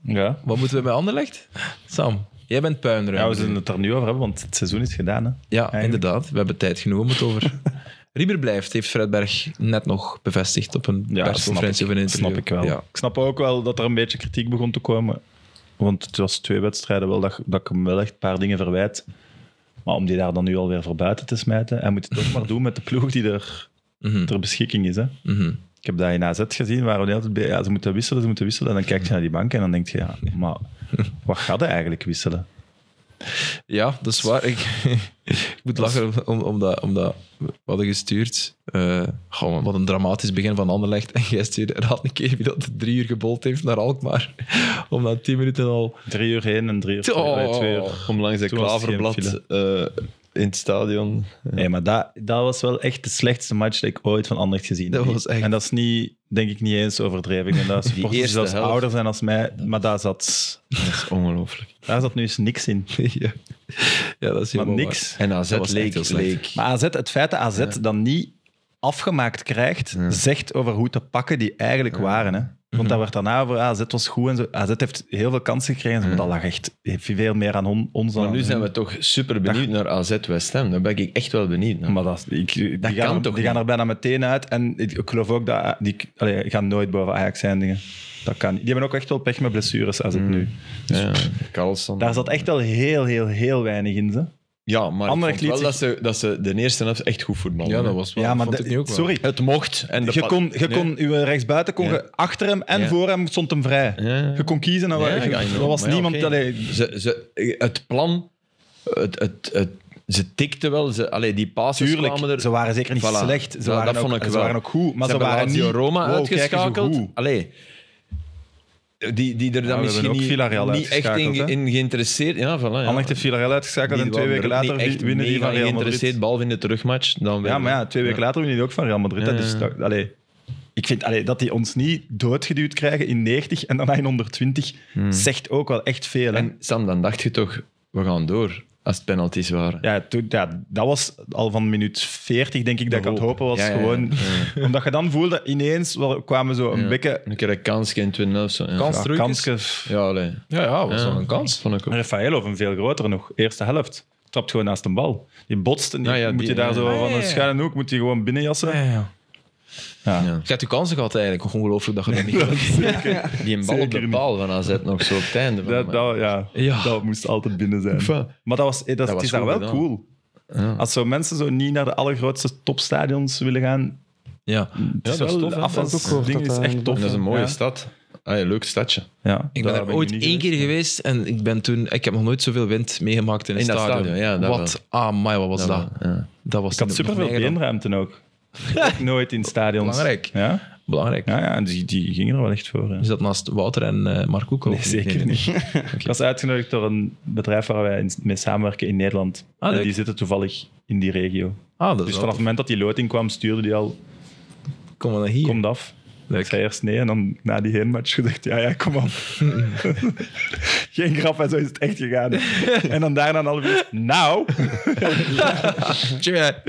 C: Ja.
A: Wat moeten we bij Anderlecht? Sam, jij bent puinruim.
C: Ja, we zullen het er nu over hebben, want het seizoen is gedaan. Hè.
A: Ja, inderdaad. We hebben tijd genoeg om het over. Rieber blijft, heeft Fredberg net nog bevestigd op een
C: Ja,
A: persconferentie of
C: snap
A: een
C: ik.
A: interview.
C: Snap ik wel.
A: Ja.
C: Ik snap ook wel dat er een beetje kritiek begon te komen. Want het was twee wedstrijden wel dat, dat ik hem wel echt een paar dingen verwijt. Maar om die daar dan nu alweer voor buiten te smijten. Hij moet het ook maar doen met de ploeg die er
A: Mhm,
C: ter beschikking is. Hè.
A: mhm.
C: Ik heb dat in AZ gezien, waar we altijd bij, ja, ze moeten wisselen, ze moeten wisselen. En dan kijk je naar die bank en dan denk je, ja, maar wat gaat hij eigenlijk wisselen?
A: Ja, dat is waar. Ik, ik moet lachen om, om, dat, om dat we hadden gestuurd. Eh, goh, man, wat een dramatisch begin van Anderlecht. En jij stuurde raad een keer wie dat drie uur gebold heeft naar Alkmaar. Om na tien minuten al...
C: Drie uur heen en drie uur terug,
A: Oh.
C: eh, twee uur.
B: Om langs het
C: Toen was het geen
B: klaverblad eh, in het stadion.
C: Nee, maar dat, dat was wel echt de slechtste match die ik ooit van Anderlecht gezien
A: Dat
C: heb.
A: was echt-
C: En dat is niet, denk ik, niet eens overdreven. Ik denk dat supporters die
B: eerste
C: zelfs
B: helft.
C: ouder zijn als mij, maar daar zat,
B: Dat is ongelooflijk.
C: daar zat nu eens niks in.
A: ja, Ja, dat is helemaal
C: Maar
A: waar.
C: niks.
B: En AZ
A: Dat was echt heel
B: leek,
A: slecht.
B: leek.
C: Maar AZ, het feit dat AZ dan niet afgemaakt krijgt, zegt over hoe te pakken die eigenlijk waren. Hè. Want dat werd daarna over, ah, AZ was goed en zo. AZ heeft heel veel kansen gekregen, maar dat lag echt veel meer aan on- ons dan
B: Maar nu
C: aan
B: zijn
C: hun.
B: we toch super benieuwd naar AZ West Ham. Daar ben ik echt wel benieuwd naar.
C: Maar dat, ik, die
B: Dat
C: gaan,
B: kan
C: er-
B: toch
C: Die
B: niet?
C: gaan er bijna meteen uit. En ik, ik geloof ook dat... eh, Die allee, gaan nooit boven Ajax zijn dingen. Dat kan niet. Die hebben ook echt wel pech met blessures als het nu.
B: Mm.
C: Dus
B: ja, Carlson.
C: Daar zat echt wel heel, heel, heel weinig in. Ze.
B: Ja, maar ik
C: Anderlecht
B: vond wel
C: liet
B: dat, ze, dat ze de eerste helft echt goed voetballen.
A: Ja, dat was wel...
C: Ja, maar
A: vond
C: dat-
A: ik nu ook wel.
C: sorry.
B: Het mocht. En de
C: Dus Je
B: pa-
C: kon, je
B: Nee.
C: kon uw rechtsbuiten kon
B: Ja.
C: je achter hem en
B: Ja.
C: voor hem stond hem vrij.
B: Ja.
C: Je kon kiezen. En
B: Ja,
C: waar-
B: ja,
C: er
B: ja,
C: was
B: maar ja,
C: niemand...
B: oké.
C: allee,
B: Ze, ze, het plan... Het, het, het, ze tikte wel. Ze, allee, die passes kwamen
C: tuurlijk,
B: er.
C: ze waren zeker niet
B: Voilà.
C: slecht. Ze,
B: Dat-
C: waren,
B: dat
C: ook,
B: vond ik
C: ze
B: wel.
C: waren ook goed, maar ze,
B: hebben
C: waren niet...
B: Lazio Roma
C: wow, kijk eens hoe
B: uitgeschakeld.
C: goed.
B: Allee. Die, die er dan
C: hebben
B: misschien
C: ook
B: niet,
C: Villarreal
B: niet echt
C: uitgeschakeld,
B: in,
C: hè?
B: in geïnteresseerd... Ja, voilà. Ja.
C: Anderlecht heeft Villarreal
B: Die
C: uitgeschakeld en twee
B: waren
C: weken
B: er ook niet
C: later
B: echt
C: winnen die
B: mega
C: van Real Madrid.
B: geïnteresseerd, behalve in de terugmatch. Dan weer.
C: Ja, maar ja, twee weken later winnen die ook van Real Madrid. hè. Dus dat- allee, ik vind allee, dat die ons niet doodgeduwd krijgen in 90
B: Hmm.
C: en daarna in 120 zegt ook wel echt veel. hè.
B: En Sam, dan dacht je toch, we gaan door. Als het penalties waren.
C: Ja, toen, ja, dat was al van minuut 40, denk ik, dat ik aan het hopen was.
B: Ja, ja, ja.
C: gewoon, Omdat je dan voelde, ineens wel- kwamen zo een beetje...
B: Een keer een kans, geen 2-0 of zo. Ja,
A: Kans
C: Ja,
A: terug is-
C: kanske-
B: ja allee.
A: Ja, ja, was wel een kans.
B: Vond ik ook.
C: Rafael of een veel grotere nog, eerste helft. Trapt gewoon naast een bal. Die botst en die,
B: Ah ja,
C: moet
B: die-
C: je daar
B: ja.
C: zo van een schuine hoek, moet je gewoon binnenjassen.
A: Ja, ja.
C: Ja.
A: Je hebt je kansen gehad eigenlijk. Ongelooflijk dat je dat niet gedaan
B: Die een bal op
C: Zeker
B: de
C: niet.
B: paal van AZ nog zo op het einde. van de
C: Dat,
B: match.
C: dat, ja,
A: Ja.
C: dat moest altijd binnen zijn.
B: Enfin.
C: Maar dat was, eh, dat, het
B: was
C: is daar
B: goed
C: wel
B: gedaan.
C: cool.
B: Ja.
C: Als zo mensen zo niet naar de allergrootste topstadions willen gaan,
A: Ja.
C: het is
B: dat is
C: wel
B: tof, hè.
C: af
D: Dat is ook
C: als
D: goed,
C: ding
D: dat,
C: is
D: eh,
C: echt
D: inderdaad.
C: tof.
B: En dat is een mooie
C: Ja.
B: stad. Ah, ja, leuk stadje.
C: Ja.
A: Ik ben
C: Daar
A: er
C: ik
A: ooit
C: nu niet
A: één keer
C: geweest.
A: geweest en ik ben toen... Ik heb nog nooit zoveel wind meegemaakt in een
B: In dat
A: stadion.
B: stadion, ja, dat
A: wat, ah, my, wat was dat?
B: Ja.
A: Dat was
C: Ik had
A: toen nog
C: superveel
A: meer dan-
C: beenruimte ook. Ook Nooit in stadions.
A: Belangrijk.
C: Ja,
A: Belangrijk.
C: ja, ja en die, die gingen er wel echt voor. ja.
A: Is dat naast Wouter en eh Mark Koeko?
C: Nee, zeker niet. Ik was uitgenodigd door een bedrijf waar wij in- mee samenwerken in Nederland.
A: Ah,
C: en
A: leuk.
C: die zitten toevallig in die regio.
A: Ah, dat is
C: Dus
A: wel-
C: vanaf het moment dat die loting kwam, stuurde die al,
A: Kom maar naar hier.
C: kom af.
A: Leuk.
C: Ik zei eerst nee en dan na die heenmatch gezegd, ja, ja, kom op. Geen grap, en zo is het echt gegaan. en dan daarna een half uur, nou...
A: Tja.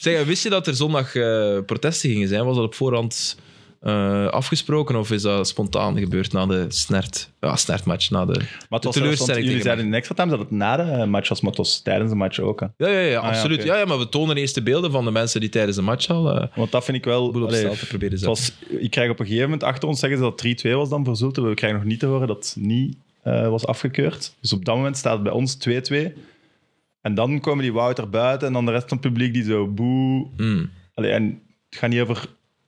A: Zeg, wist je dat er zondag eh, protesten gingen zijn? Was dat op voorhand eh, afgesproken of is dat spontaan gebeurd na de snert, ja, snertmatch? Na de,
C: Maar het
A: de
C: was zelfs, want jullie zeiden
A: tegen
C: in extra time dat het na de match was, maar het was tijdens de match ook. Hè.
A: mij. Ja, ja, ja, absoluut.
C: Ah oké.
A: ja, ja, maar we tonen eerst de beelden van de mensen die tijdens de match al... eh,
C: Want dat vind ik wel...
A: Boel op
C: allee,
A: staal te proberen
C: het
A: zetten.
C: was, ik krijg op een gegeven moment achter ons zeggen ze dat 3-2 was dan voor Zulte. We krijgen nog niet te horen dat het niet eh, was afgekeurd. Dus op dat moment staat het bij ons 2-2. En dan komen die Wouter buiten en dan de rest van het publiek die zo boe.
A: mm.
C: Allee, en het gaat niet over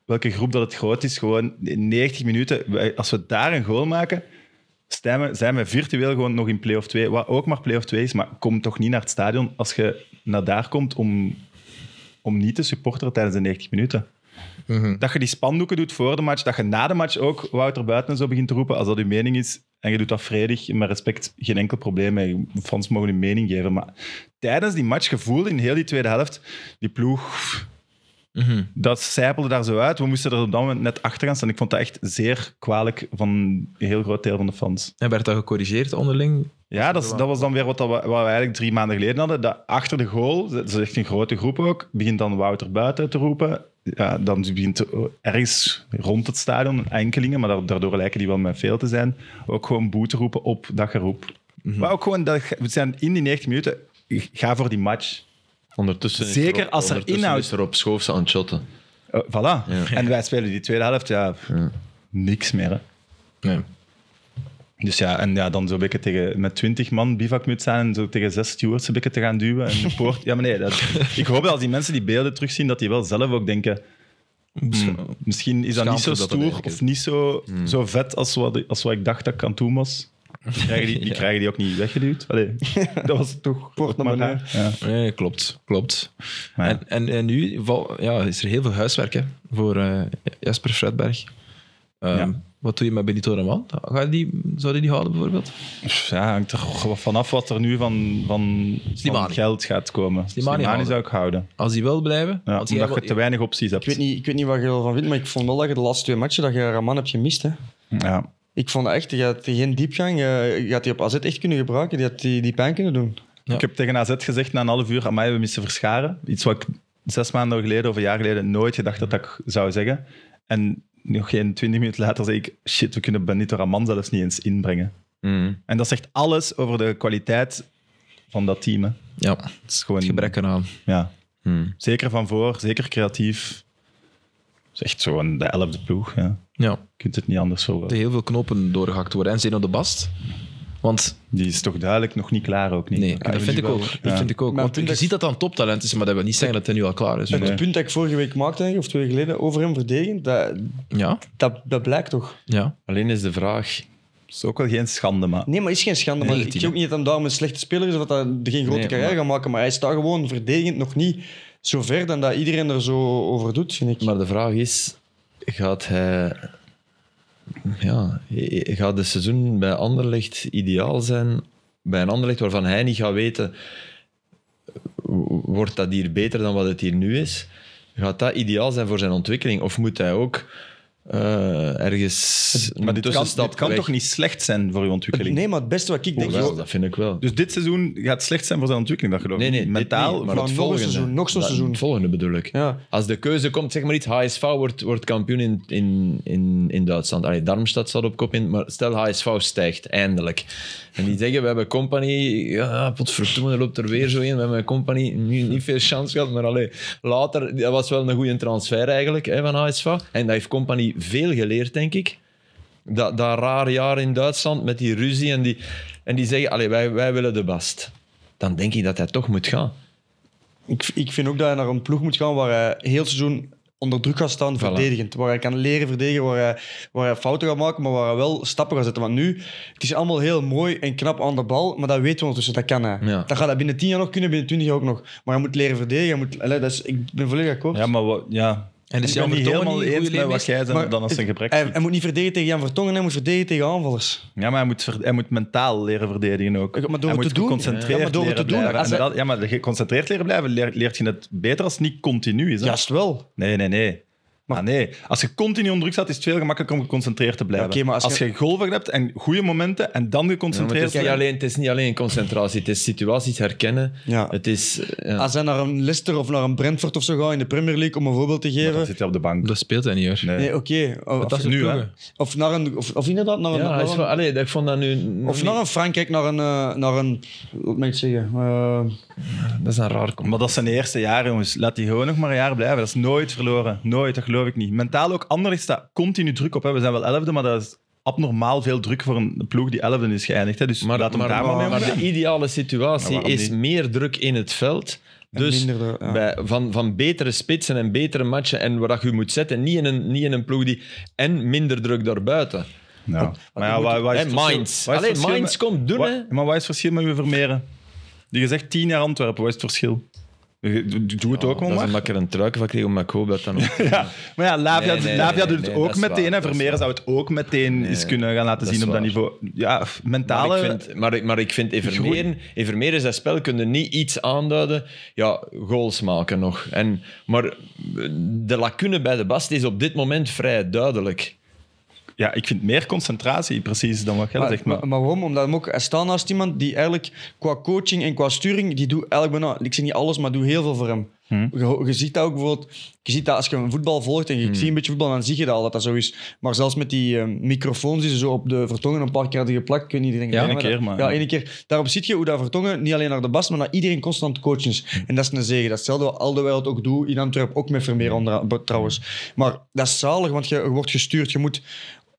C: welke groep dat het groot is. Gewoon in 90 minuten. wij- Als we daar een goal maken, zijn we, zijn we virtueel gewoon nog in play-off 2. Wat ook maar play-off 2 is, maar kom toch niet naar het stadion als je naar daar komt om, om niet te supporteren tijdens de 90 minuten.
A: Mhm.
C: Dat je die spandoeken doet voor de match, dat je na de match ook Wouter buiten en zo begint te roepen als dat uw mening is. En je doet dat vredig, en met respect, geen enkel probleem. mee. Fans mogen hun mening geven. Maar tijdens die match, gevoel in heel die tweede helft, die ploeg,
A: Mhm.
C: dat zijpelde daar zo uit. We moesten er op dat moment net achter gaan staan. Ik vond dat echt zeer kwalijk van een heel groot deel van de fans.
A: En werd dat gecorrigeerd onderling?
C: Ja, dat, is- dat was dan weer wat, dat we, wat we eigenlijk drie maanden geleden hadden. Dat achter de goal, dat is echt een grote groep ook, begint dan Wouter buiten te roepen. Ja, dan begint er ergens rond het stadion enkelingen, maar da- daardoor lijken die wel met veel te zijn. Ook gewoon boe te roepen op dat geroep. Maar ook gewoon, dat, we zijn in die 90 minuten, ga voor die match.
B: Ondertussen is
C: Zeker
B: er op-
C: als er
B: ondertussen
C: inhoud-
B: is er op schoof aan het shotten.
C: Eh, voilà. En wij spelen die tweede helft, ja, niks meer. Hè.
A: Nee.
C: Dus ja, en ja, dan zo beetje tegen, met twintig man bivakmuts aan en zo tegen zes stewards een beetje te gaan duwen. En de poort... Ja, maar nee, dat, ik hoop dat als die mensen die beelden terugzien, dat die wel zelf ook denken... hmm, misschien is dat niet
A: Schaamte
C: zo
A: dat dat
C: stoer
A: eigenlijk
C: of
A: is.
C: niet zo, zo vet als wat, als wat ik dacht dat ik aan het doen was. Die krijgen die, die, krijgen die ook niet weggeduwd. Allee, dat was toch...
D: Poort naar
C: maar
D: beneden.
C: raar. Ja.
A: Nee, klopt. klopt.
C: Maar ja.
A: En, en, en nu val- ja, is er heel veel huiswerk hè, voor eh, Jasper Fredberg. Ehm,
C: Ja.
A: Wat doe je met Benito Raman? Ga je die, zou je die houden bijvoorbeeld?
C: Pff, Ja, hangt er gewoon vanaf wat er nu van, van,
A: Slimani.
C: van geld gaat komen.
A: Slimani houden.
C: zou ik houden.
A: Als die wil blijven?
C: Ja,
A: want die
C: omdat je
A: hebben-
C: te weinig opties hebt.
D: Ik weet, niet, ik weet niet wat je ervan vindt, maar ik vond wel dat je de laatste twee matchen dat je Raman hebt gemist. Hè.
C: Ja.
D: Ik vond echt, je had geen diepgang. eh, Je had die op AZ echt kunnen gebruiken. Die had die, die pijn kunnen doen.
A: Ja.
C: Ik heb tegen AZ gezegd na een half uur, aan mij we missen verscharen. Iets wat ik zes maanden geleden of een jaar geleden nooit gedacht had dat ik zou zeggen. En nog geen twintig minuten later zei ik, shit, we kunnen Benito Raman zelfs niet eens inbrengen.
B: Mm.
C: En dat zegt alles over de kwaliteit van dat team. hè. Het
A: Ja,
C: is gewoon...
A: het gebrek eraan.
C: Ja.
B: Mm.
C: Zeker van voor, zeker creatief. Het is echt gewoon de elfde ploeg. Ja.
A: Ja,
C: Je kunt het niet anders
A: er
C: verwoorden.
A: heel veel knopen doorgehakt worden. En Zeno de Bast? Want
C: Die is toch duidelijk nog niet klaar ook niet.
A: nee, Ah,
C: Dan
A: dat
C: kunnen we
A: vind
C: die
A: ik
C: wel-
A: ook.
C: Ja.
A: Dat vind ik ook.
D: Maar
A: Want
D: toen
A: je
D: dat-
A: ziet dat dat een toptalent is, maar dat wil niet zeggen dat hij nu al klaar is.
D: Het punt dat ik vorige week maakte, denk ik, of twee weken geleden, over hem verdedigend, dat,
A: Ja,
D: dat, dat blijkt toch.
A: ja.
B: Alleen is de vraag...
C: Het is ook wel geen schande, maar...
D: Nee, maar is geen schande. maar ik
B: Relatief.
D: zie ook niet dat hem daarom een slechte speler is of dat hij geen grote
B: Nee,
D: carrière
B: maar-
D: gaat maken. Maar hij staat gewoon verdedigend nog niet zo ver dan dat iedereen er zo over doet, vind ik.
B: Maar de vraag is, gaat hij... Ja, gaat de seizoen bij Anderlecht ideaal zijn? Bij een Anderlecht waarvan hij niet gaat weten... Wordt dat hier beter dan wat het hier nu is? Gaat dat ideaal zijn voor zijn ontwikkeling? Of moet hij ook eh, ergens
C: Maar dit kan,
B: tussenstap
C: dit kan
B: weg.
C: toch niet slecht zijn voor uw ontwikkeling?
D: Nee, maar het beste wat ik denk...
B: Wel,
D: is-
B: dat vind ik wel.
C: Dus dit seizoen gaat slecht zijn voor zijn ontwikkeling, dat geloof ik.
B: Nee, nee,
C: niet.
B: dit
C: Mentaal, maar
B: niet, maar
D: nog
B: het
D: een
B: volgende.
D: seizoen, nog zo'n
B: Dat-
D: seizoen.
B: Het volgende bedoel ik.
D: Ja.
B: Als de keuze komt, zeg maar niet, HSV wordt, wordt kampioen in, in, in, in Duitsland. Allee, Darmstadt staat op kop in, maar stel HSV stijgt, eindelijk. En die zeggen, we hebben compagnie, ja, potverdomme, er loopt er weer zo in. We hebben compagnie nu niet veel chance gehad, maar allee, later, dat was wel een goede transfer eigenlijk hè, van HSV. En dat heeft compagnie veel geleerd, denk ik dat, dat raar jaar in Duitsland met die ruzie en die, en die zeggen, allee, wij, wij willen de bast. Dan denk ik dat hij toch moet gaan.
D: Ik, ik vind ook dat hij naar een ploeg moet gaan waar hij heel het seizoen onder druk gaat staan, verdedigend. Waar hij kan leren verdedigen, waar hij, waar hij fouten gaat maken, maar waar hij wel stappen gaat zetten. Want nu, het is allemaal heel mooi en knap aan de bal, maar dat weten we ondertussen, dat kan hij.
B: Ja.
D: Dat gaat hij binnen 10 jaar nog kunnen, binnen 20 jaar ook nog. Maar hij moet leren verdedigen, hij moet, allee, dat is, ik ben volledig akkoord.
C: Ja, maar wat, ja.
A: En is
C: ik ben
A: Jan
C: niet
A: Vertongen
C: helemaal
A: niet een
C: eens
A: goede
C: met wat jij
D: Maar
C: zei dan als een gebrek.
D: hij, hij moet niet verdedigen tegen Jan Vertongen, hij moet verdedigen tegen aanvallers.
C: Ja, maar hij moet, ver- hij moet mentaal leren verdedigen ook.
D: Maar
C: hij
D: door het
C: moet
D: te doen.
C: geconcentreerd
D: Ja, maar door het
C: leren
D: te doen.
C: blijven.
D: Als hij-
C: Inderdaad, Ja, maar geconcentreerd leren blijven leer- leert je het beter als het niet continu is. Hè?
D: Juist wel.
C: Nee, nee, nee. Maar nee, als je continu onder druk staat, is het veel gemakkelijker om geconcentreerd te blijven.
D: Ja, oké, maar als
C: als,
D: je-
C: je golven hebt en goede momenten en dan
B: Nou, Maar het,
C: geconcentreerd
B: is niet alleen, het is niet alleen concentratie, het is situaties herkennen.
D: Ja.
B: Het is, eh, ja.
D: Als hij naar een Leicester of naar een Brentford of zo gaat in de Premier League, om een voorbeeld te
C: Maar dan
D: geven.
C: zit hij op de bank.
A: Dat speelt hij niet, hoor.
C: Nee.
D: Nee, oké. Of,
A: dat is
C: nu,
A: nu,
C: hè.
A: hè.
D: of naar een... Of, of inderdaad, naar een...
B: Ja,
D: naar
B: hij is
D: een-
B: wel- allee, ik vond dat nu... nog
D: Of
B: niet-
D: naar een Frankrijk, naar een, eh, naar een wat moet ik zeggen? Eh,
B: Dat is een raar kom.
C: Maar dat is zijn eerste jaar, jongens. Laat die gewoon nog maar een jaar blijven. Dat is nooit verloren. Nooit, dat geloof ik niet. Mentaal ook. Anderlecht staat continu druk op. Hè. We zijn wel elfde, maar dat is abnormaal veel druk voor een ploeg die elfde is geëindigd. Hè. Dus
B: Maar,
C: laat hem
B: maar-
C: daar maar mee
B: maar
C: omgaan.
B: de ideale situatie
C: Maar waarom
B: is
C: niet?
B: meer druk in het veld. Dus
D: minder druk, ja.
B: bij, van, van betere spitsen en betere matchen en waar dat je moet zetten. Niet in een, niet in een ploeg die... En minder druk daarbuiten.
C: Ja. Maar ja, waar, waar is
B: En
C: het verschil-
B: Mainz.
C: waar is het
B: Allee,
C: verschil
B: Mainz
C: met-
B: komt doen,
C: wa-
B: hè.
C: Maar wat is het verschil met uw Vermeeren? Die gezegd tien jaar Antwerpen. Wat is het verschil? Je- doe- Doe het ook wel
B: dat is
C: maar.
B: een makker een truik van kreeg, maar ik hoop dat dan ook.
C: Ja, maar ja, Lavia,
B: Nee, nee,
C: Lavia
B: nee,
C: doet het
B: nee,
C: ook
B: dat is
C: meteen.
B: waar,
C: hè.
B: dat is
C: Vermeeren zou het ook meteen eens kunnen gaan laten
B: dat
C: zien
B: is
C: op dat
B: waar.
C: niveau. Ja, f- eh, mentale...
B: Maar ik vind, maar ik, maar ik vind Evermeeren, Evermeeren zijn spel kunnen niet iets aanduiden. Ja, goals maken nog. En, maar eh, de lacune bij de Bast is op dit moment vrij duidelijk.
C: Ja, ik vind meer concentratie precies dan wat jij
D: maar,
C: zegt. Maar,
D: maar, maar waarom? Omdat hem ook, hij staat naast iemand die eigenlijk qua coaching en qua sturing, die doet eigenlijk bijna, ik zeg niet alles, maar doe heel veel voor hem. Je, je ziet dat ook bijvoorbeeld, je ziet dat als je een voetbal volgt en je ziet een beetje voetbal, dan zie je dat al dat dat zo is. Maar zelfs met die eh, microfoons die ze zo op de vertongen een paar keer hadden geplakt, kun je iedereen
A: Ja,
C: één keer, maar-
D: Ja, één keer. Daarop zie je hoe dat vertongen niet alleen naar de bas, maar naar iedereen constant coachen is. En dat is een zegen. Dat is hetzelfde wat al de wereld ook doet in Antwerpen, ook met Vermeer onder- trouwens. Maar dat is zalig, want je, je wordt gestuurd. Je moet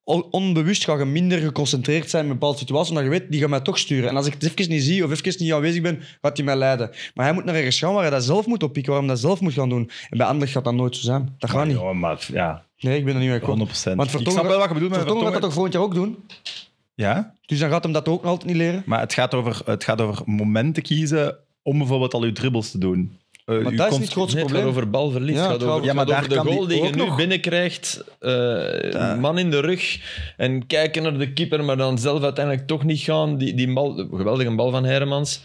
D: on- onbewust ga je minder geconcentreerd zijn in een bepaalde situatie, omdat je weet, die gaat mij toch sturen. En als ik het even niet zie of even niet aanwezig ben, gaat hij mij leiden. Maar hij moet naar ergens gaan waar hij dat zelf moet oppikken, waar hij dat zelf moet gaan doen. En bij Anderlecht gaat dat nooit zo zijn. Dat gaat niet.
C: Ah, Ja, maar ja,
D: Nee, ik ben er niet mee akkoord.
C: 100%.
D: Want
C: ik
D: Vertongen,
C: snap wel wat je bedoelt met
D: Vertongen gaat dat toch volgend jaar ook doen?
C: Ja,
D: Dus dan gaat hem dat ook nog altijd niet leren.
C: maar het gaat, over, het gaat over momenten kiezen om bijvoorbeeld al je dribbles te doen. Eh,
D: Maar
C: uw
D: dat is
C: const-
D: niet het grootste
B: Nee, het gaat
D: probleem.
B: over balverlies.
D: Ja,
B: het
D: het
B: gaat
D: gaat-
B: over,
C: Ja, maar
B: het gaat
C: daar
B: over de
C: kan
B: goal
C: die
B: die je
C: ook
B: nu
C: nog.
B: binnenkrijgt. eh, man in de rug. En kijken naar de keeper, maar dan zelf uiteindelijk toch niet gaan. Die, die bal, geweldige bal van Hermans.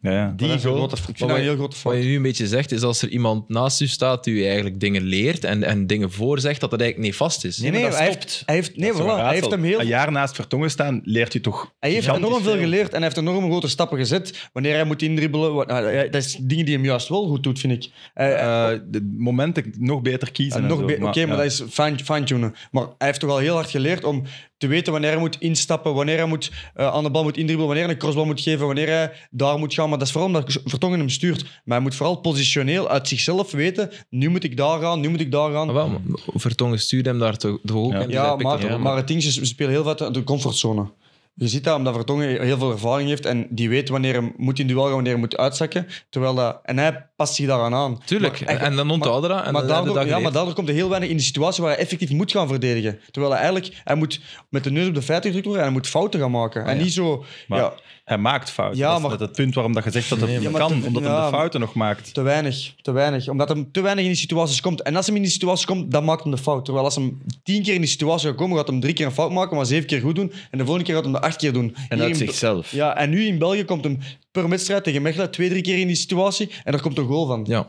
C: Ja, ja.
B: Die
D: dat is een
B: goal.
D: grote- ik vind dat nou een heel grote
A: Wat
D: fout.
A: je nu een beetje zegt, is als er iemand naast u staat die u eigenlijk dingen leert en, en dingen voorzegt, dat dat eigenlijk niet vast is.
D: Nee, nee, hij heeft, hij heeft, nee,
C: Zo'n
D: voilà, hij heeft
C: raadsel.
D: hem heel...
C: Een jaar naast Vertongen staan leert u toch
D: Hij heeft
C: Ah, gigantisch
D: enorm veel geleerd en hij heeft enorm grote stappen gezet. Wanneer hij moet indribbelen, wat- nou, hij- dat is dingen die hem juist wel goed doet, vind ik. Hij- hij-
C: Eh, de momenten nog beter kiezen. en
D: nog
C: zo,
D: be- Oké, maar
C: ja.
D: dat is fine- fine-tunen. Maar hij heeft toch al heel hard geleerd om te weten wanneer hij moet instappen, wanneer hij moet, eh, aan de bal moet indribbelen, wanneer hij een crossbal moet geven, wanneer hij daar moet gaan. Maar dat is vooral omdat Vertongen hem stuurt. Maar hij moet vooral positioneel uit zichzelf weten, nu moet ik daar gaan, nu moet ik daar gaan.
A: Ah, wel, maar Vertongen stuurde hem daar toch, toch ook in. dus hij
D: Ja,
A: pikt dat
D: maar,
A: ook op.
D: maar het ding is, we spelen heel wat uit de comfortzone. Je ziet dat omdat Vertongen heel veel ervaring heeft en die weet wanneer hij moet in duel gaan, wanneer hij moet uitzakken. Terwijl dat, en hij past zich daaraan aan.
A: Tuurlijk,
D: Maar-
A: en, en dan onthouden dat. En
D: maar
A: dan
D: daardoor,
A: dat
D: ja,
A: geleerd.
D: maar daardoor komt hij heel weinig in de situatie waar hij effectief moet gaan verdedigen. Terwijl hij eigenlijk hij moet met de neus op de feiten gedrukt worden en hij moet fouten gaan maken.
A: Ah,
D: en niet zo...
C: Maar
D: Ja,
C: hij maakt fouten.
D: Ja,
C: dat is
D: maar-
C: net het punt waarom dat je zegt dat het
D: maar-
C: kan,
D: Ja, maar-
C: omdat hij
D: ja.
C: de fouten nog maakt.
D: te weinig, te weinig. Omdat hij te weinig in die situaties komt. En als hij in die situaties komt, dan maakt hij de fout. Terwijl als hij tien keer in die situatie gaat komen, gaat hij drie keer een fout maken, maar zeven keer goed doen. En de volgende keer gaat hij de acht keer doen.
B: En
D: Hier
B: uit
D: in-
B: zichzelf.
D: Ja, en nu in België komt hem per wedstrijd tegen Mechelen twee, drie keer in die situatie en daar komt een goal van.
A: Ja.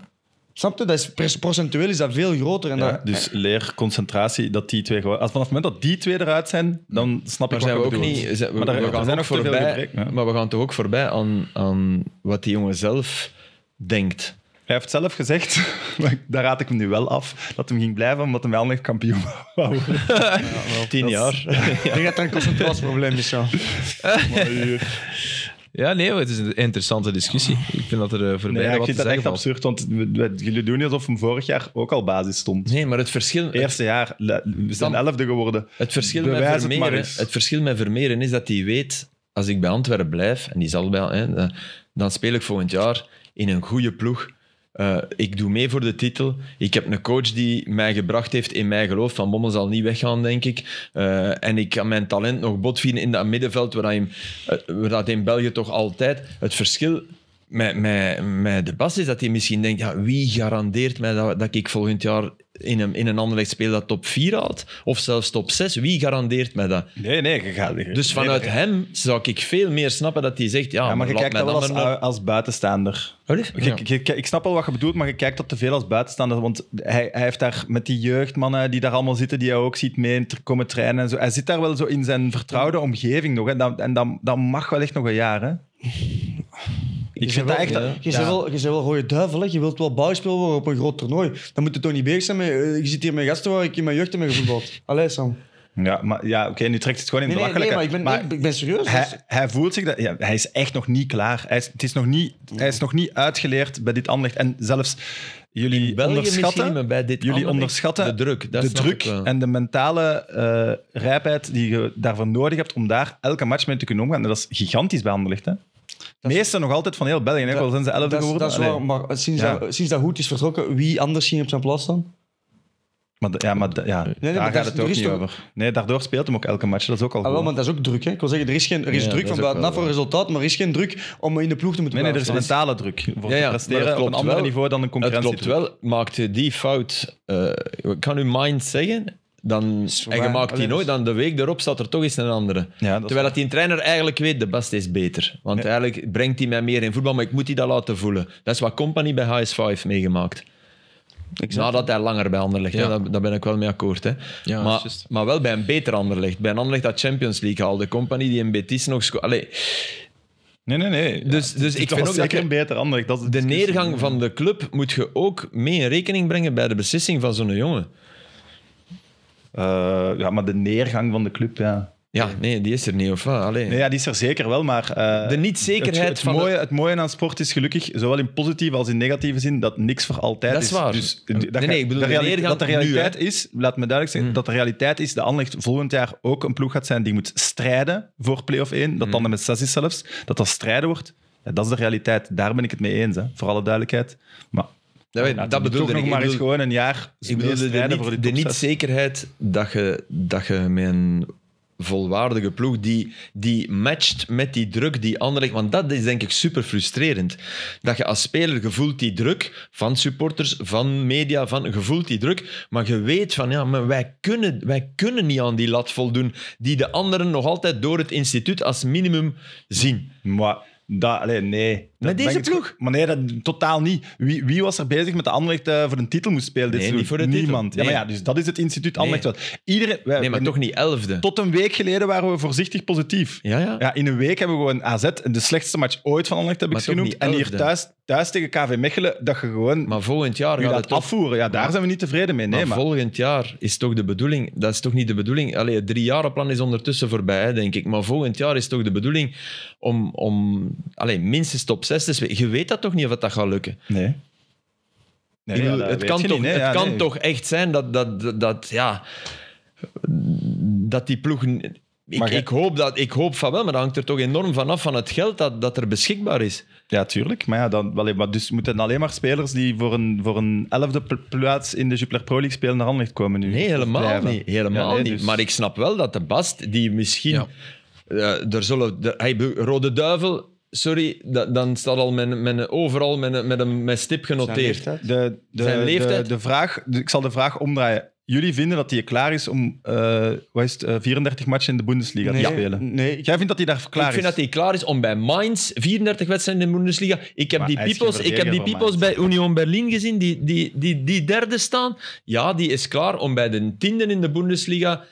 D: Snap je? Dat is, pers- procentueel is dat veel groter. En
C: Ja,
D: dat,
C: dus leer, concentratie, dat die twee gewoon... Als vanaf het moment dat die twee eruit zijn, dan snap
B: Maar
C: ik
B: zijn we
C: wat je
B: ook
C: bedoelt.
B: niet. zijn- we,
C: Maar daar-
B: we
C: er
B: gaan
C: zijn
B: ook
C: ook te veel
B: voorbij.
C: gebreken, ja.
B: Maar we gaan toch ook voorbij aan, aan wat die jongen zelf denkt.
C: Hij heeft zelf gezegd, maar ik- daar raad ik hem nu wel af, dat hem ging blijven omdat hij wel echt kampioen wou worden.
B: Tien jaar.
D: Ik denk dat dat een concentratieprobleem is, ja.
A: Ja, nee, het is een interessante discussie. Ik vind dat er eh, voorbij
C: Nee, ja, ik
A: wat te
C: vind dat echt
A: zeggen valt.
C: absurd, want we- we- jullie doen niet alsof hem vorig jaar ook al basis stond.
B: Nee, maar het verschil, het,
C: Eerste jaar, le- we zijn
B: Dan-
C: elfde geworden.
B: het verschil met
C: Bewijs het
B: Vermeeren,
C: maar
B: het,
C: eens.
B: verschil met Vermeeren is dat hij weet, als ik bij Antwerpen blijf, en die zal wel, hè, dan- dan speel ik volgend jaar in een goede ploeg. Eh, ik doe mee voor de titel. Ik heb een coach die mij gebracht heeft in mijn geloof. Van Bommel zal niet weggaan, denk ik. Eh, en ik kan mijn talent nog botvieren in dat middenveld, waar, hij, hem- eh, waar dat in België toch altijd... Het verschil met, met, met de Bas is dat hij misschien denkt, ja, wie garandeert mij dat, dat ik volgend jaar in een, in een ander speel dat top 4 haalt? Of zelfs top 6? Wie garandeert mij dat?
C: Nee, nee, je gaat...
B: Dus vanuit hem zou ik veel meer snappen dat hij zegt, ja,
C: Ja,
B: maar,
C: maar je
B: laat
C: kijkt
B: mijn
C: dat wel als,
B: ander maar-
C: eh, als buitenstaander.
B: Allee?
C: Je-
B: Dus- Ja.
C: je- je- ik snap wel wat je bedoelt, maar je kijkt dat te veel als buitenstaander. Want hij, hij heeft daar met die jeugdmannen die daar allemaal zitten, die hij ook ziet mee te komen trainen en zo. Hij zit daar wel zo in zijn vertrouwde omgeving nog. Hè. Dat, en dat, dat mag wel echt nog een jaar. Hè. Ik vind dat echt.
D: Je bent wel, je bent wel rode duivel, hè. je wilt wel buitenspel worden op een groot toernooi. Dan moet je toch niet bezig zijn met... eh, Je zit hier met gasten waar ik in mijn jeugd heb mee gevoetbald. Allee, Sam.
C: Ja, maar ja, oké, nu trekt het gewoon in
D: Nee,
C: de
D: nee, nee, maar ik ben,
C: maar
D: ik ben- ik ben serieus.
C: hij,
D: Dus-
C: hij voelt zich dat. Ja, hij is echt nog niet klaar. Hij is, het is nog niet, hij
D: Mhm.
C: is nog niet uitgeleerd bij dit aanleg. En zelfs jullie
B: België
C: onderschatten.
B: misschien, maar bij dit
C: jullie
B: Anderlecht
C: onderschatten
B: de druk. Dat
C: de
B: snap
C: druk
B: ik wel.
C: en de mentale eh, rijpheid die je daarvoor nodig hebt om daar elke match mee te kunnen omgaan. En dat is gigantisch bij Anderlecht. Hè? De meesten nog altijd van heel België, hè? ook al zijn ze elfde
D: dat, is-
C: geworden.
D: dat is
C: Allee.
D: waar, maar sinds,
C: Ja.
D: dat, sinds dat Hoed is vertrokken, wie anders ging op zijn plaats staan?
C: Maar, de- ja, maar, de- ja,
D: maar
C: daar
D: dat
C: gaat
D: is-
C: het
D: er
C: ook
D: is
C: niet
D: toch-
C: over. Nee, daardoor speelt hem ook elke match. Dat is ook al
D: Ah, wel,
C: goed.
D: maar dat is ook druk. Hè. Ik wil zeggen, er is, geen, er is
B: Ja,
D: druk
B: dat is
D: van
B: ook
D: buitenaf
B: wel
D: voor resultaat, maar er is geen druk om in de ploeg te moeten
C: Nee, nee, er is
D: blijven staan.
C: mentale druk voor
B: Ja, ja,
C: te
B: maar dat
C: presteren op een
B: klopt
C: ander
B: wel.
C: niveau dan een
B: Het
C: concurrentie.
B: klopt wel. Maakt je die fout, eh, ik kan u mind zeggen, dan,
D: voor
B: en je
D: mij-
B: maakt die
D: Allee,
B: nooit, dan de week erop staat er toch eens een andere.
C: dus- Ja, dat is
B: Terwijl dat die trainer eigenlijk weet, de beste is beter. Want eigenlijk brengt hij mij meer in voetbal, maar ik moet die dat laten voelen. Dat is wat Company bij HS5 heeft meegemaakt. Nadat hij langer bij Anderlecht, hè,
A: Ja.
B: daar, daar ben ik wel mee akkoord. Hè.
A: Ja, dat
B: maar,
A: is juist.
B: maar wel bij een beter Anderlecht. Bij een Anderlecht dat Champions League haalde. Company die in Betis nog... sco- Allee,
C: Nee, nee, nee.
B: Dus- dus ik
C: het
B: vind
C: was
B: ook dat
C: zeker
B: je-
C: een beter ander. Dat is
B: de
C: discussie.
B: neergang van de club moet je ook mee in rekening brengen bij de beslissing van zo'n jongen.
C: Eh, ja, maar de neergang van de club, ja.
B: Ja, nee, die is er niet, of wat? Allee.
C: Nee, ja, die is er zeker wel, maar... eh,
B: De niet-zekerheid
C: het, het
B: van
C: Mooie, het mooie aan sport is gelukkig, zowel in positieve als in negatieve zin, dat niks voor altijd
B: Dat
C: is.
B: is waar.
C: Dus, eh, dat,
B: Nee,
C: ga-
B: nee, ik bedoel de
C: reali-
B: neergang
C: dat de
B: nu,
C: realiteit is, laat me duidelijk zijn, dat de realiteit is dat Anderlecht volgend jaar ook een ploeg gaat zijn die moet strijden voor play-off 1, dat dan er met 6 is zelfs, dat dat strijden wordt. Ja, dat is de realiteit. Daar ben ik het mee eens, hè, voor alle duidelijkheid. Maar
B: dat, weet-
C: ja,
B: dat bedoelde
C: toch
B: ik.
C: nog
B: Ik
C: maar eens
B: bedoel-
C: gewoon een jaar
B: ik bedoelde
C: meer strijden
B: de,
C: voor
B: niet,
C: die
B: de
C: top zes.
B: niet-zekerheid dat je, dat je met een volwaardige ploeg die, die matcht met die druk die Anderlecht... Want dat is denk ik super frustrerend. Dat je als speler gevoelt die druk van supporters, van media, van, je voelt die druk, maar je weet van ja, maar wij kunnen, wij kunnen niet aan die lat voldoen die de anderen nog altijd door het instituut als minimum zien.
C: Maar dat, allee, nee. Dat
B: deze
C: ben ik het
B: ploeg?
C: go- Maar nee, dat, totaal niet. Wie, wie was er bezig met de Anderlecht eh, voor een titel moest spelen? Dit
B: Nee,
C: seizoen?
B: niet voor de titel.
C: Niemand. Ja,
B: Nee.
C: maar ja, dus dat is het instituut Anderlecht
B: Nee.
C: wel. Iedereen, wij-
B: Nee, maar
C: en
B: toch niet elfde.
C: Tot een week geleden waren we voorzichtig positief.
B: Ja, ja.
C: in een week hebben we gewoon AZ, de slechtste match ooit van Anderlecht heb ik
B: Maar
C: ze
B: toch
C: genoemd.
B: niet
C: En hier
B: elfde.
C: thuis, thuis tegen KV Mechelen, dat je gewoon
B: Maar volgend jaar
C: je
B: gaat
C: laat
B: het toch-
C: afvoeren. Ja, daar zijn we niet tevreden mee. Nee,
B: maar,
C: maar,
B: volgend jaar is toch de bedoeling... Dat is toch niet de bedoeling... Allee, het driejarenplan is ondertussen voorbij, hè, denk ik. Maar volgend jaar is toch de bedoeling om... om allee, minstens top 6 te spelen. Je weet dat toch niet of dat gaat lukken?
C: nee. Nee,
B: Ik
C: ja,
B: bedoel,
C: dat
B: het
C: weet
B: kan,
C: je
B: toch,
C: niet, hè.
B: het
C: Ja,
B: kan
C: nee.
B: toch echt zijn dat, dat, dat, dat, ja, dat die ploeg... Ik,
C: Maar jij-
B: ik, hoop dat, ik hoop van wel, maar dat hangt er toch enorm van af van het geld dat, dat er beschikbaar is.
C: Ja, tuurlijk. Maar, ja, dan, welle, maar dus moeten alleen maar spelers die voor een, voor een elfde pl- plaats in de Jupiler Pro League spelen naar Anderlecht komen nu?
B: Nee,
C: Of
B: helemaal
C: blijven?
B: niet. Helemaal
C: Ja, nee,
B: niet.
C: dus-
B: Maar ik snap wel dat de Bast, die misschien...
A: Ja.
B: eh, er zullen, er- hey, be- Rode Duivel, sorry, da- dan staat al mijn, mijn, overal met, met, een, met stip genoteerd.
C: De, de,
B: Zijn leeftijd?
C: De, de vraag, de- ik zal de vraag omdraaien. jullie vinden dat hij klaar is om eh, wat is het, eh, 34 matchen in de Bundesliga te spelen.
D: Nee,
C: Jij vindt dat hij daar klaar
B: ik vind
C: is?
B: dat hij klaar is om bij Mainz 34 wedstrijden in de Bundesliga. Ik heb
C: Maar
B: die
C: hij is
B: peoples,
C: geen
B: ik heb die
C: verdediger van
B: peoples bij Union Berlin gezien, die, die, die, die derde staan. Ja, die is klaar om bij de tiende in de Bundesliga.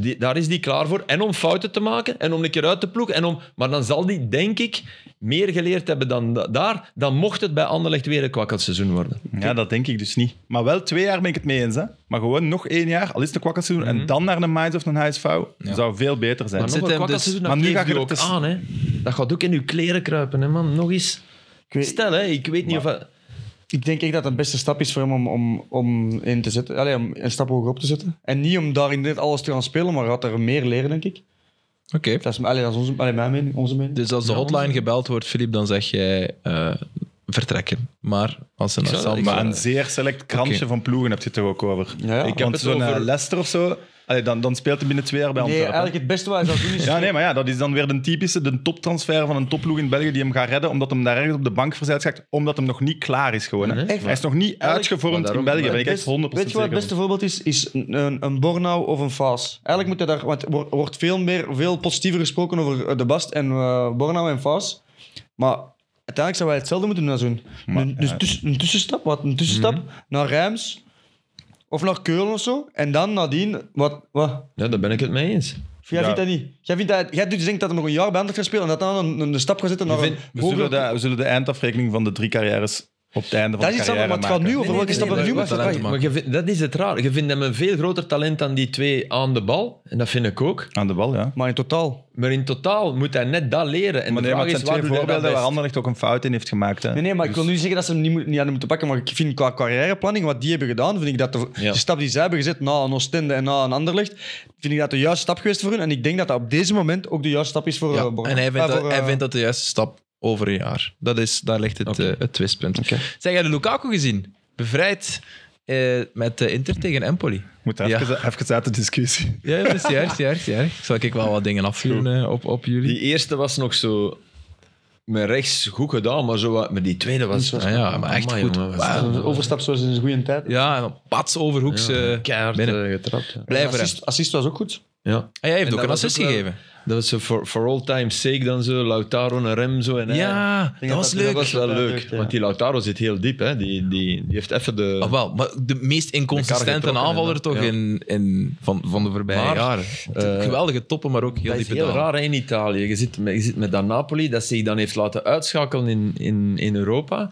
B: Die, daar is die klaar voor. En om fouten te maken en om een keer uit te ploegen. En om, maar dan zal die, denk ik, meer geleerd hebben dan da- daar. Dan mocht het bij Anderlecht weer een kwakkelseizoen worden.
C: Ja, dat denk ik dus niet. Maar wel twee jaar ben ik het mee eens. Hè? Maar gewoon nog één jaar, al is het een kwakkelseizoen,
B: Mhm.
C: en dan naar een Mainz of een HSV, zou veel beter zijn.
B: Maar nog
A: zit
B: een
A: hem
B: kwakkelseizoen,
C: dus-
B: dat
C: maar nu
B: kleeft
C: ga je
B: u
C: er
B: ook
C: tussen-
B: aan. Hè. Dat gaat ook in uw kleren kruipen, hè, man. Nog eens.
D: ik, weet,
B: Stel, hè, ik weet niet of...
D: ik denk echt dat het de beste stap is voor hem om, om, om in te zetten. Allee, om een stap hoger op te zetten. En niet om daarin net alles te gaan spelen, maar hij gaat er meer leren, denk ik.
A: Oké.
D: Dat is, allee, dat is onze, allee, mijn mening, onze mening.
A: Dus als de hotline gebeld wordt, Filip, dan zeg jij eh, vertrekken. Maar als ze naar
B: zou-
A: Sam
B: ik eh, zou-
A: gaan,
C: Maar een zeer select krantje
A: Oké.
C: van ploegen heb je het er ook over.
D: Ja, ja.
C: Ik heb Want
B: het
C: zo'n
B: over-
C: eh, Leicester of zo, allee, dan, dan speelt hij binnen twee jaar bij
D: nee,
C: Antwerpen.
D: eigenlijk het beste wat hij zou doen is...
C: Ja, nee, maar ja, dat is dan weer de typische, de toptransfer van een topploeg in België die hem gaat redden, omdat hem daar ergens op de bank verzeild gaat, omdat hem nog niet klaar is gewoon. hè.
B: Mhm.
C: Hij is nog niet uitgevormd
B: daarom-
C: in België, ben ik
D: Het
C: echt 100%
D: best- Weet je wat het
C: zeker
D: beste voorbeeld is? Is een, een, een Bornau of een Faas. Eigenlijk moet je daar... Want er wor- wordt veel, meer, veel positiever gesproken over eh, De Bast en eh Bornau en Faas. Maar uiteindelijk zouden wij hetzelfde moeten doen als hun. een, dus tuss- een tussenstap, wat? Een tussenstap
C: Mhm.
D: naar Rijms of naar Keulen of zo. En dan nadien... Wat? wat?
B: Ja, Nou, daar ben ik het mee eens.
D: Jij
C: Ja.
D: vindt dat niet. Jij, vindt dat, jij denkt dat hij nog een jaar bij Anderlecht gaat spelen en dat dan een, een stap gaat zetten naar een
C: We
D: hoger-
C: zullen, de, we zullen de eindafrekening van de drie carrières op het einde van
D: Dat
C: de
D: is iets
C: carrière
D: anders, maar het gaat nu
C: maken.
D: over welke stap dat nu
A: maar-
D: moet
A: talenten
D: maken.
A: maken.
B: Maar je vindt- dat is het raar. Je vindt hem een veel groter talent dan die twee aan de bal. En dat vind ik ook.
C: Aan de bal, ja.
D: Maar in totaal...
B: Maar in totaal moet hij net dat leren. En
C: Maar
B: de
C: nee,
B: vraag
C: maar het
B: is,
C: zijn
B: waar
C: twee
B: doet hij dat
C: voorbeelden waar
B: best?
C: Anderlecht ook een fout in heeft gemaakt. Hè.
D: Nee, nee, maar ik
A: Dus-
D: wil nu niet zeggen dat ze hem niet, moet, niet hadden moeten pakken. Maar ik vind qua carrièreplanning, wat die hebben gedaan, vind ik dat de,
B: Ja.
D: de stap die zij hebben gezet na een Oostende en na een Anderlecht, vind ik dat de juiste stap geweest voor hun. En ik denk dat dat op deze moment ook de juiste stap is voor
A: Ja,
D: eh, Borgo.
A: en hij vindt,
D: Ah,
A: dat,
D: voor,
A: hij
D: eh,
A: vindt dat de juiste stap over een jaar. Dat is, daar ligt het, eh, het twistpunt.
D: Oké.
A: Zeg, jij de Lukaku gezien? Bevrijd eh, met eh, Inter tegen Empoli.
C: Moet
A: Ja.
C: even, even uit de discussie.
A: Ja, dat is juist, juist, juist. Zal ik wel wat dingen afvuren eh, op, op jullie?
B: Die eerste was nog zo... Met rechts goed gedaan, maar, zo, wat- maar die tweede was...
A: Ah ja, maar echt
B: Amai,
A: goed.
B: jongen, was
A: Wauw.
B: dat-
D: een overstap zoals in een goede tijd.
A: Ja, en dan pats overhoeks eh
B: Keihard
A: binnen.
B: eh, getrapt. Ja.
A: Blijf er.
D: assist, assist was ook goed.
B: Ja.
A: Ah, jij
B: En
A: heeft ook
B: dat
A: een
B: was
A: assist
B: ook wel-
A: gegeven.
B: Dat was zo for, for all time's sake dan zo. Lautaro en Rem zo. En hij.
A: Ja, dat, was
D: dat-
A: leuk.
B: Dat was wel
D: Dat
B: leuk.
D: deugt, ja.
B: Want die Lautaro zit heel diep. Hè. Die, die, die heeft even de...
A: Ah, wel, maar de meest
B: De kar
A: inconsistente
B: getrokken
A: aanvaller
B: en
A: toch
B: dan- ja.
A: in, in, van, van de voorbije
B: Maar,
A: jaren.
B: eh,
A: Geweldige toppen, maar ook heel
B: dat is
A: diepe
B: heel
A: dalen.
B: raar hè, in Italië. Je zit, met, je zit met dat Napoli dat zich dan heeft laten uitschakelen in, in, in Europa.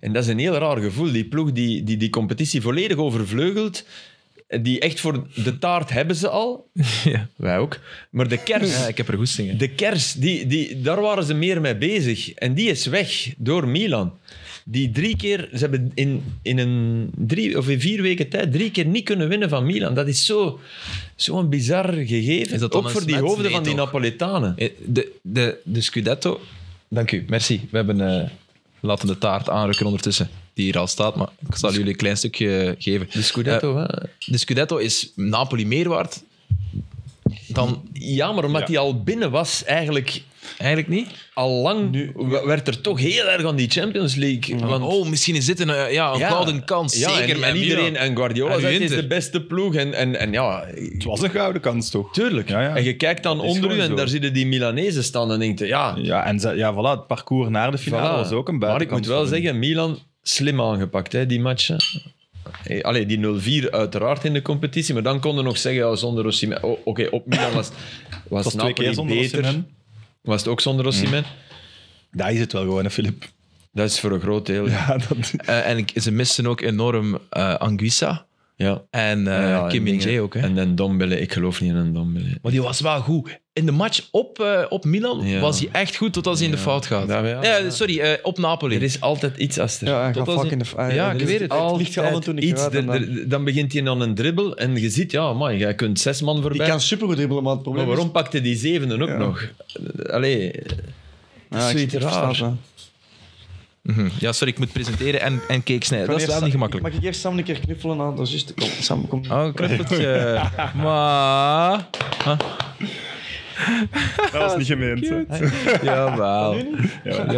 B: En dat is een heel raar gevoel. Die ploeg die die, die competitie volledig overvleugelt. Die echt voor de taart hebben ze al.
A: Ja.
B: Wij ook. Maar de kers,
A: Ja, ik heb er goestingen.
B: de kers die, die, daar waren ze meer mee bezig. En die is weg door Milan. Die drie keer, ze hebben in, in, een drie, of in vier weken tijd drie keer niet kunnen winnen van Milan. Dat is zo- zo'n bizar gegeven.
A: Is dat dan
B: Ook
A: een
B: voor die
A: smet?
B: hoofden
A: Nee,
B: van die
A: toch?
B: Napolitanen.
A: Eh, De, de, de Scudetto. Dank u, merci. We hebben eh, laten de taart aanrukken ondertussen, die hier al staat, maar ik zal jullie een klein stukje geven. Eh,
B: De Scudetto, hè?
A: De Scudetto is Napoli meer waard dan
B: Ja, maar omdat die al binnen was, eigenlijk
A: eigenlijk niet.
B: al lang werd er toch heel erg aan die Champions League. Want,
A: oh, misschien is dit een, eh, ja, een gouden kans.
B: Ja,
A: zeker
B: en,
A: met
B: en iedereen. En Guardiola
A: En
B: zegt, het is
A: Inter.
B: de beste ploeg. En, en, en ja,
C: Het was een gouden kans, toch?
B: Tuurlijk.
C: Ja, ja.
B: En je kijkt dan
C: Dat is
B: onder u
C: gewoon
B: en
C: zo.
B: daar zitten die Milanezen staan en denkt, ja,
C: Ja, en ze- ja, voilà, het parcours naar de finale
B: voilà.
C: was ook een
B: Maar ik
C: buitenkans.
B: moet wel
C: voor hun.
B: zeggen, Milan slim aangepakt, hè, die matchen. Eh, Allee, die 0-4 uiteraard in de competitie, maar dan konden nog zeggen, ja, zonder Osimhen. O- Oké, op Milan was, was,
C: Het was twee keer
B: Napoli
C: zonder Hmm.
B: beter.
C: beter.
B: Was het ook zonder Osimhen?
C: Daar is het wel gewoon, hè, Filip.
B: Dat is voor een groot deel. Ja.
C: Ja, dat...
A: Eh, en ik- ze missen ook enorm eh Anguissa en eh
B: Ja, ja, en
A: Kim Min-jae
B: dingen.
A: ook. Hè.
B: En dan Dombele, ik geloof niet in een Dombele.
A: Maar die was wel goed. In de match op, eh, op Milan
B: Ja.
A: was hij echt goed totdat hij in de fout gaat.
B: Ja, ja,
A: Eh,
B: ja.
A: sorry, eh, op Napoli.
B: Er is altijd iets, Aster.
D: Ja, hij
A: Tot
D: gaat
A: als
D: vaak
A: in-
D: in de... ah,
A: Ja,
D: er
A: ik
D: is
A: weet het.
D: altijd
B: Altijd
D: licht gehaald toen ik
B: iets.
D: eruit en
B: Er-
D: dan-
B: er- dan begint hij aan een dribbel en je ziet, ja, man, jij kunt zes man
D: Die
B: voorbij.
D: kan supergoed dribbelen, maar het
B: Maar
D: probleem
B: waarom pakte die zevende ook nog? Allee,
D: is...
B: dat is zoiets raar.
A: Mhm. Ja, sorry, ik moet presenteren en, en cake snijden. Dat is wel niet gemakkelijk.
D: Mag ik eerst samen een keer knuffelen aan de
B: Oh,
D: zuster? Kom, Sam, kom.
A: Oh, knuffeltje. maar... Huh?
C: Dat was niet gemeend. hè.
A: Jawel. Jawel,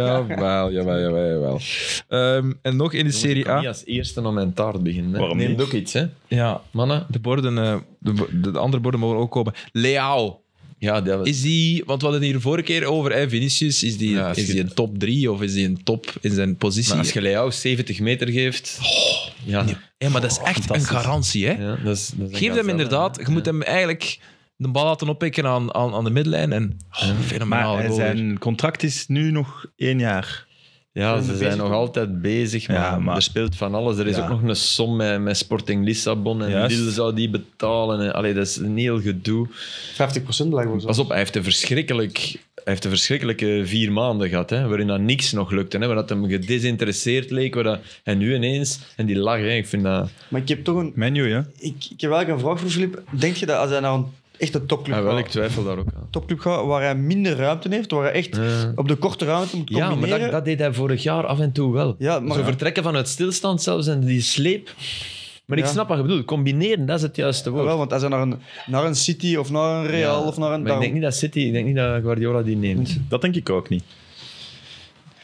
A: jawel, jawel. jawel. Ehm, en nog in de Serie
B: kan niet
A: A.
B: als eerste aan mijn taart beginnen. hè.
C: Waarom
B: Neemt
C: niet?
B: ook iets, hè.
A: Ja,
B: Mannen.
A: de borden, eh, de, bo- de, de andere borden mogen ook komen. Leao,
B: Ja, dat
A: is die, want we hadden het hier vorige keer over, hè, Vinicius, is die,
B: Ja,
A: is die een top 3 of is die een top in zijn positie?
B: Maar als je Leao 70 meter geeft... Oh. ja,
A: Hé, maar dat is echt een garantie, hè?
B: ja, dat is, dat is een
A: Geef hem
B: gazelle,
A: inderdaad,
B: hè.
A: je moet
B: Ja.
A: hem eigenlijk de bal laten oppikken aan, aan, aan de middenlijn. En, oh, fenomenaal.
C: Maar hij-
A: goal weer.
C: zijn contract is nu nog één jaar.
B: Ja, ze zijn nog altijd bezig, maar,
C: Ja, maar-
B: er speelt van alles. Er is
C: Ja.
B: ook nog een som met, met Sporting Lissabon en
C: Juist.
B: Lille zou die betalen. En, allee, dat is een heel gedoe.
D: 50% blijkbaar zo.
B: Pas op, hij heeft een, verschrikkelijk, hij heeft een verschrikkelijke vier maanden gehad, hè, waarin dat niks nog lukte. Hè, waar dat hem gedesinteresseerd leek. Waar dat, en nu ineens, en die lach, hè, ik vind dat...
D: Maar ik heb toch een...
C: Menu, hè?
D: Ik, ik heb eigenlijk een vraag voor Filip. Denk je dat als hij naar een echte topclub
B: Ah, wel, ik
D: gaat,
B: twijfel daar ook aan.
D: topclub gaat, waar hij minder ruimte heeft, waar hij echt
B: Ja.
D: op de korte ruimte moet
B: Ja,
D: combineren...
B: maar dat, dat deed hij vorig jaar af en toe wel.
D: Ja, maar-
B: Zo vertrekken vanuit stilstand zelfs en die sleep. Maar ik
D: Ja.
B: snap wat je bedoelt. Combineren, dat is het juiste woord.
D: Wel, want als hij naar een, naar een City of naar een Real
B: Ja,
D: of naar een...
B: Maar ik denk niet dat City, ik denk niet dat Guardiola die neemt.
C: Dat denk ik ook niet.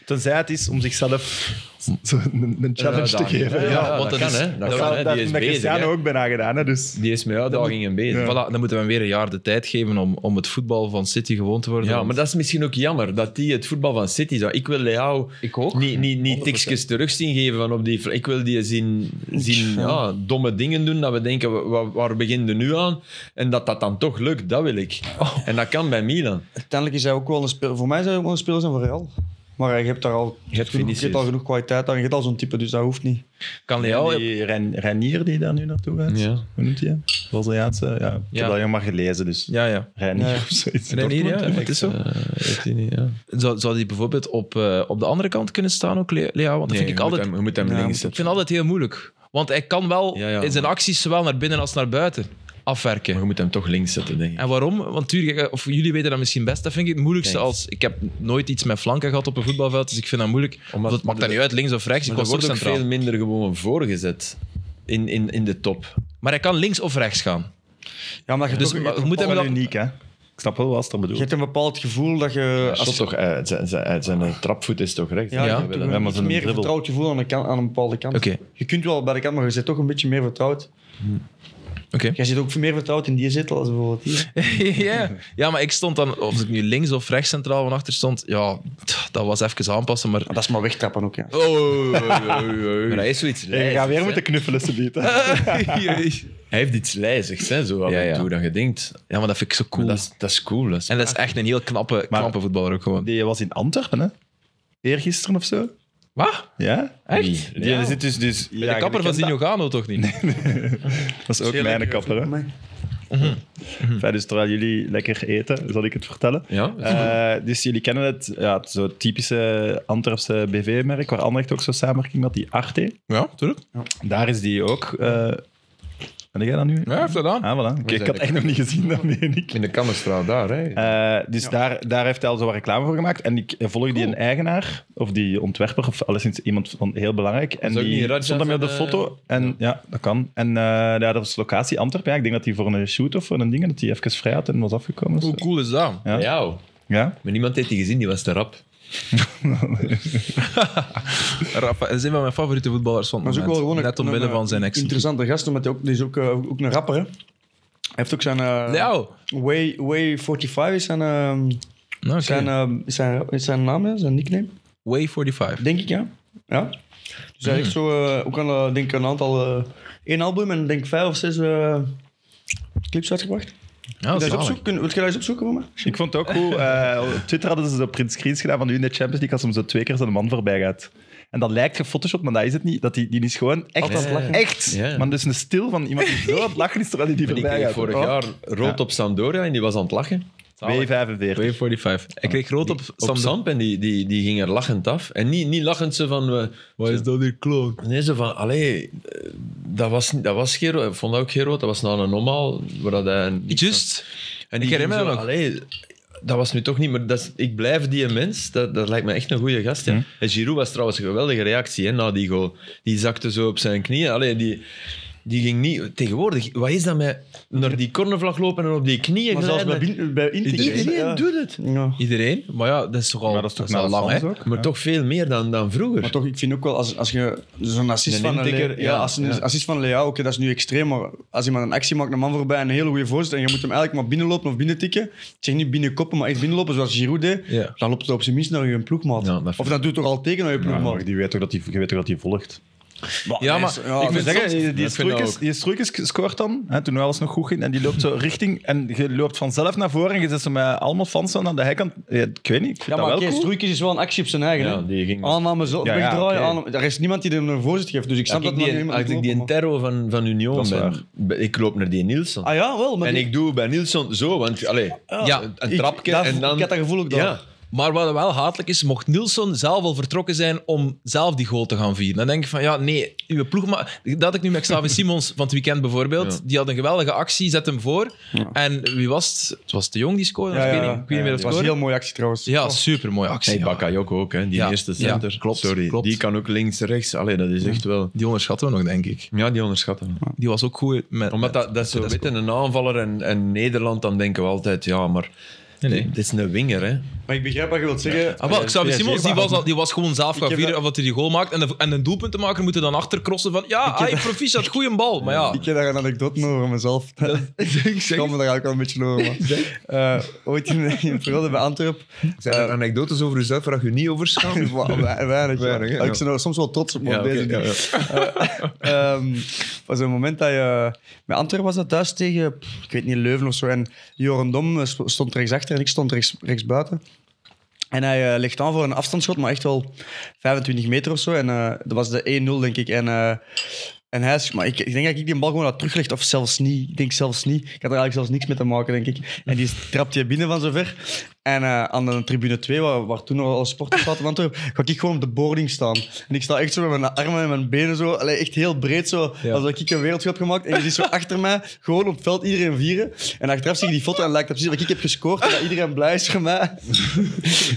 C: Tenzij het is om zichzelf zo een, een challenge te geven.
B: Ja,
C: Ja.
B: want dat, is,
A: hè.
B: dat
C: Dat,
B: kan,
C: zou-
B: hè.
C: dat,
B: Die is
C: dat
B: bezig.
C: Cristiano
B: hè.
C: ook bijna gedaan, hè? Dus.
B: Die is met uitdagingen bezig. Voilà.
A: Voilà, dan moeten we hem weer een jaar de tijd geven om, om het voetbal van City gewoon te worden.
B: Ja,
A: Want-
B: maar dat is misschien ook jammer dat die het voetbal van City zou. Ik wil Leao
A: Ik ook.
B: niet, niet, niet tikjes terug zien geven van op die. vla- Ik wil die zien, zien ja, domme dingen doen dat we denken wa- wa- waar beginnen we nu aan en dat dat dan toch lukt, dat wil ik. En dat kan bij Milan.
D: Uiteindelijk is hij ook wel een speler... Voor mij zou hij ook wel een speler zijn voor Real. Maar je hebt daar al,
B: hebt
D: genoeg, je hebt
B: Vinicius.
D: al genoeg kwaliteit aan. Je hebt al zo'n type, dus dat hoeft niet.
A: kan Leao...
C: Die Ren- Renier die daar nu naartoe gaat.
B: Ja.
C: Hoe noemt hij hem? Braziliaanse. Ja. Ik heb
A: Ja.
C: dat helemaal gelezen, dus.
A: Ja, ja.
C: Reinier
D: Ja.
C: of zoiets.
A: Renier, ja,
C: Dortmund, hè?
A: het is zo.
B: Eh, weet je niet, ja.
A: Zou, zou die bijvoorbeeld op, eh, op de andere kant kunnen staan ook, Le- Leao? Want dat
B: Nee,
A: vind
B: je
A: ik altijd...
B: Moet hem, je moet hem
D: Ja,
B: links
A: Ik
B: zetten.
A: vind het altijd heel moeilijk. Want hij kan wel
B: Ja, ja,
A: in zijn
B: maar-
A: acties zowel naar binnen als naar buiten afwerken.
B: Maar je moet hem toch links zetten, denk ik.
A: En waarom? Want tuurlijk, eh, of jullie weten dat misschien best. Dat vind ik het moeilijkste
B: Thanks.
A: als... Ik heb nooit iets met flanken gehad op een voetbalveld, dus ik vind dat moeilijk.
B: Omdat-
A: Omdat, het maakt dat niet uit, links of rechts. Ik
B: Maar
A: was
B: er
A: ook
B: wordt ook
A: centraal.
B: veel minder gewoon voorgezet in, in, in de top.
A: Maar hij kan links of rechts gaan.
D: Ja, maar je,
A: Dus
D: toch, je,
A: maar je
D: hebt
A: moet
C: Dat
A: hem
C: is wel
A: dan...
C: uniek, hè? Ik snap wel wat ze er
D: je
C: bedoelt.
D: hebt een bepaald gevoel dat je...
B: Als toch, eh, zijn, zijn, zijn trapvoet is toch recht?
D: Ja,
A: Ja,
D: je hebt toch
C: ja,
D: een
C: maar
D: iets
C: zo'n
D: meer
C: dribbel.
D: vertrouwd gevoel aan, de kan- aan een bepaalde kant.
A: Oké.
D: Je kunt wel bij de kant, maar je zit toch een beetje meer vertrouwd.
A: Oké.
D: Jij zit ook meer vertrouwd in die zetel als bijvoorbeeld hier.
A: ja. ja, maar ik stond dan... Of ik nu links of rechts centraal van achter stond, ja, tch, dat was even aanpassen, maar...
D: Maar dat is maar wegtrappen ook, ja.
A: Oh, oh, oh,
B: Maar
A: oh,
B: hij is zoiets
C: Je
B: lijzigs.
C: gaat weer
B: hè.
C: moeten knuffelen, ze bieden.
A: oh.
B: Hij heeft iets lijzigs, hè, zo af
A: Ja,
B: en
A: ja.
B: toe, dat je denkt.
A: Ja, maar dat vind ik zo cool.
B: Maar Dat, is, dat is cool. Dat is-
A: En dat is echt een heel knappe,
C: Maar-
A: knappe voetballer ook gewoon.
C: Die was in Antwerpen, hè? Eergisteren of zo?
A: Wat?
C: Ja?
A: Echt?
C: Die zit dus... dus
A: de kapper van Dino Gano toch niet?
C: Dat is ook mijn kapper,
A: Mm.
C: hè? Enfin, dus terwijl jullie lekker eten, zal ik het vertellen.
B: Ja,
C: Eh, dus jullie kennen het, ja, het zo typische Antwerpse BV-merk, waar Anderlecht ook zo samenwerking had, die Arte.
A: Ja, tuurlijk.
C: Daar is die ook. eh ben jij dat nu?
A: Ja, hij heeft dat aan.
C: Ah, voilà. Oké, ik had echt nog niet gezien, dat meen ik.
B: in de Kammerstraat daar. Hè.
C: Eh, dus daar, daar heeft hij al zo wat reclame voor gemaakt. En ik eh, volg die een eigenaar, of die ontwerper, of alleszins iemand van heel belangrijk. En
B: is ook niet
C: die
B: Raja
C: stond daarmee op de
B: van, eh,
C: foto. En ja. dat kan. En eh, ja, dat was locatie Antwerpen. Ja, ik denk dat hij voor een shoot of voor een ding, dat hij even vrij had en was afgekomen. of zo.
A: Hoe cool is dat?
B: Ja.
C: Ja. Ja?
B: Maar niemand heeft die gezien, die was te rap.
A: Rafa, dat is een van mijn favoriete voetballers van
D: Maar
A: het
D: is ook wel
A: moment.
D: gewoon een-
A: Net
D: een,
A: omwille
D: eh,
A: van zijn ex.
D: Interessante gast, omdat hij ook, die is ook, eh, ook een rapper, hè. Hij heeft ook zijn... eh,
A: Nou,
D: Way, Way 45 is zijn, ehm,
A: nou, oké.
D: zijn, ehm, is zijn, is zijn naam, hè, zijn nickname.
A: Way 45.
D: Denk ik, ja. ja. Dus
A: Hmm.
D: hij heeft zo eh, ook aan, eh, denk ik, een aantal... eh, één album en denk vijf of zes eh, clips uitgebracht.
A: Ja,
D: Dat is
A: Oh, zalig.
D: opzoeken. Wil je dat eens opzoeken voor mij?
C: Ik vond het ook goed. eh, op Twitter hadden ze zo print screens gedaan van u in de Champions League als hem zo twee keer zijn man voorbij gaat. En dat lijkt gefotoshopt, maar dat is het niet. Dat die, die is gewoon echt...
D: Altijd aan het lachen.
C: Echt!
B: Ja.
C: Maar dus een stil van iemand die zo aan het lachen is terwijl hij die
B: Die
C: voorbij
B: kreeg
C: gaat.
B: vorig
C: Oh.
B: jaar rood op Sampdoria en die was aan het lachen.
C: B45.
A: Way 45. Ik kreeg rood op
B: Op
A: Sam.
B: Samp en die, die, die ging er lachend af. En niet, niet lachend ze van... eh, wat is dat hier kloon? Nee, ze van... Allee, eh, dat was, niet- dat was geen rood. Ik vond dat ook geen rood. Dat was nou een normaal. Waar dat hij niet-
A: Just.
B: En
A: Ik herinner
B: ging
A: me
B: zo,
A: dat
B: "Allee, dat was nu toch niet, maar dat is- ik blijf die mens. Dat, dat lijkt me echt een goede gast.
A: Mhm.
B: ja. En Giroud was trouwens een geweldige reactie hè, na die goal. Die zakte zo op zijn knieën. Allee, die, Die ging niet... Tegenwoordig, wat is dat met naar die cornervlag lopen en op die knieën
D: Maar zelfs bij,
B: glijden?
D: bin- bij Inter-
B: Iedereen
D: ja.
B: doet het.
D: Ja.
A: Iedereen? Maar ja, dat is toch al,
C: Maar dat is toch
A: al
C: naar de
A: lang, hè?
C: fans ook?
B: Maar toch veel meer dan, dan vroeger.
D: Maar toch, ik vind ook wel, als, als je zo'n assist
B: Een
D: van een
B: intikker,
D: Lea-
B: ja,
D: ja, als een
B: ja.
D: assist van een Lea, oké, dat is nu extreem, maar als iemand een actie maakt, een man voorbij, en een hele goede voorzet, en je moet hem eigenlijk maar binnenlopen of binnentikken, ik zeg niet binnenkoppen, maar echt binnenlopen, zoals Giroud deed,
A: Ja.
D: dan loopt het op zijn minst naar je ploegmaat.
B: Ja, dat
D: of dat doet toch al tegen naar je ploegmaat.
C: Maar die weet toch dat die, je weet toch dat die volgt.
A: Ja, maar
C: ik
D: ja,
C: moet
D: vind
C: zeggen,
D: soms-
C: die- die
B: Oh, dat vind ik
C: Struikens-
B: ook.
C: die Struikens scoort dan, hè, toen alles nog goed ging, en die loopt zo richting, en je loopt vanzelf naar voren en je zet ze met allemaal fans aan de hijkant. Ja, ik weet niet, ik vind
D: Ja,
C: dat
D: maar
C: wel
D: oké,
C: cool.
D: Struikens is wel een actie op zijn eigen.
B: Ja,
D: hè.
B: die ging-
D: Aanname zo,
C: Ja, ja,
D: wegdraaien,
C: oké.
D: aanname- er is niemand die hem een voorzet geeft, dus ik snap
B: Als ik
D: dat maar
B: die,
D: niemand
B: als ik
D: moet
B: die
D: lopen, maar-
B: terro van, van Union
C: Dat is
B: ben, ben- ik loop naar die Nielsen.
D: Ah ja, wel, maar
B: en
D: die-
B: ik doe bij Nielsen zo, want allee, ja, een
D: ik-
B: trapje
D: dat-
B: en dan...
D: Ik had dat gevoel ook dan.
B: Ja.
A: Maar wat wel hatelijk is, mocht Nilsson zelf al vertrokken zijn om zelf die goal te gaan vieren. Dan denk ik van, ja, nee, uw ploeg... Maar, dat had ik nu met Xavi Simons van het weekend bijvoorbeeld. Die had een geweldige actie, zet hem voor. En wie was het? Het was De Jong die scoorde?
D: Ja,
A: of ik weet
D: ja,
A: niet, ik weet niet
D: ja,
A: meer
D: dat
A: wat
D: was een
A: scoorde.
D: heel mooie actie trouwens.
A: Ja,
D: Oh.
A: supermooie actie.
B: Hey,
A: ja.
B: Bakayoko ook, hè, die
A: Ja,
B: eerste
A: ja,
B: center.
A: klopt,
B: Sorry,
A: klopt.
B: die kan ook links, rechts. Allee, dat is echt wel...
A: Die onderschatten we nog, denk ik.
B: Ja, die onderschatten.
A: Die was ook goed met...
B: Omdat dat, dat is zo, weet je, een aanvaller en, en Nederland, dan denken we altijd, ja, maar
A: Nee, nee.
B: dit is een winger, hè.
D: Maar ik begrijp wat je wilt zeggen.
A: Ah, wel, Xavi
B: Ja,
A: Simons die
B: zeker.
A: was, al, die was gewoon zelf gaan
D: heb
A: vieren
D: dat-
A: of dat hij die goal maakt. En de, en de doelpuntenmaker moet er dan achtercrossen van... Ja, hij proficiat, goeie bal. Maar ja,
D: Ik heb daar een anekdote over mezelf. ik kan me daar eigenlijk wel een beetje over. maar, eh, ooit in, in periode bij Antwerp. eh,
B: Zijn er anekdotes over jezelf waar je niet over schaamt?
D: wa- wa- Weinig. ja.
B: Weinig, hè,
D: Ik
B: ja.
D: ben er soms wel trots op, maar
B: Ja,
D: op
B: oké,
D: deze
B: ja,
D: niet. Ehm, was een moment dat je... Met Antwerpen was dat thuis tegen, pff, ik weet niet, Leuven of zo. En Joren Dom eh, sp- stond rechtsachter en ik stond rechts, buiten. En hij eh, legt aan voor een afstandsschot, maar echt wel 25 meter of zo. En eh, dat was de 1-0, denk ik. En, eh, en hij is, maar ik, ik denk dat ik die bal gewoon had teruggelegd, of zelfs niet. Ik denk zelfs niet. Ik had er eigenlijk zelfs niks mee te maken, denk ik. En die trapt je binnen van zover. En eh, aan de tribune 2, waar, waar toen al sporters zaten in Antwerpen, ga ik gewoon op de boarding staan. En ik sta echt zo met mijn armen en mijn benen zo, allee, echt heel breed zo, alsof ik een wereldje heb gemaakt. En je ziet zo achter mij, gewoon op het veld, iedereen vieren. En achteraf zie ik die foto en lijkt dat precies wat ik heb gescoord, en dat iedereen blij is voor mij. en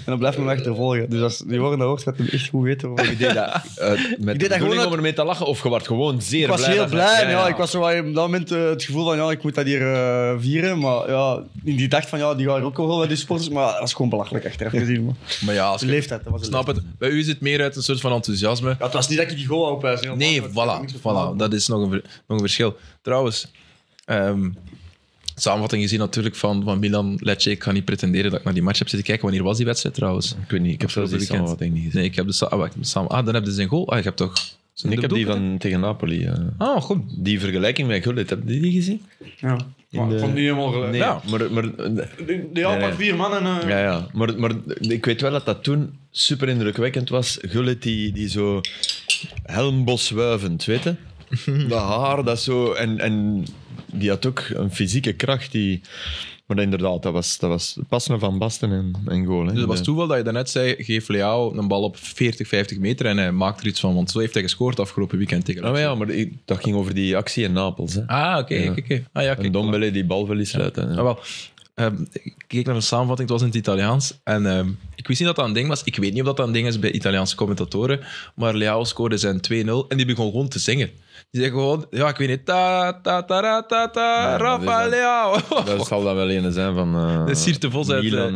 D: dan blijft me achtervolgen. Dus als die woorden dat hoort, gaat hij echt goed weten. waarom.
B: Je deed dat, eh, met
D: Ik deed
B: de
D: dat
B: bedoeling
D: gewoon
B: om ermee te lachen, of je werd gewoon zeer
D: Ik was
B: blij.
D: heel
B: dat je-
D: blij. en Ja, Ik was zo wat op dat moment eh, het gevoel van ja, ik moet dat hier eh, vieren. Maar ja, in die dacht van ja, die gaan er ook wel bij die sporters. Maar dat was gewoon belachelijk achteraf gezien. Man.
A: maar ja als
D: De
A: je-
D: leeftijd, dat was de
A: snap het. Bij u is het meer uit een soort van enthousiasme.
D: leeftijd. Ja, het was niet dat ik die goal wou opwijzen.
A: Nee,
D: helemaal, maar
A: voilà,
D: het-
A: voilà. Dat is nog een, ver- nog een verschil. Trouwens, ehm, samenvatting gezien natuurlijk van, van Milan Lecce. Ik ga niet pretenderen dat ik naar die match heb zitten kijken. Wanneer was die wedstrijd trouwens?
B: Ik weet niet, ik heb zelfs
A: Afgelopen
B: die
A: weekend.
B: samenvatting niet gezien.
A: Nee, ik heb de sa- ah, wacht, samen. Ah, dan heb je zijn goal. Ah, je hebt toch. zijn
B: ik heb die
A: doelpunt?
B: van tegen Napoli. ja.
A: Ah, goed.
B: Die vergelijking met Gullit, heb je die gezien?
D: Ja. Maar ik vond het niet helemaal gelijk.
B: Nee,
A: Ja.
B: maar, maar,
D: Die- Die had
B: Nee,
D: maar
B: nee.
D: vier mannen. eh,
B: ja, ja. Maar, maar ik weet wel dat dat toen super indrukwekkend was. Gullit die, die zo helmboswuivend, weet je? Dat haar, dat zo. En, en die had ook een fysieke kracht die... Maar inderdaad, dat was, dat was passen van Basten en, en goal. Hè.
A: Dus het was
B: De-
A: toeval dat je daarnet zei: geef Leao een bal op 40, 50 meter en hij maakt er iets van. Want zo heeft hij gescoord afgelopen weekend tegen
B: Ah, maar
A: Lecce.
B: ja, maar ik- dat ging over die actie in Napels. Hè.
A: Ah, oké,
B: Ja.
A: oké, oké. Ah, ja,
B: en
A: kijk, voilà.
B: Dombele die bal verliest uit. hè.
A: Ah, wel. Ehm, ik keek naar een samenvatting, het was in het Italiaans. En ehm, ik wist niet dat dat een ding was. Ik weet niet of dat, dat een ding is bij Italiaanse commentatoren. Maar Leao scoorde zijn 2-0 en die begon gewoon te zingen. Die zei gewoon, ja, ik weet niet. Ta, ta, ta, ra, ta, ta,
B: Ja, maar dat is
A: Rafa
B: dan-
A: Leao.
B: Dat zal dat wel een zijn van... eh,
A: Dat is Sierte Vos uit,
B: Milan,
A: eh,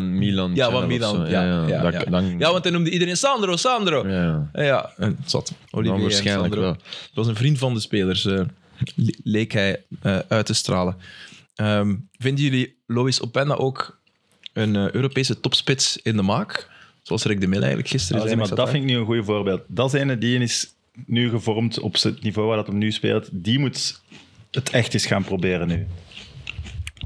A: ja,
B: Milan. Channel
A: van
B: of
A: Milan.
B: zo.
A: Ja, ja, ja,
B: dat-
A: ja.
B: dan-
A: Ja, want hij noemde iedereen Sandro, Sandro.
B: ja, ja.
A: Ja, Eh, ja. en zat. Olivier
B: Nou,
A: en
B: waarschijnlijk
A: Sandro.
B: wel.
A: Het was een vriend van de spelers, eh, le- leek hij eh, uit te stralen. Ehm, vinden jullie Lois Openda ook een eh, Europese topspits in de maak? Zoals Rick de Mille eigenlijk gisteren
C: Als
A: zei.
C: iemand,
A: Ik
C: dat
A: zat
C: vind ik nu een goed voorbeeld. Dat is ene die is nu gevormd op het niveau waar dat hem nu speelt. Die moet het echt eens gaan proberen nu.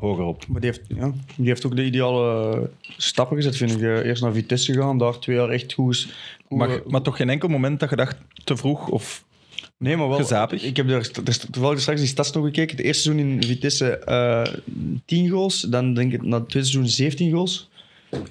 C: Hoger op.
D: Maar die heeft, ja, die heeft ook de ideale stappen gezet, vind ik. Eh, Eerst naar Vitesse gegaan, daar twee jaar echt goed. goed
C: Maar, maar toch geen enkel moment dat je dacht te vroeg of
D: Nee, maar wel.
C: Gezapig.
D: Ik heb er, er is toevallig straks die stats nog gekeken. Het eerste seizoen in Vitesse eh 10 goals. Dan denk ik na het tweede seizoen 17 goals.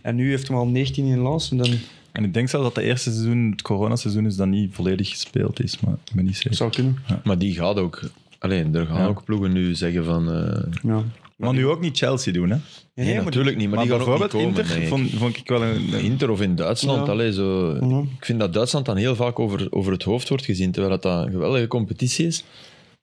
D: En nu heeft hij al 19 in Lans. En dan
C: En ik denk zelfs dat de eerste seizoen, het coronaseizoen, is dat niet volledig gespeeld is. Maar ik ben niet zeker.
D: zou kunnen.
B: Maar die gaat ook... Alleen, er gaan ook ploegen nu zeggen van... eh,
D: Ja. Nee,
C: Maar nu ook niet Chelsea doen, hè?
D: nee,
B: nee,
D: maar-
B: natuurlijk niet, maar,
C: Maar
B: die gaan ook niet
C: bijvoorbeeld
B: komen,
C: Inter
B: denk ik.
C: vond, vond ik wel een... een-
B: Inter of in Duitsland,
D: Ja.
B: allee, zo.
D: Ja.
B: Ik vind dat Duitsland dan heel vaak over, over het hoofd wordt gezien, terwijl dat, dat een geweldige competitie is.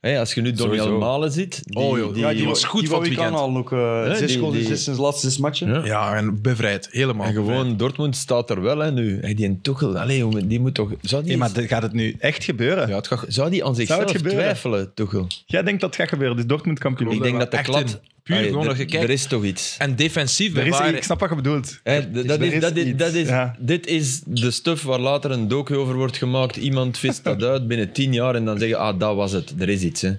B: Hé, als je nu Donny
C: Sowieso.
B: Almalen ziet, die,
A: Oh, joh. Ja, die was goed
D: die
A: van
D: wou
A: het
D: ik
A: weekend.
D: aanhalen ook. eh, zes
B: die-
D: goals in
B: die-
D: zes- in de laatste zes matchen.
B: Ja.
A: Ja, en bevrijd. Helemaal.
B: En gewoon,
A: bevrijd.
B: Dortmund staat er wel hè, nu. Hey, die Tuchel, allee, jongen, die moet toch... Zou die,
C: Hey, maar de- gaat het nu echt gebeuren?
A: Ja, het gaat...
B: zou die aan zichzelf
C: gebeuren?
B: twijfelen, Tuchel?
C: Jij denkt dat het gaat gebeuren, dus Dortmund kampioen.
B: Ik denk dat de
A: echt
B: klad...
A: in. Puur
B: Allee,
A: gewoon
B: er-
A: dat je kijkt.
B: Er is toch iets.
A: En defensief,
C: Er
A: we
C: is,
A: waren-
C: ik snap wat je bedoelt.
B: Hè, d- dat
C: er
B: is,
C: is
B: dat is,
C: iets,
B: dat is,
C: ja.
B: Dit is de stuff waar later een docu over wordt gemaakt. Iemand vist dat uit binnen tien jaar en dan zeggen, ah, dat was het. Er is iets. Hè.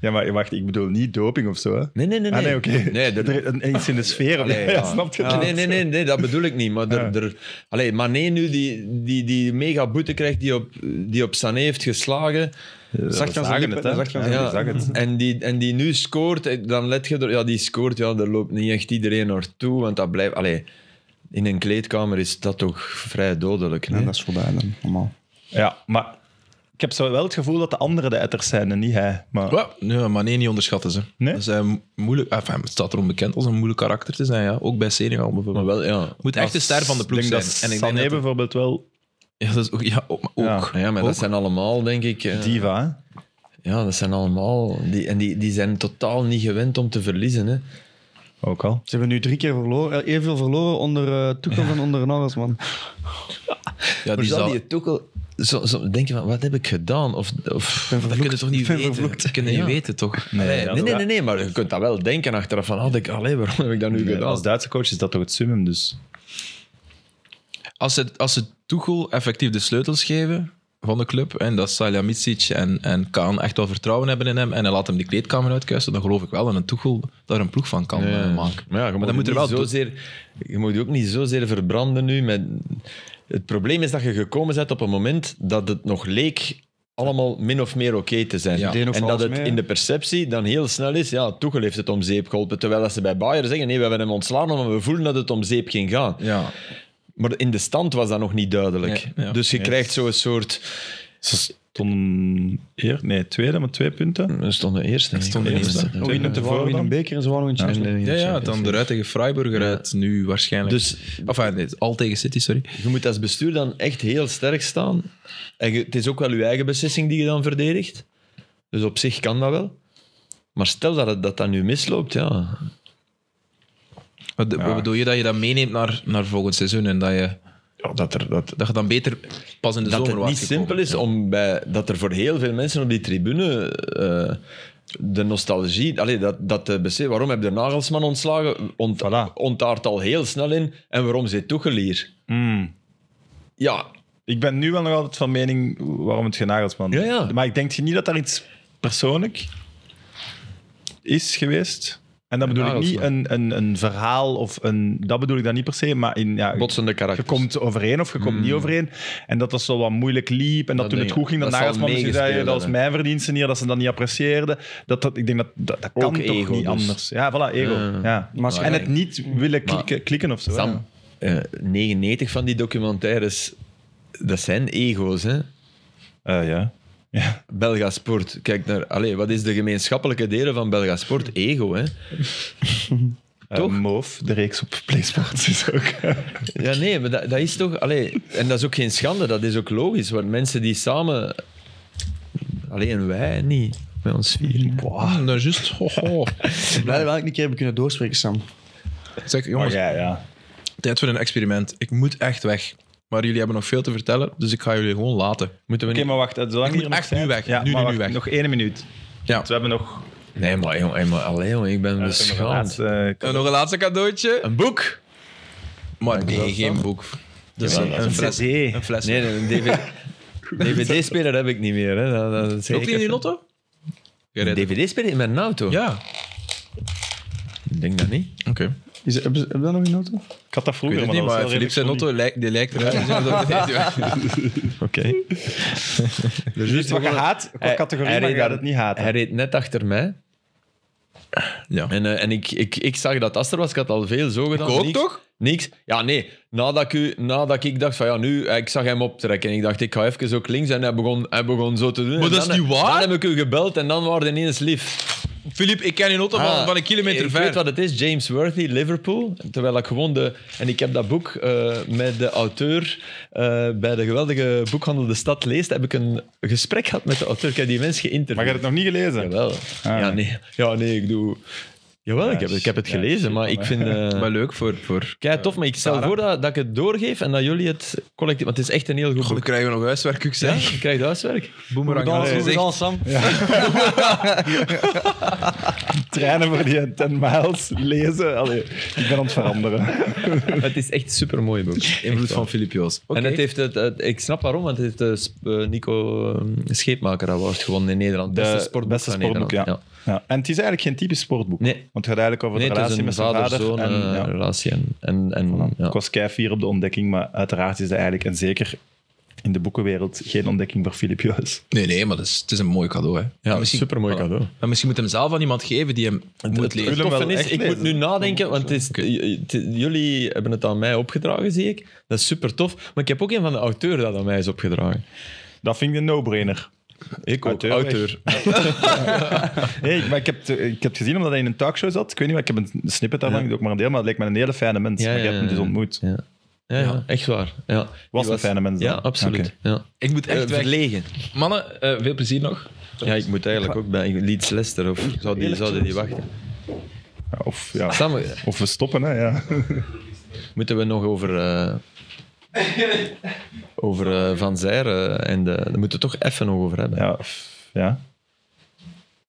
C: Ja, maar wacht, ik bedoel niet doping of zo. Hè?
B: Nee, nee, nee.
C: Ah, nee, oké.
B: Nee, er-
C: Er- een- Iets in de sfeer. of-
B: Allee,
C: ja,
B: ja.
C: snap je?
B: Nee, nee, nee, nee, dat bedoel ik niet. Maar er, er, allee, Mané nu, die, die, die mega boete krijgt die op, die op Sané heeft geslagen.
D: Zag je aan zijn
C: zagen
D: lippen,
C: het, hè?
D: zag je aan zijn
B: Ja,
D: lippen.
B: En, die, en die nu scoort, eh, dan let je er... Ja, die scoort, ja, daar loopt niet echt iedereen naartoe, want dat blijft... Allee, in een kleedkamer is dat toch vrij dodelijk. Nee?
D: En Dat is voorbij dan, normaal.
C: Ja, maar ik heb zo wel het gevoel dat de anderen de etters zijn en niet hij. Maar
A: Ja, nee, maar nee, niet onderschatten ze.
C: Nee?
A: Dat is eh, moeilijk. Enfin, het staat erom bekend als een moeilijk karakter te zijn, ja. Ook bij Senegal
B: Maar
A: bijvoorbeeld.
B: wel, ja.
A: Moet echt de ster van de
C: ik
A: ploeg zijn.
C: denk dat
A: en ik
C: Sané
A: denk dat...
C: bijvoorbeeld wel
A: Ja, dat is ook... Ja, ook.
C: Ja.
A: ook.
B: Ja, maar
A: Ook.
B: dat zijn allemaal, denk ik... eh,
C: diva. hè?
B: Ja, dat zijn allemaal... Die, en die, die zijn totaal niet gewend om te verliezen, hè.
C: Ook al.
D: Ze hebben nu drie keer verloren, eh, evenveel verloren onder eh Tuchel dan onder Nagelsman.
A: Ja,
B: Maar
A: die
B: zou
A: zal...
B: die het ook al... Zo, zo denken van, wat heb ik gedaan? Of, of,
A: Dat kunnen toch niet
D: ben
A: weten?
D: vervloekt.
A: Dat kunnen niet
B: Ja.
A: weten, toch?
C: Nee,
B: nee, nee, nee, nee, maar je kunt dat wel denken achteraf. Van, had ik, allee, waarom heb ik dat nu gedaan?
C: Als Duitse coach is dat toch het summum, dus...
A: Als ze, als ze Tuchel effectief de sleutels geven van de club, en dat Salihamidzic en, en Kaan echt wel vertrouwen hebben in hem, en hij laat hem die kleedkamer uitkuisen, dan geloof ik wel dat een Tuchel daar een ploeg van kan
B: Ja.
A: eh, maken.
B: Maar ja, je moet,
A: dan moet
B: er
A: er
B: wel
A: wel do-
B: zozeer, je moet je ook niet zozeer verbranden nu. Met, het probleem is dat je gekomen bent op een moment dat het nog leek allemaal min of meer oké te zijn.
A: Ja.
D: Deden nog
B: En dat
D: alles
B: het
D: mee, hè?
B: in de perceptie dan heel snel is, ja, Tuchel heeft het om zeep geholpen. Terwijl dat ze bij Bayern zeggen, nee, we hebben hem ontslaan omdat we voelen dat het om zeep ging gaan.
A: Ja.
B: Maar in de stand was dat nog niet duidelijk.
A: Nee, ja.
B: Dus je krijgt zo'n soort...
C: Ze stonden eer, Dus nee, tweede, maar twee punten.
B: We stonden eerst. denk ik.
A: stonden
B: Ja, we
A: eerst, hè.
B: stonden-
C: Twee
D: Ze
C: punten
D: waren nog
C: voor
D: in
C: dan.
D: een beker en ze waren nog in Champions
A: Ja,
D: League.
A: ja, dan eruit tegen Freiburg eruit, nu waarschijnlijk.
B: Dus
A: Enfin, nee, al tegen City, sorry.
B: je moet als bestuur dan echt heel sterk staan. En je- het is ook wel je eigen beslissing die je dan verdedigt. Dus op zich kan dat wel. Maar stel dat het, dat, dat nu misloopt, ja.
A: Wat, wat bedoel je dat je dat meeneemt naar, naar volgend seizoen en dat je,
B: dat, er, dat,
A: dat je dan beter pas in de
B: dat
A: zomer
B: het
A: was
B: niet
A: gekomen?
B: simpel is om bij... Dat er voor heel veel mensen op die tribune... eh, de nostalgie, allee, dat, dat de BC, waarom heb je Nagelsman ontslagen? Ont,
C: Voilà.
B: Ontaart al heel snel in. En waarom zit Tuchel hier?
C: Hmm.
B: Ja,
C: Ik ben nu wel nog altijd van mening waarom het genagelsman.
B: Ja, ja.
C: Maar ik denk niet dat daar iets persoonlijk is geweest. En dat bedoel ik niet een, een, een verhaal of een. Dat bedoel ik dan niet per se, maar in. Ja,
B: botsende
C: je
B: karakters. Hmm.
C: komt overeen of je komt niet overeen. En dat dat zo wat moeilijk liep. En dat,
B: Dat
C: toen het
B: denk ik.
C: goed ging, dan
B: Dat zal
C: Nagelsman misschien zei:
B: meegespeeld
C: dat was
B: hebben.
C: mijn verdienste hier, dat ze dat niet apprecieerden. Dat, dat, ik denk dat dat, dat kan
B: Ook
C: toch
B: ego
C: niet
B: dus.
C: anders. Ja, voilà, ego.
B: Ja.
C: Ja.
D: Maar als je-
C: En het niet willen klikken, klikken of zo. ja.
B: Sam, eh, 99 van die documentaires, dat zijn ego's, hè?
C: Eh, ja. ja.
B: Belga Sport, kijk naar... Allee, wat is de gemeenschappelijke delen van Belga Sport? Ego, hè?
C: Eh,
B: Toch?
C: Moof, de reeks op PlaySports is ook.
B: Ja, nee, maar dat, dat is toch... Allee, en dat is ook geen schande, dat is ook logisch. Want mensen die samen... Alleen wij niet, met ons vier.
A: Ah, dat is juist. Ho, ho.
D: Ik ben blij dat we eigenlijk een keer hebben kunnen doorspreken, Sam.
A: Zeg, jongens,
C: ja, ja.
A: tijd voor een experiment. Ik moet echt weg. Maar jullie hebben nog veel te vertellen, dus ik ga jullie gewoon laten.
B: Moeten we
C: Oké,
B: niet...
C: maar wacht. eh, Zolang
A: Ik
C: hier
A: moet
C: nog
A: echt
C: zijn-
A: nu weg.
C: Ja,
A: Nu, nu,
C: maar
A: nu
C: wacht,
A: weg.
C: Nog één minuut.
A: Ja.
C: Dus we hebben nog...
B: Nee, maar, jongen, hey, maar allee, jongen, ik ben
C: Een
B: beschaamd.
C: laatste, eh,
A: dus- En nog een laatste cadeautje.
B: Een boek?
A: Maar nee, geen boek. Dat is
B: Jawel,
A: een,
B: dat is
A: een
B: een
A: fles.
C: CD.
A: Een fles.
B: Nee, nee, een DVD... DVD-speler heb ik niet meer, hè. Dat, dat, dat
A: Ook niet in je auto? Jij rijdt-
B: DVD-speler in mijn auto?
A: Ja,
B: Ik denk dat niet.
A: oké. Ik
D: Is, hebben, ze- hebben we dat nog in auto?
C: Ik had dat
A: weet
C: vroeger,
A: het
C: maar
A: niet,
C: dat was
A: maar
C: wel
A: Filip
C: redelijk
A: zijn auto lijkt, die lijkt eruit. alsof dat-
B: Oké.
C: Dus wat je haat, qua categorie, maar je gaat het niet haten.
B: Hij reed net achter mij.
A: Ja.
B: En, eh, en ik, ik, ik zag dat Aster was. Ik had al veel zo gedaan.
A: ook,
B: niks,
A: toch?
B: Niks. Ja, nee. Nadat ik, u, nadat ik dacht van ja, nu... eh, Ik zag hem optrekken. En ik dacht, ik ga even ook links. En hij begon, hij begon zo te doen. En
A: dat is
B: dan-
A: niet waar?
B: Dan heb ik u gebeld en dan waren die ineens lief.
A: Filip, ik ken je auto van,
B: Ah,
A: van een kilometer
B: ik
A: ver.
B: weet wat het is, James Worthy, Liverpool. Terwijl ik gewoon de... En ik heb dat boek eh, met de auteur eh, bij de geweldige boekhandel De Stad Leest, heb ik een gesprek gehad met de auteur. Ik heb die mens geïnterviewd.
C: Maar je hebt het nog niet gelezen?
B: Jawel.
C: Ah.
B: Ja, nee. ja, nee, ik doe... Jawel, ik, heb, ik heb het gelezen, maar ik vind... eh
A: Maar leuk voor... voor...
B: Kijk, tof, maar ik stel voor dat, dat ik het doorgeef en dat jullie het collectief... Want het is echt een heel goed
A: Dan
B: boek.
A: krijgen we nog huiswerk, ik
B: Ja,
A: zeg.
B: je krijgt huiswerk.
A: Boemerang aan
D: Dan,
A: het
D: hoe
A: gezicht.
D: dan, Sam?
C: Trainen voor die 10 miles, lezen. Allee, ik ben aan het veranderen.
B: Het is echt een supermooi boek.
A: Invloed van Filip Joos. Oké.
B: En het heeft het, het- ik snap waarom, want het heeft de Sp- eh, Nico eh, Scheepmaker Award gewonnen in Nederland.
C: De
B: Beste sportboek,
C: beste
B: van
C: sportboek, ja.
B: Nederland.
C: Ja. En het is eigenlijk geen typisch sportboek.
B: Nee.
C: Want het gaat eigenlijk over
B: Nee,
C: de
B: het is
C: relatie
B: een
C: met zijn vader.
B: vader-zoon
C: en,
B: eh,
C: ja.
B: relatie. En, en, en, ja.
C: Ik was keifier op de ontdekking, maar uiteraard is dat eigenlijk, en zeker in de boekenwereld, geen ontdekking voor Filip Joos.
A: Nee, nee, maar dat is, het is een mooi cadeau. Hè.
B: Ja, supermooi
A: voilà.
B: cadeau.
A: Maar misschien moet hem zelf aan iemand geven die hem moet lezen.
B: Het
C: Willem
B: toffe
C: wel
B: is,
C: echt
B: ik moet
C: lezen.
B: nu nadenken, want het is, het- jullie hebben het aan mij opgedragen, zie ik. Dat is super tof. Maar ik heb ook een van de auteuren dat aan mij is opgedragen.
C: Dat vind ik een no-brainer.
B: Ik ook,
C: Auteur,
B: auteur.
C: echt. Nee, maar ik heb, het- ik heb het gezien omdat hij in een talkshow zat. Ik weet niet, maar ik heb een snippet daarvan, ik doe ook maar een deel, maar het lijkt me een hele fijne mens.
B: Ja,
C: maar je
B: ja,
C: hebt hem dus
B: ja.
C: ontmoet.
B: Ja. Ja, ja, echt waar. Ja. Die
C: een fijne mens dan.
B: Ja, absoluut.
C: Oké.
B: Ja.
A: Ik moet echt
B: Eh,
A: weg.
B: verlegen.
A: Mannen, eh, veel plezier nog.
B: Ja, ik moet eigenlijk ook bij Leeds Leicester. Of zou die, zouden die wachten?
C: Ja, Of, ja.
B: Samen,
C: of we stoppen, hè. Ja.
B: moeten we nog over, eh, over eh, Van Zijr eh, en de, daar moeten we het toch even nog over hebben.
C: Ja, of- ja.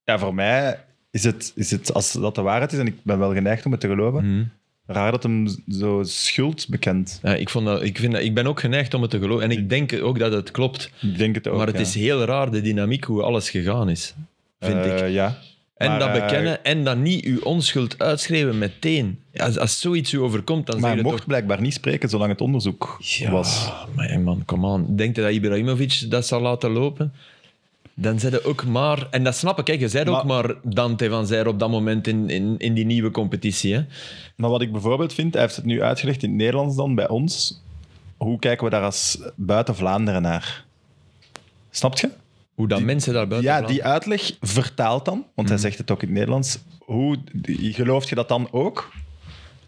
C: ja voor mij is het, is het, als dat de waarheid is, en ik ben wel geneigd om het te geloven, raar dat hem zo schuld bekent.
B: Ja, ik, vond dat, ik, vind dat, ik ben ook geneigd om het te geloven. En ik denk ook dat het klopt.
C: Ik denk het ook.
B: maar het
C: ja.
B: is heel raar, de dynamiek, hoe alles gegaan is. Vind ik.
C: Eh, Ja.
B: En
C: maar,
B: dat
C: eh,
B: bekennen en dan niet uw onschuld uitschrijven meteen. Als, als zoiets u overkomt, dan
C: Maar
B: zeg
C: hij
B: je
C: mocht
B: toch...
C: blijkbaar niet spreken zolang het onderzoek was.
B: Ah, maar man, kom aan. Denkt je dat Ibrahimovic dat zal laten lopen? Dan zei ook maar, en dat snap ik, hè, je zei ook maar Dante van Zijr op dat moment in, in, in die nieuwe competitie. Hè.
C: Maar wat ik bijvoorbeeld vind, hij heeft het nu uitgelegd in het Nederlands dan bij ons. Hoe kijken we daar als buiten Vlaanderen naar? Snapt je?
B: Hoe dat mensen daar buiten
C: Ja,
B: praten.
C: die uitleg vertaalt dan, want hij zegt het ook in het Nederlands. Hoe, die- gelooft je dat dan ook?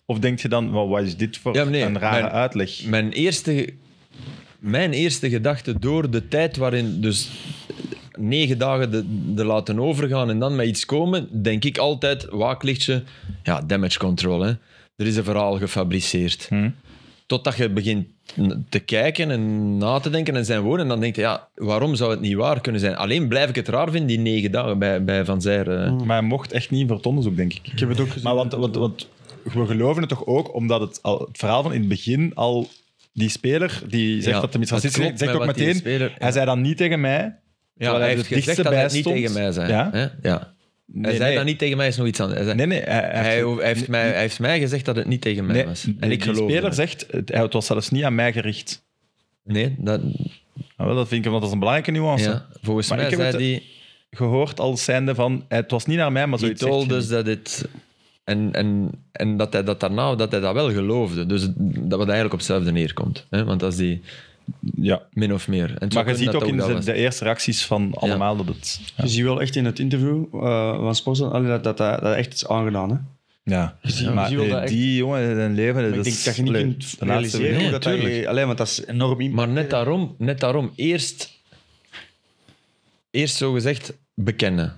C: Of denk je dan, "Wa- wat is dit voor
B: Ja, maar nee,
C: een rare
B: mijn-
C: uitleg?
B: Mijn eerste, mijn eerste gedachte door de tijd waarin dus negen dagen de, de laten overgaan en dan met iets komen, denk ik altijd, waaklichtje, ja, damage control. Hè. Er is een verhaal gefabriceerd.
C: Hm.
B: Totdat je begint te kijken en na te denken en zijn woorden, en dan denk je, ja, waarom zou het niet waar kunnen zijn? Alleen blijf ik het raar vinden, die negen dagen bij, bij Van Zijr. eh.
C: Maar hij mocht echt niet voor het onderzoek, denk ik. Ik heb het ook gezien. Maar want, want, want we geloven het toch ook, omdat het, al, het verhaal van in het begin al... Die speler die zegt
B: Ja,
C: dat hem iets
B: het
C: racistisch is,
B: klopt
C: zegt
B: met
C: ook
B: wat die
C: meteen...
B: speler-
C: Hij zei dat niet tegen mij,
B: Ja,
C: hij
B: hij heeft
C: het dichtste
B: gezegd dat hij het
C: bij
B: niet
C: stond.
B: tegen mij zei.
C: Ja?
B: Hè? ja. hij
C: Nee,
B: zei
C: nee.
B: dat niet tegen mij, is nog iets anders. Hij zei,
C: Nee, nee. Hij, hij
B: Hij,
C: heeft-
B: hij heeft mij, hij heeft mij gezegd dat het niet tegen mij
C: nee,
B: was.
C: de-
B: En ik
C: die
B: geloof
C: speler
B: dat.
C: zegt, het, het was zelfs niet aan mij gericht.
B: Nee, dat,
C: Nou, wel, dat vind ik, want dat is een belangrijke nuance.
B: ja, volgens
C: Maar
B: mij
C: ik heb
B: zei
C: het-
B: hij...
C: Gehoord als zijnde van, het was niet naar mij, maar
B: He
C: zoiets
B: told
C: zegt je
B: us dat het... En, en, en dat hij dat daarna dat hij dat wel geloofde. Dus dat wat eigenlijk op hetzelfde neerkomt. Hè? Want dat is die
C: niet. Ja.
B: min of meer. En het zou
C: Maar je
B: kunnen
C: ziet
B: dat
C: ook in
B: dat
C: de,
B: was.
C: de eerste reacties van allemaal dat het...
D: Je ziet wel echt in het interview eh, van Sporza allee, dat, dat, dat, dat echt is aangedaan. Hè?
C: Ja.
D: ziet-
C: maar
D: je ziet wel
C: eh,
D: dat echt-
C: die jongen, zijn leven...
D: Maar ik denk dat je niet kunt
C: de laatste
D: realiseren
C: week.
D: hoe dat
B: tuurlijk.
D: eigenlijk- Alleen, want dat is enorm impact.
B: Maar net daarom, net daarom eerst, eerst zogezegd bekennen.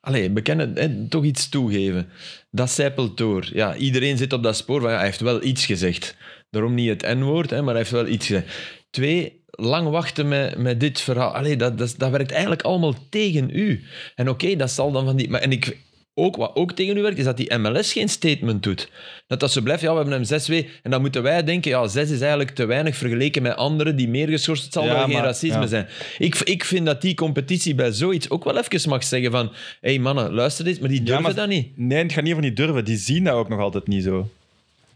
B: Allee, bekennen, hè, toch iets toegeven. Dat zijpelt door. Ja, iedereen zit op dat spoor van, ja, hij heeft wel iets gezegd. Daarom niet het N-woord, hè, maar hij heeft wel iets gezegd. Twee, lang wachten met, met dit verhaal. Allee, dat, dat, dat werkt eigenlijk allemaal tegen u. En oké, dat zal dan van die... Maar, en ik, ook, wat ook tegen u werkt, is dat die MLS geen statement doet. Dat als ze blijft, ja, we hebben hem zes weken. En dan moeten wij denken, ja, zes is eigenlijk te weinig vergeleken met anderen die meer geschorst Het zal
C: Ja,
B: wel geen
C: maar-
B: racisme
C: ja.
B: zijn. Ik, ik vind dat die competitie bij zoiets ook wel even mag zeggen van, hé hey, mannen, luister dit, maar die
C: Ja,
B: durven
C: maar-
B: dat niet.
C: Nee, het gaat niet over niet durven. Die zien dat ook nog altijd niet zo.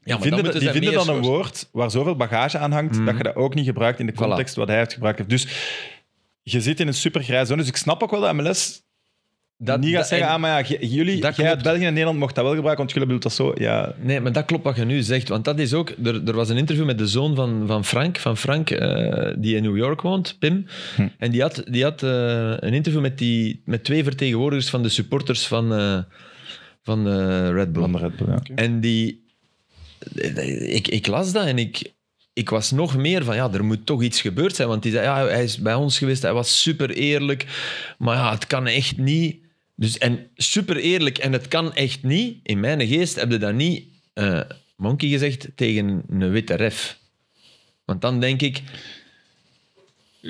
B: Ja,
C: Die vinden,
B: moeten
C: die
B: ze
C: vinden
B: meer Mhm.
C: dan een
B: schorsen.
C: woord waar zoveel bagage aan hangt, dat je dat ook niet gebruikt in de context wat hij heeft gebruikt. Dus je zit in een supergrijze zone. Dus ik snap ook wel dat MLS
B: dat,
C: niet gaat
B: dat-
C: zeggen,
B: en-
C: ah, maar ja, j- jullie,
B: Dat
C: jij uit
B: klopt.
C: België en Nederland mocht dat wel gebruiken, want jullie bedoelt dat zo. Ja,
B: Nee, maar dat klopt wat je nu zegt. Want dat is ook... Er, er was een interview met de zoon van, van Frank, van Frank eh, die in New York woont, Pim.
C: Hm.
B: En die had, die had eh, een interview met, die, met twee vertegenwoordigers van de supporters van, eh, van eh, Red Bull.
C: van de Red Bull, ja.
B: En die... Ik, ik las dat en ik, ik was nog meer van, ja, er moet toch iets gebeurd zijn. Want die zei, ja, hij is bij ons geweest, hij was super eerlijk. Maar ja, het kan echt niet. Dus, en super eerlijk en het kan echt niet. In mijn geest heb je dat niet, eh, Monkey gezegd, tegen een witte ref. Want dan denk ik...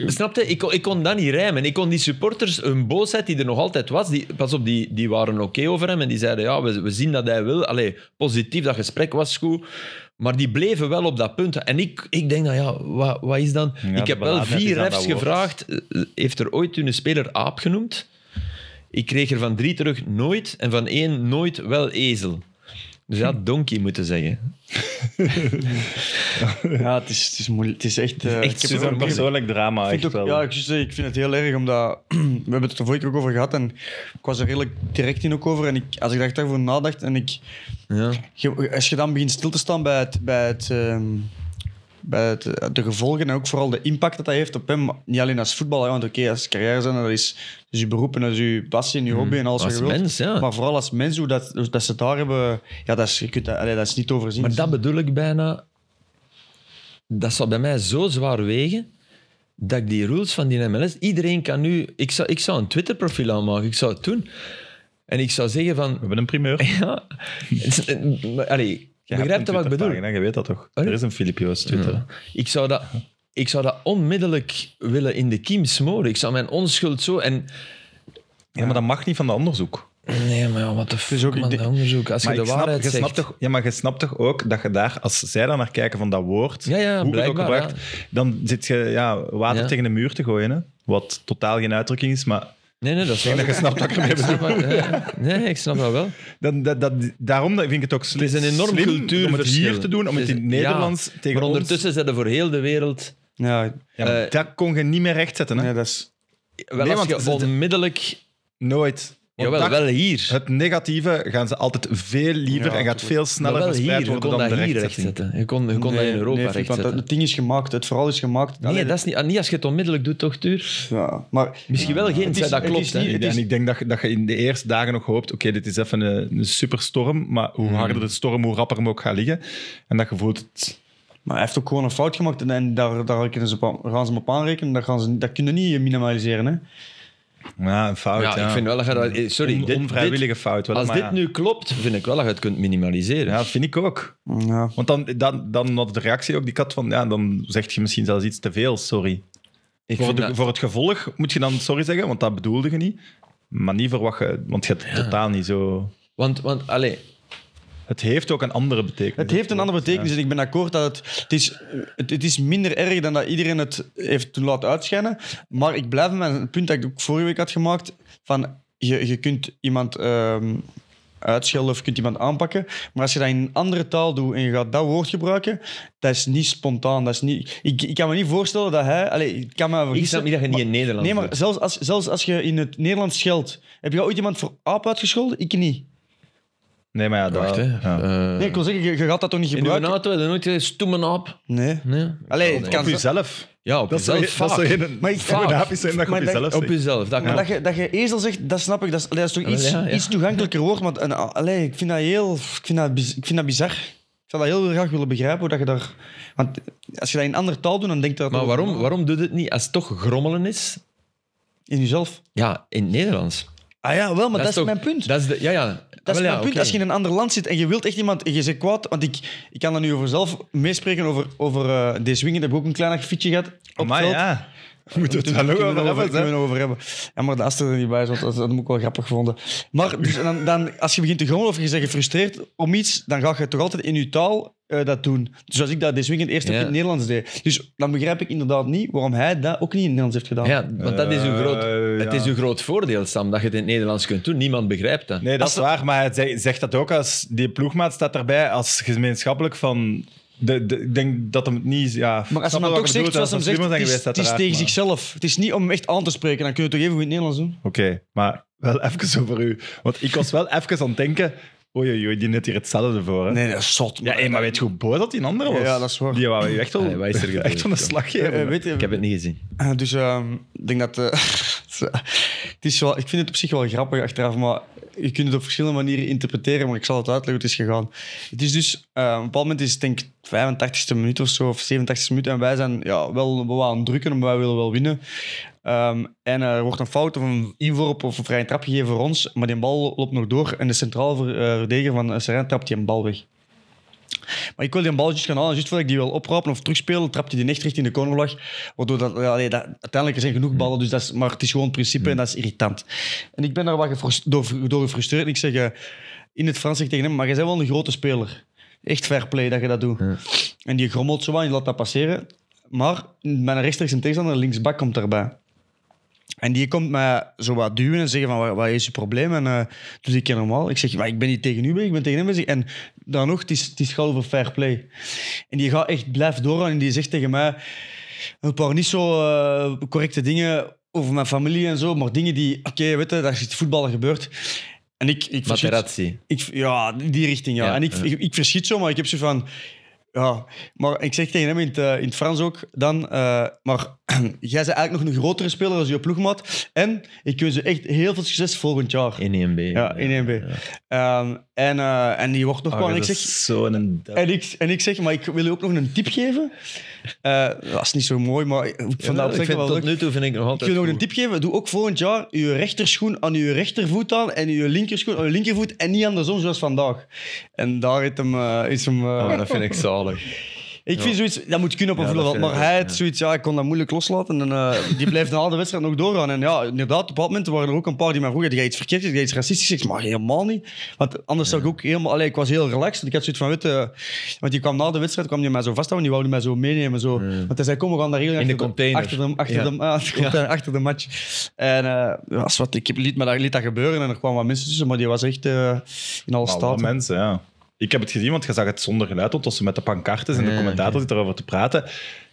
B: Snap je? Ik, kon- ik kon dat niet rijmen. Ik kon die supporters, hun boosheid die er nog altijd was, die, pas op, die, die waren oké over hem en die zeiden, ja, we, we zien dat hij wil. Allee, positief, dat gesprek was goed. Maar die bleven wel op dat punt. En ik, ik denk, nou ja, wat, wat is dan... ik heb wel
C: beladenheid
B: vier
C: is aan
B: refs
C: dat woord.
B: gevraagd. eh, Heeft er ooit een speler aap genoemd? Ik kreeg er van drie terug nooit en van één nooit wel ezel. Dus ja, donkey moeten zeggen.
D: Ja, het is, het is moeilijk. Het is echt... eh, ik
C: Het is
D: heb er
C: een
D: ook-
C: persoonlijk
B: Ah,
C: drama,
D: Ik
C: echt
D: vind
C: wel.
D: ook- ja, ik, zou zeggen, ik vind het heel erg, omdat we hebben het er vorige keer ook over gehad en ik was er redelijk direct in ook over. En ik, als ik daar echt over nadacht en ik,
B: Ja.
D: je- als je dan begint stil te staan bij, het, bij, het, ehm, bij het, eh, de gevolgen en ook vooral de impact dat dat heeft op hem, niet alleen als voetballer, hè, want oké, als carrière zijn, dat is, dat is je beroep en dat is je passie en je hobby en alles
B: Mm, Als
D: wat je wilt.
B: mens, ja.
D: Maar vooral als mens, hoe dat, hoe dat ze het daar hebben, ja, dat, is, je kunt dat, allee, dat is niet overzien.
B: Maar dat bedoel ik bijna. Dat zal bij mij zo zwaar wegen. Dat ik die rules van die MLS. Iedereen kan nu. Ik zou, ik zou een Twitter-profiel aanmaken. Ik zou het doen. En ik zou zeggen
C: We
B: van.
C: hebben een primeur.
B: Ja. maar, Allee,
C: Je
B: begrijp
C: hebt
B: je
C: een
B: wat ik bedoel?
C: Twitterpagina, Je weet dat toch?
B: Oh, ja.
C: Er is een Filipio's Twitter.
B: Ik zou dat, ik zou dat onmiddellijk willen in de kiem smoren. Ik zou mijn onschuld zo. En,
C: Ja, maar dat mag niet van de onderzoek.
B: nee, maar ja, wat de fuck,
D: is ook-
B: man,
D: ik
B: dat onderzoek. Als je
C: Maar
B: de
C: ik snap,
B: waarheid
C: je snapt
B: zegt.
C: toch, ja, maar je snapt toch ook dat je daar, als zij daar naar kijken van dat woord,
B: Ja, ja,
C: hoe je het ook
B: blijkbaar,
C: gebruikt, dan zit je ja, water
B: Ja.
C: tegen de muur te gooien. Hè? Wat totaal geen uitdrukking is, maar
B: Nee, nee, dat is waar.
C: je snapt wat ik ermee bedoel.
B: Ja, Nee, ik snap dat wel.
C: Dan, dat, dat, daarom vind ik het ook slim,
B: Het is een enorm
C: slim
B: cultuurverschil.
C: om het hier te doen, om het in het
B: is- ja,
C: Nederlands tegen
B: Maar
C: ons-
B: ondertussen zijn er voor heel de wereld...
D: Ja,
C: Ja, maar
B: eh,
C: dat kon je niet meer rechtzetten. Hè?
D: nee, dat is...
B: Wel
C: Nee,
B: als
C: want
B: je
C: ze-
B: onmiddellijk...
C: Nooit. Want
B: Jawel,
C: dat-
B: wel hier.
C: Het negatieve gaan ze altijd veel liever
D: Ja,
C: en gaat veel
B: Maar
C: sneller
B: wel
C: verspreid
B: hier. Je
C: worden
B: kon
C: dan
B: dat
C: de
B: hier
C: rechtzetting.
B: rechtzetten. Je kon, je kon dat in Europa
D: nee, Filip, want
B: rechtzetten.
D: Het ding is gemaakt, het verhaal is gemaakt.
B: nee,
D: Allee,
B: dat is niet, niet als je het onmiddellijk doet, toch, Tuur?
D: Ja, maar
B: Misschien wel geen...
D: is-
B: ja, dat
D: het is
B: klopt, hè.
D: niet-
C: En ik denk dat, je- dat je in de eerste dagen nog hoopt, oké, dit is even een, een superstorm, maar hoe harder de storm, hoe rapper hem ook gaat liggen. En dat je voelt het...
D: Maar hij heeft ook gewoon een fout gemaakt en, en daar, daar kunnen ze op aan- gaan ze hem op aanrekenen. Dat, gaan ze, dat kunnen niet minimaliseren. Hè?
C: Ja, een fout, ja.
B: Ja, ik vind wel dat je dat... eh, Sorry,
C: On-
B: dit-
C: onvrijwillige
B: dit-
C: fout. Wel,
B: Als
C: maar ja.
B: dit nu klopt, vind ik wel dat je het kunt minimaliseren.
C: Ja, dat vind ik ook.
D: Ja.
C: Want dan, dan, dan had de reactie ook die kat van, ja, dan zeg je misschien zelfs iets te veel, sorry.
B: Ik
C: Voor,
B: vind
C: de-
B: dat-
C: voor het gevolg moet je dan sorry zeggen, want dat bedoelde je niet. Maar niet voor wat je... Want je hebt totaal niet zo...
B: Want, want allee,
C: Het heeft ook een andere betekenis.
D: Het heeft een andere betekenis en ik ben akkoord dat het, het, is, het, het is minder erg dan dat iedereen het heeft toen laten uitschijnen. Maar ik blijf bij een punt dat ik ook vorige week had gemaakt: van je, je kunt iemand ehm, uitschelden of je kunt iemand aanpakken. Maar als je dat in een andere taal doet en je gaat dat woord gebruiken, dat is niet spontaan. Dat is niet, ik, ik kan me niet voorstellen dat hij. Allez, ik kan me
B: ik
D: vergissen,
B: snap niet dat je niet
D: maar-
B: in Nederland
D: Nee,
B: doet.
D: maar zelfs als, zelfs als je in het Nederlands scheldt, heb je ooit iemand voor aap uitgescholden? Ik niet.
C: Nee, maar ja, dat...
B: Wacht, hè.
C: ja.
B: Eh,
D: Nee, ik wil zeggen, je, je gaat dat toch niet
B: in uw
D: gebruiken?
B: auto heb je nooit gezegd, stoemen op.
D: Nee.
B: Nee.
D: Allee, het kan
C: Op jezelf.
B: Ja, op
C: Dat zou
B: jezelf.
C: je- dat
B: vaak.
C: zou je-
D: Maar ik-
C: dat grafisch zijn dat je op
D: Maar dat-
C: jezelf
B: Op
C: zegt.
B: jezelf, dat
D: Maar
B: klopt.
D: dat je, dat je ezel zegt, dat snap ik. Dat is, dat is toch
B: Ah, Wel,
D: iets,
B: ja, ja.
D: iets toegankelijker woord. Maar en, allee, ik vind dat heel... Ik vind dat, biz- ik vind dat bizar. Ik zou dat heel graag willen begrijpen. Hoe dat je daar, want als je dat in een andere taal doet, dan denk je dat...
B: Maar
D: ook-
B: waarom, waarom doet het niet als het toch grommelen is?
D: In jezelf.
B: Ja, in het Nederlands.
D: Ah ja, wel, maar dat, is
B: toch-
D: mijn punt. Dat,
B: Dat is de, ja, ja. Ah, Wel, ja,
D: is mijn punt.
B: oké.
D: Als je in een ander land zit en je wilt echt iemand... En je zegt kwaad, want ik, ik kan er nu over zelf meespreken. Over, over eh, deze wingen heb ik ook een klein fietsje gehad. Op
C: Maar
D: het veld.
C: ja, moeten we het wel
D: Kunnen we
C: ook
D: het
C: over
D: over,
C: hebben,
D: kunnen
C: hè?
D: we het over hebben. Ja, maar de Aster er niet bij is, want dat, dat heb ik wel grappig gevonden. Maar dus, en dan, dan, als je begint te grommelen of je bent gefrustreerd om iets, dan ga je toch altijd in je taal eh, dat doen. Dus als ik dat deze weekend eerst ook
B: Ja.
D: in het Nederlands deed. Dus dan begrijp ik inderdaad niet waarom hij dat ook niet in het Nederlands heeft gedaan.
B: Ja, want dat is, uw groot,
C: Eh,
B: het
C: ja.
B: is uw groot voordeel, Sam, dat je het in het Nederlands kunt doen. Niemand begrijpt dat.
C: Nee, dat is waar, maar hij zegt- zegt dat ook als die ploegmaat staat daarbij als gemeenschappelijk van. De, de- ik denk dat hem het niet. Ja,
D: Maar als hij dan toch zegt zoals hij zegt, het is, het is tegen zichzelf. Het is niet om hem echt aan te spreken, dan kun je het toch even goed in het Nederlands doen.
C: Oké, maar wel even over u. Want ik was wel even aan het denken... Oei, oei, oei, die net hier hetzelfde voor. Hè?
D: Nee, dat is zot.
C: Ja, hé, maar weet je hoe boos dat die andere was?
D: Ja, dat is waar.
C: Die wou je echt, wel,
B: Allee, wat is er gebeurd,
C: echt van de
B: joh?
C: slag geven.
D: Eh, weet je,
B: Ik heb het niet gezien.
D: Eh, Dus ehm, ik denk dat. eh, het is wel, ik vind het op zich wel grappig achteraf, maar je kunt het op verschillende manieren interpreteren, maar ik zal het uitleggen hoe het is gegaan. Het is dus, eh, op een bepaald moment is het denk ik 85e minuut of zo, of 87e minuut, en wij zijn ja, wel, wel aan het drukken, maar wij willen wel winnen. Ehm, en er wordt een fout of een inworp of een vrije trap gegeven voor ons, maar die bal loopt nog door en de centraal ver- eh, verdediger van eh, Serijn trapt die een bal weg. Maar ik wil die balletjes gaan halen. Juist voordat ik die wil oprapen of terugspelen, trapt hij die echt richting de cornervlag. Waardoor dat, ja, nee, dat, uiteindelijk er zijn genoeg ballen, dus dat is, maar het is gewoon het principe en dat is irritant. En ik ben daar wat gefrust- door, door gefrustreerd. En ik zeg eh, in het Frans zeg ik tegen hem, maar jij bent wel een grote speler. Echt fair play dat je dat doet. En die grommelt zo aan, je laat dat passeren. Maar mijn rechtstreeks en tegenstander, linksbak, komt daarbij. En die komt mij zo wat duwen en zeggen van, wat, wat is je probleem? En eh toen ik normaal. Ik zeg, maar ik ben niet tegen u bezig, ik ben tegen hem bezig. En dan nog, het is, het is gauw over fair play. En die gaat echt blijven doorgaan en die zegt tegen mij een paar niet zo eh, correcte dingen over mijn familie en zo, maar dingen die, oké, weet je, dat is het voetballen gebeurd. En ik, ik verschiet-
B: Materazzi.
D: ik, ja, die richting, ja.
B: Ja,
D: en ik,
B: ja.
D: ik, ik verschiet zo, maar ik heb zo van... Ja, maar ik zeg tegen hem in het, eh, in het Frans ook dan... eh, maar jij bent eigenlijk nog een grotere speler als je ploegmaat. En ik wens je echt heel veel succes volgend jaar.
B: In 1B.
D: ja, in 1B. Ehm, en, eh, en die wordt
B: Ah,
D: nog gewoon... en ik zeg,
C: Oh, Zo'n...
D: en ik, en ik zeg, maar ik wil je ook nog een tip geven. Eh, dat is niet zo mooi, maar ik vond dat op
B: ik
D: zich
B: vind,
D: wel
B: tot
D: leuk.
B: nu toe vind ik nog
D: Ik
B: altijd
D: wil nog
B: goed.
D: een tip geven. Doe ook volgend jaar je rechterschoen aan je rechtervoet aan en je linkerschoen aan je linkervoet en niet andersom zoals vandaag. En daar heeft hem, eh, is hem... eh,
B: Oh, dat vind ik zalig.
D: ik vind zoiets, dat moet kunnen op een
B: Ja, dat
D: voetbalveld,
B: vind
D: maar
B: ik ook,
D: hij had zoiets, ja, ik kon dat moeilijk loslaten en eh, die blijft na de wedstrijd nog doorgaan. En ja, inderdaad, op een bepaald moment waren er ook een paar die mij vroegen, heb jij iets verkeerd, heb jij iets racistisch? Ik zeg, maar helemaal niet. Want anders zou ik ook helemaal, allee, ik was heel relaxed. Ik had zoiets van, weet je, want die kwam na de wedstrijd, kwam die mij zo vasthouden, die wilde mij zo meenemen. Zo. Want hij zei, kom, we gaan daar heel achter de-
B: container.
D: Achter de, achter,
B: Ja.
D: de, ah, de container, achter de match. En eh, ja, is wat, ik heb- liet, me dat, liet dat gebeuren en er kwamen wat mensen tussen, maar die was echt eh, in alle
C: Alle
D: staat.
C: mensen, ja. Ik heb het gezien, want je zag het zonder geluid, want als ze met de pancartes en de commentator zit erover te praten.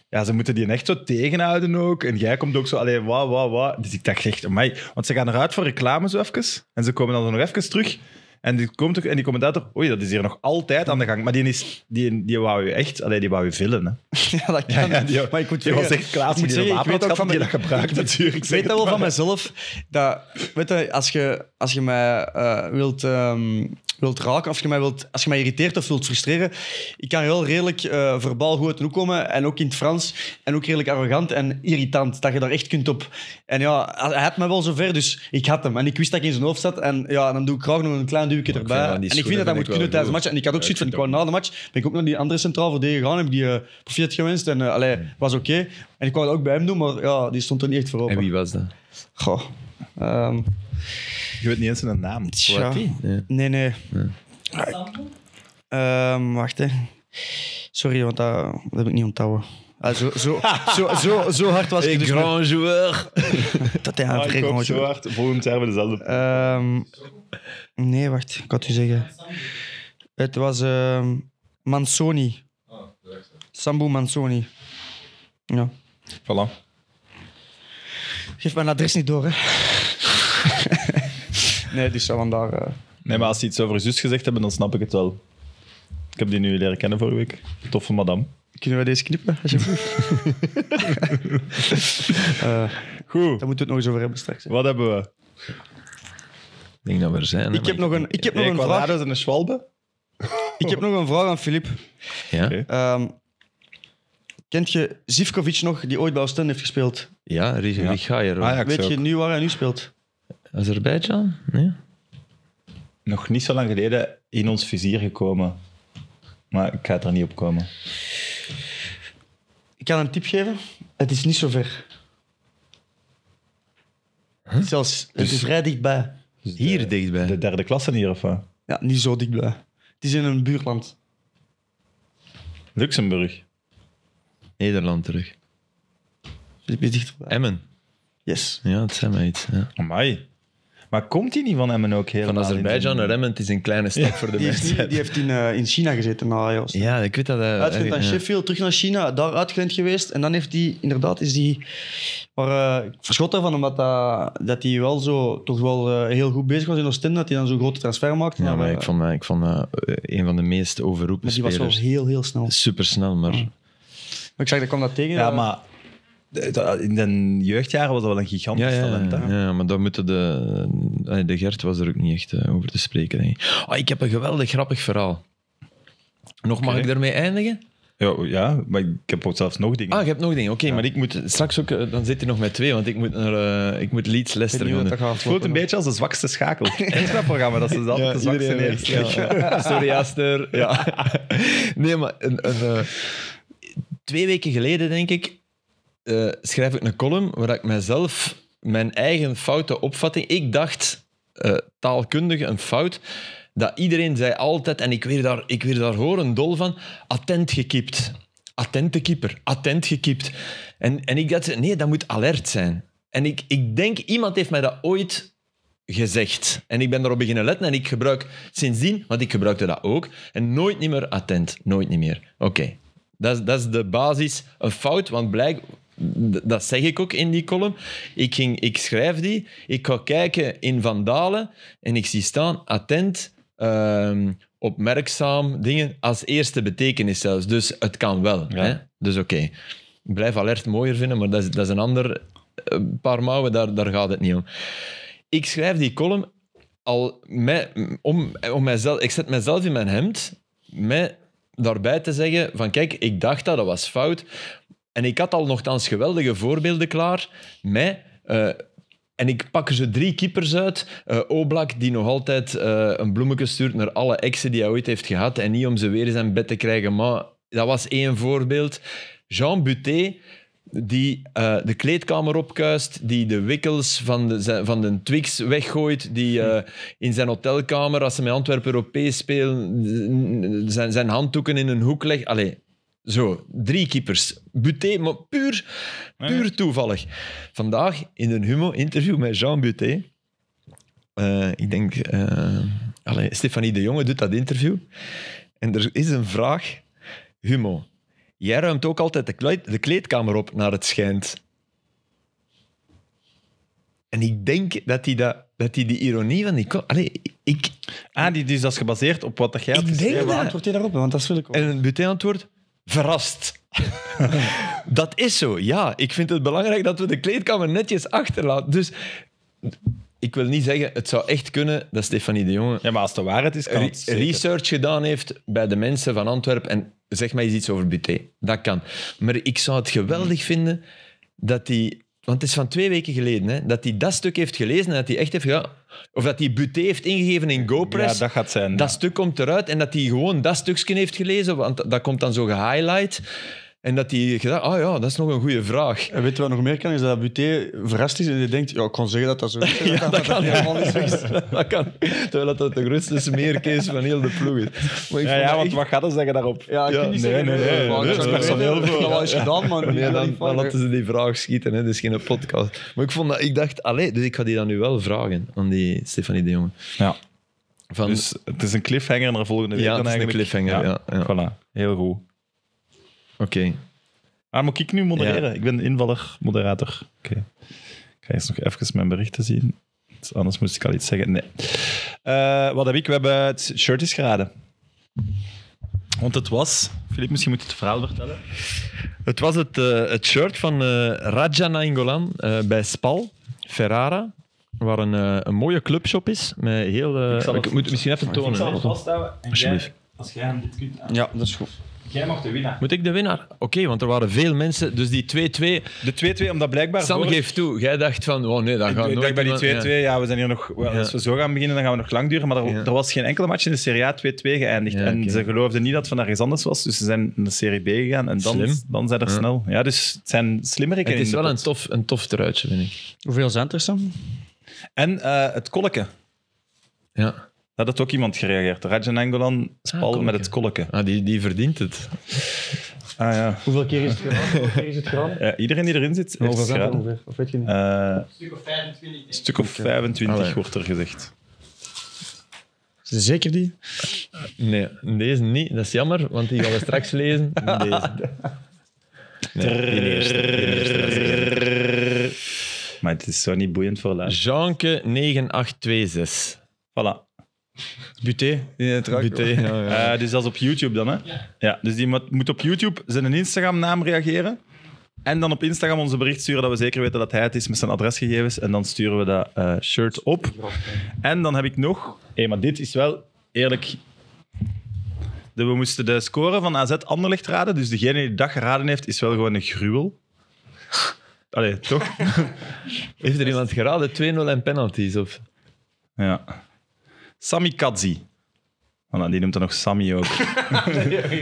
C: Ja, ze moeten die echt zo tegenhouden ook. En jij komt ook zo, alleen wauw, wauw, wauw. Dus ik dacht echt, amai. Want ze gaan eruit voor reclame zo even. En ze komen dan zo nog even terug. En die, komt ook, en die commentator, oei, dat is hier nog altijd aan de gang. Maar die, is, die, die wou je echt, alleen die wou je villen. Hè.
D: Ja, dat kan.
C: Ja, die,
D: maar ik moet
C: die
D: zeggen-
C: was echt klaar
D: ik moet
C: die
D: zeggen,
C: een
D: ik
C: wapen
D: weet
C: had gehad,
D: ook van
C: die
D: mijn-
C: dat gebruikt natuurlijk.
D: Ik weet dat wel van mezelf. Dat, weet je, als je, als je mij eh, wilt, ehm, wilt raken, of je mij wilt, als je mij irriteert of wilt frustreren, ik kan heel redelijk eh verbaal goed uit de hoek komen. En ook in het Frans. En ook redelijk arrogant en irritant. Dat je daar echt kunt op. En ja, hij had me wel zover, dus ik had hem. En ik wist dat ik in zijn hoofd zat. En ja, dan doe ik graag nog een klein duwtje
B: ik
D: erbij.
B: vind dat
D: en
B: die
D: ik vind
B: schoenen
D: dat dat
B: vind
D: moet
B: ik
D: kunnen
B: wel
D: tijdens de
B: goed.
D: match. En ik had ook zoiets van,
B: vind
D: ik wou na de match, ben ik ook naar die andere centraal verdediger gegaan, heb die eh profiet gewenst. En eh, allee, was oké. En ik wou dat ook bij hem doen, maar ja, die stond er niet echt voor open.
B: En wie was dat?
D: Goh. Ehm,
C: Je weet niet eens zijn naam.
D: tja.
B: Nee.
D: Nee, nee. Ehm, wacht, hè. Sorry, want dat, dat heb ik niet onthouden. Ah, zo, zo, zo, zo, zo hard was ik dus nog-
B: grand joueur.
D: dat hij
C: Ah,
D: aan
C: ik hoop
D: vreemd
C: zo hard. Volgend jaar hebben we dezelfde.
D: Ehm, Nee, wacht. Ik had u zeggen. Het was ehm, Mansoni. Sambu Mansoni. Ja.
C: Voilà.
D: Geef mijn adres niet door, hè. nee, dus van daar... eh,
C: Nee, maar als ze iets over je zus gezegd hebben, dan snap ik het wel. Ik heb die nu leren kennen vorige week. Toffe madame.
D: Kunnen we deze knippen, alsjeblieft? Eh
C: Goed,
D: daar moeten we het nog eens over hebben straks. hè.
C: wat hebben we?
B: Ik denk dat we er zijn. hè,
D: Ik heb
B: maar
D: nog een, ik heb nog
C: Hey,
D: een vraag.
C: Quadrados en een Schwalbe?
D: Ik heb nog een vraag aan Filip.
B: Ja?
C: Oké.
D: Ehm, kent je Zivkovic nog, die ooit bij Oostende heeft gespeeld?
B: Ja, Rijga Rigajer.
C: Ah, ja.
D: Weet je nu waar hij nu speelt?
B: Azerbeidzjan? Nee.
C: Nog niet zo lang geleden in ons vizier gekomen. Maar ik ga het er niet op komen.
D: Ik kan een tip geven. Het is niet zo ver. Zelfs, het is vrij dichtbij.
C: Dus de-
B: Hier dichtbij.
C: De derde klasse hier, of wat?
D: Ja, niet zo dichtbij. Het is in een buurland.
C: Luxemburg.
B: Nederland terug.
D: Filip is dichterbij.
B: Emmen.
D: Yes.
B: Ja, het zijn mij iets. Ja.
C: Amai. Maar komt die niet van hem en ook helemaal?
B: Van Azerbeidzjan
C: in
B: naar
C: zijn-
B: Remmend is een kleine stap voor de
D: Die heeft, niet-
B: mensen.
D: die heeft in, eh, in China gezeten na Ajax.
B: Ja, ik weet dat. eh, hij-
D: Uitgeleend aan
B: ja.
D: Sheffield, terug naar China, daar uitgeleend geweest. En dan heeft hij, inderdaad, is die... Maar eh, ik verschot daarvan, omdat dat- dat hij wel zo, toch wel eh, heel goed bezig was in Oostende, dat hij dan zo'n grote transfer maakte.
B: Ja, maar
D: eh,
B: ik vond, eh, ik vond eh, een van de meest overroepen
D: maar die was wel Mm.
B: spelers. Dus-
D: heel, heel snel.
B: Super snel, maar
D: Maar ik zag, dat kwam dat tegen.
C: Ja,
D: eh,
C: maar eh, in de jeugdjaren was dat wel een gigantisch
B: Ja, ja,
C: talent. Hè?
B: ja, ja, maar dan moeten de... eh, De Gert was er ook niet echt eh, over te spreken. denk ik. Ah, ik heb een geweldig grappig verhaal. Nog mag
C: Oké.
B: ik daarmee eindigen?
C: Ja, ja, maar ik heb ook zelfs nog dingen.
B: Ah, je hebt nog dingen. Oké, maar ik moet straks ook... eh, Dan zit hij nog met twee, want ik moet, naar, eh, ik moet Leeds
D: ik weet
B: Leicester
D: niet
B: gaan
D: hoe
B: doen.
D: dat gaat
C: het voelt een
D: lopen.
C: beetje als de zwakste schakel. In dat programma, dat ze altijd de zwakste
D: iedereen
C: neerstellen.
B: Ja. Sorry, Aster. Ja. Nee, maar een, een, eh, twee weken geleden, denk ik, eh, schrijf ik een column waar ik mijzelf mijn eigen foute opvatting. Ik dacht eh, taalkundig een fout. Dat iedereen zei altijd, en ik weer daar, ik weer daar horen dol van, attent gekipt. Attente keeper, attent gekipt. En, en ik dacht, nee, dat moet alert zijn. En ik, ik denk, iemand heeft mij dat ooit gezegd. En ik ben daarop beginnen letten en ik gebruik sindsdien, want ik gebruikte dat ook, en nooit niet meer attent. Nooit niet meer. Oké. Dat, is- dat is de basis. Een fout, want blijk, d- dat zeg ik ook in die column. Ik, ging, ik schrijf die, ik ga kijken in Van Dalen en ik zie staan attent, ehm, opmerkzaam, dingen als eerste betekenis zelfs. Dus het kan wel. Hè? Dus oké. Ik blijf alert mooier vinden, maar dat is, dat is een ander eh, paar mouwen, daar, daar gaat het niet om ik schrijf die column al met, om, om mijzelf. Ik zet mezelf in mijn hemd met daarbij te zeggen: van kijk, ik dacht dat, dat was fout. En ik had al nogthans geweldige voorbeelden klaar met. eh, en ik pak er zo drie keepers uit. Eh, Oblak, die nog altijd eh, een bloemetje stuurt naar alle exen die hij ooit heeft gehad. En niet om ze weer eens aan bed te krijgen. Maar dat was één voorbeeld. Jean Buté, die eh, de kleedkamer opkuist, die de wikkels van de, zijn- van de Twix weggooit, die eh, in zijn hotelkamer, als ze met Antwerpen Europees spelen, zijn, zijn handdoeken in een hoek legt. Allee, zo, drie keepers. Buté, maar puur, puur toevallig. Vandaag in een Humo-interview met Jean Buté. eh, ik denk, eh, allee, Stefanie de Jonge doet dat interview. En er is een vraag. Humo, Jij ruimt ook altijd de, kleed- de kleedkamer op, naar het schijnt. En ik denk dat hij dat, dat die, die ironie van die... ko- Allee, ik,
C: Ah, die, dus dat is gebaseerd op wat dat jij hebt
B: ik
C: geschreven.
B: denk
D: Ja,
B: dat...
D: maar antwoord je daarop, want dat wil ik wel.
B: En het Buté-antwoord? Verrast. dat is zo, ja. Ik vind het belangrijk dat we de kleedkamer netjes achterlaten. Dus ik wil niet zeggen, het zou echt kunnen dat Stefanie de Jonge
C: Ja, maar als het de waarheid is, kan
B: re-
C: het zeker.
B: research gedaan heeft bij de mensen van Antwerpen en zeg mij eens iets over Buté. Dat kan. Maar ik zou het geweldig vinden dat hij... Want het is van twee weken geleden, hè, dat hij dat stuk heeft gelezen en dat hij echt heeft... Ja, of dat hij Buté heeft ingegeven in
C: Ja,
B: GoPress.
C: dat gaat zijn.
B: Dat stuk komt eruit en dat hij gewoon dat stukje heeft gelezen, want dat komt dan zo gehighlight. En dat hij gedacht, ah ja, dat is nog een goede vraag.
D: En weet je wat nog meer kan? Is dat Buté verrast is en die denkt, ja, ik kon zeggen dat dat zo is. ja, dat, kan helemaal niet zo is.
B: Dat kan. Terwijl dat, dat de grootste smeerkees van heel de ploeg is. Maar
C: ja,
B: ik vond dat
C: ja, want
B: echt-
C: wat gaat er zeggen daarop?
D: Ja, ik kan
C: nee,
D: niet zeggen.
C: nee, nee,
D: maar
C: nee,
D: ik zou
C: dat is
D: het
C: personeel
D: weten,
C: voor.
D: Dat wel eens gedaan, man. Ik
B: Nee,
D: wil dat
B: dan,
D: niet
B: dan
D: vangen.
B: laten ze die vraag schieten. Hè. Dat is geen podcast. Maar ik, vond dat, ik dacht, allee, dus ik ga die dan nu wel vragen aan die Stefanie de Jonge.
C: Ja.
B: Van,
C: Dus het is een cliffhanger naar volgende week
B: ja,
C: dan
B: het is een
C: eigenlijk.
B: cliffhanger. Ja. ja. Oké.
C: Voilà, heel goed. Maar moet ik nu modereren? Ik ben invaller, moderator. Oké. Ik ga eerst nog even mijn berichten zien. Dus Anders moest ik al iets zeggen. Nee. Eh, wat heb ik? We hebben het shirt is geraden. Want het was... Filip, misschien moet je het verhaal vertellen.
B: Het was het, eh, het shirt van eh Raja Nainggolan eh, bij Spal, Ferrara. Waar een, eh, een mooie clubshop is. Met heel, eh, ik,
C: zal het-
B: moet het misschien even tonen. hè.
E: vasthouden. En
B: Alsjeblieft.
E: als jij hem kunt aan.
D: Ja, dat is goed.
E: Jij mag de winnaar.
B: Moet ik de winnaar? Oké, want er waren veel mensen. Dus die 2-2.
C: De 2-2, omdat blijkbaar...
B: Sam
C: voor-
B: geeft toe. Jij dacht van, oh nee, dat gaat
C: Ik
B: nooit
C: denk bij die 2-2,
B: iemand-
C: ja.
B: ja.
C: we zijn hier nog... wel, Als
B: Ja.
C: we zo gaan beginnen, dan gaan we nog lang duren. Maar er,
B: Ja.
C: er was geen enkele match in de Serie A 2-2 geëindigd.
B: Ja,
C: En
B: oké.
C: ze geloofden niet dat het van ergens anders was. Dus ze zijn naar de Serie B gegaan. En dan,
B: Slim.
C: dan zijn er snel... Ja, dus het zijn slimmere
B: Het is wel een tof, een tof truitje, vind ik.
D: Hoeveel zijn er, Sam?
C: En eh, het kolken.
B: Ja.
C: Daar had
B: Ah,
C: ook iemand gereageerd. Rajan Angolan spal
B: kolken.
C: met het kolken.
B: Ah, die, die verdient het.
C: Ah, ja.
D: Hoeveel keer is het gedaan? Hoeveel keer is het gedaan?
C: Ja, iedereen die erin zit, heeft
D: Hoeveel
C: het
D: zijn het
C: geraden.
D: ongeveer? Of weet je niet?
C: Eh, een
E: stuk of 25. denk ik.
C: stuk of 25
B: Allee.
C: wordt er gezegd.
D: Zeker die?
B: Nee, deze niet. Dat is jammer, want die gaan we straks lezen. Deze. Nee, die eerste, die eerste, die eerste.
C: Maar het is zo niet boeiend voor luisteren.
B: Jeanke 9826.
C: Voilà.
D: Buté. Die het raakt.
B: Buté. Ja, ja.
C: Eh, dus dat is op YouTube dan, hè? Ja. dus die moet moet op YouTube zijn Instagram-naam reageren. En dan op Instagram onze bericht sturen dat we zeker weten dat hij het is met zijn adresgegevens. En dan sturen we dat eh, shirt op. En dan heb ik nog... Hé, maar dit is wel eerlijk... De- We moesten de score van AZ Anderlecht raden. Dus degene die dat geraden heeft, is wel gewoon een gruwel. Allee, toch?
B: Heeft er iemand geraden? 2-0 en penalties? Of?
C: Ja. Sammy Kadzi. Voilà, die noemt dan nog Sammy ook.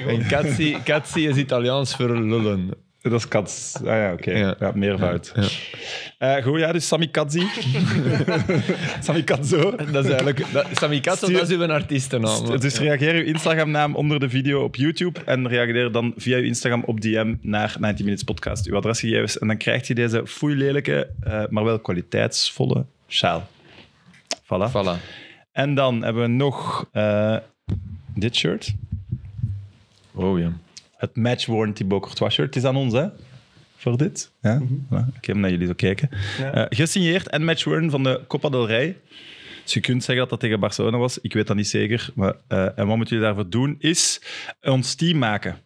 B: En Katsi, Katsi is Italiaans voor lullen.
C: Dat is Kats. Ah ja, oké.
B: Ja.
C: Ja. meervoud. Eh, goed, ja, dus Sammy Kadzi. Sammy Kadzo.
B: Dat is eigenlijk... Dat, Sammy Katsi,
C: Stuur-
B: dat is uw artiestennaam.
C: Dus reageer uw Instagram-naam onder de video op YouTube en reageer dan via uw Instagram op DM naar 90 Minutes Podcast, uw adresgegevens. En dan krijg je deze foeilelijke, eh maar wel kwaliteitsvolle sjaal. Voilà.
B: Voilà.
C: En dan hebben we nog eh, dit shirt.
B: Oh ja.
C: Het match-worn Thibaut Courtois shirt. Het is aan ons, hè? Voor dit. Ja? Voilà. Ik heb hem naar jullie zo kijken. Eh, gesigneerd en match-worn van de Copa del Rey. Dus je kunt zeggen dat dat tegen Barcelona was. Ik weet dat niet zeker. Maar, eh, en wat moeten jullie daarvoor doen, is ons team maken.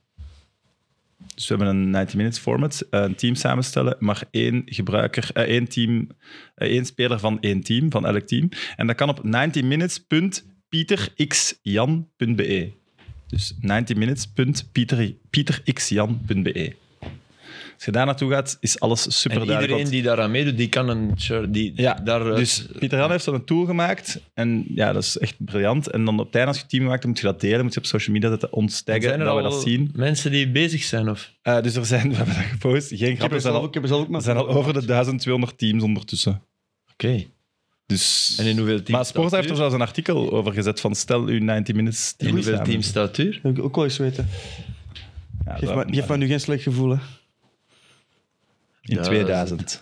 C: Dus we hebben een 90 minutes format, eh, een team samenstellen, maar één gebruiker, eh, één team, eh, één speler van één team, van elk team. En dat kan op 90minutes.pieterxjan.be. Dus 90minutes.pieterxjan.be. E. Als je daar naartoe gaat, is alles super
B: En
C: duidelijk.
B: iedereen die daaraan meedoet, die kan een shirt... Die,
C: Ja,
B: daar, eh,
C: dus Pieter Jan heeft zo'n tool gemaakt. En ja, dat is echt briljant. En dan op het einde, als je het team maakt, dan moet je dat delen. Moet je op social media zetten, ons taggen,
B: zijn er
C: dat we
B: al
C: dat zien.
B: mensen die bezig zijn? Of?
C: Eh, dus er zijn, we hebben dat gepost. Geen
D: Ik heb
C: grap, er
D: er
C: zijn
D: zelf ook-
C: al,
D: ik heb er zelf ook
C: er
D: maar.
C: zijn al over de 1200 teams ondertussen.
B: Oké.
C: Dus...
B: En in hoeveel teams
C: maar Sporza
B: staat
C: heeft er
B: u?
C: zelfs een artikel over gezet van stel uw 90 minutes team
B: In hoeveel
C: samen.
B: teams staat u?
D: Dat wil ik ook wel eens weten.
C: Ja,
D: Geef,
C: dat-
D: me, geef me nu geen slecht gevoel, hè.
C: In
B: Ja,
C: 2000.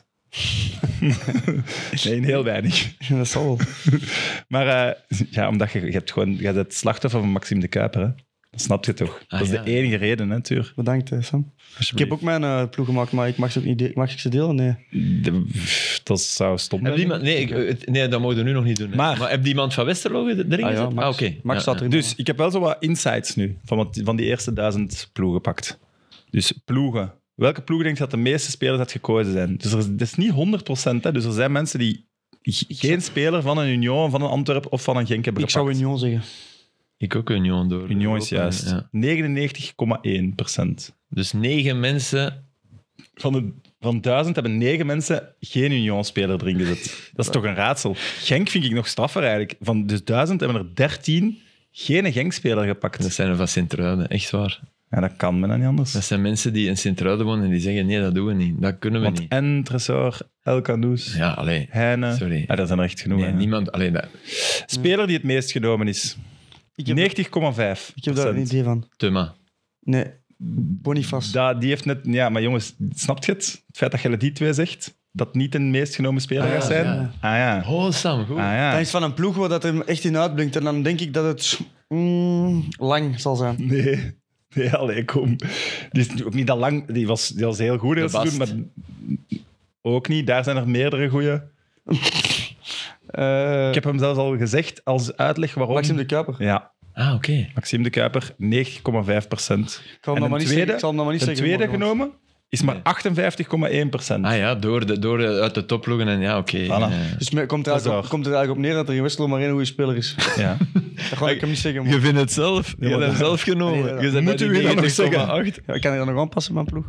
C: nee, in heel weinig.
D: Dat zal wel.
C: Maar eh, ja, omdat je, je hebt gewoon, je bent slachtoffer van Maxime de Kuiper. Hè? Dat snap je toch?
B: Ah,
C: dat is
B: ja.
C: de enige reden, hè, Tuur.
D: Bedankt, hè, Sam. Ik heb ook mijn eh, ploeg gemaakt, maar ik mag ze ook niet de- mag ik ze delen? Nee.
C: De- pff, dat zou stom
B: Heb
C: zijn.
B: je iemand, nee, ik, het- nee, dat mogen we nu nog niet doen. hè.
C: Maar-
B: heb je iemand van Westerlo er- erin
D: Ah ja,
B: gezet?
D: Max.
B: Ah, oké.
D: Max
B: Ja,
D: staat
B: ja.
D: erin.
C: Dus ik heb wel zo wat insights nu van, wat, van die eerste duizend ploegen pakt. Dus ploegen. Welke ploegen denk je dat de meeste spelers uit gekozen zijn? Dus er is, dat is niet 100%. Hè? Dus er zijn mensen die g- geen speler van een Union, van een Antwerp of van een Genk hebben
D: Ik zou
C: gepakt.
D: Union zeggen.
B: Ik ook Union door.
C: Union is juist.
B: Ja.
C: 99,1%.
B: Dus negen mensen.
C: Van, de, van duizend hebben negen mensen geen Union-speler erin gezet. Dat is toch een raadsel. Genk vind ik nog straffer eigenlijk. Van de duizend hebben er 13 geen Genk-speler gepakt.
B: Dat zijn er van Sint-Truiden, echt waar.
C: Ja, dat kan men dan niet anders.
B: Dat zijn mensen die in Sint-Truiden wonen en die zeggen: nee, dat doen we niet. Dat kunnen we
C: Want
B: niet.
C: en Tresor, El Kandous,
B: Ja, alleen.
C: Heine.
B: Sorry.
C: Ah, dat zijn er echt genoeg.
B: Nee,
C: hè.
B: niemand. Alleen dat.
C: Speler die het meest genomen is. 90,5.
D: Ik heb, ik heb daar een idee van.
B: Tuma.
D: Nee, Bonifas.
C: Dat- die heeft net... Ja, maar jongens, snapt je het? Het feit dat je die twee zegt, dat niet een meest genomen speler
B: Ah, ja,
C: gaat zijn?
B: ja.
C: Ah ja. Ah
B: Oh, Sam, goed.
D: Dat
C: ja.
D: is van een ploeg waar dat er echt in uitblinkt. En dan denk ik dat het mm, lang zal zijn.
C: Nee. Nee, allee, kom. Die is ook niet dat lang... Die was, die was heel goed heel
B: De Bast.
C: seizoen, maar... Ook niet. Daar zijn er meerdere goeie.
D: Eh
C: Ik heb hem zelfs al gezegd als uitleg waarom...
D: Maxime de Kuiper.
C: Ja,
B: Ah, oké.
C: Maxime de Kuiper, 90,5 procent.
D: Ik
C: En
D: zal hem nog maar
C: een
D: niet
C: tweede-
D: zeggen. Ik zal hem nog maar
C: De
D: niet zeggen.
C: tweede
D: maar gewoon.
C: genomen is maar 58,1 procent.
B: Ah ja, door, de, door de- uit de topploegen en ja, oké.
C: Voilà.
B: Eh,
D: Dus me- komt er,
C: Dat is
D: eigenlijk op,
C: waar.
D: komt er eigenlijk op neer dat er in Westerlo maar één goede speler is.
C: Ja.
D: Dat ga ik hem niet zeggen. man.
B: Je vindt het zelf. Je hebt hem zelf
D: Nee,
B: genomen.
D: dat-
B: Je bent
C: Moet
B: bij
C: u
B: die
C: hier nog
B: 90,8.
D: Ja, ik kan ik dat nog aanpassen, mijn ploeg?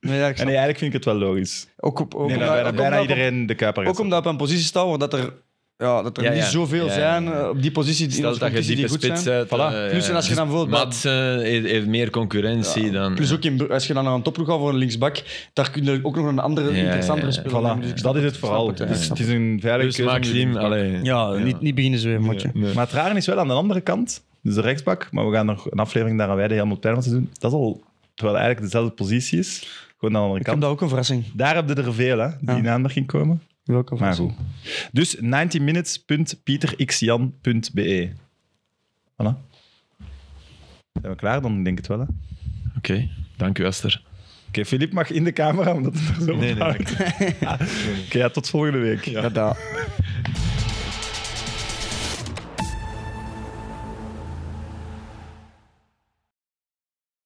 D: nee, ja, ik
C: En nee,
D: snap.
C: eigenlijk vind ik het wel logisch.
D: Ook, op, ook,
C: Nee,
B: nou,
C: nou, dat
D: omdat,
C: bijna,
D: ook
C: bijna
D: omdat-
C: iedereen de Kuiper
D: ook omdat we op een positie staan waar dat er, ja, dat er
B: Ja,
D: niet
B: ja.
D: zoveel
B: Ja, ja,
D: zijn
B: ja.
D: eh, op die positie die in
B: Stel
D: onze
B: dat je
D: competitie
B: diepe
D: die goed
B: spits
D: zijn.
B: uit. eh,
D: Voilà. plus en als je dan bijvoorbeeld... bij-
B: Mats eh, heeft, heeft meer concurrentie dan...
D: Plus ook in, Bru- als je dan naar een topploeg gaat voor een linksbak, daar kun je ook nog een andere,
B: Ja,
D: interessantere
B: ja, ja.
D: speler
C: Voilà,
D: nemen. Dus ik snap
C: dat is het vooral.
D: het, ja.
C: Het is, het is een veilige
B: Dus
C: keuze.
B: Maxime, allee.
D: Ja, Niet, niet beginnen zweven, matje.
C: Maar het rare is wel aan de andere kant. Dus de rechtsbak, maar we gaan nog een aflevering daar aan wijden, helemaal Permans doen. Dat is al, terwijl het eigenlijk dezelfde positie is, gewoon aan de andere
D: Ik heb
C: kant.
D: daar ook een verrassing.
C: Daar heb je er veel, hè, die
D: Ja.
C: in aanmerking komen.
D: Welke
C: Maar
D: verrassing?
C: goed. Dus 90minutes.pieterxjan.be Voilà. Zijn we klaar dan? Ik denk het wel, hè? Oké,
B: Oké, dank u Esther.
C: Filip mag in de camera, omdat het er zo
B: nee,
C: op hangt. Oké, ja, tot volgende week.
D: Ja, daar.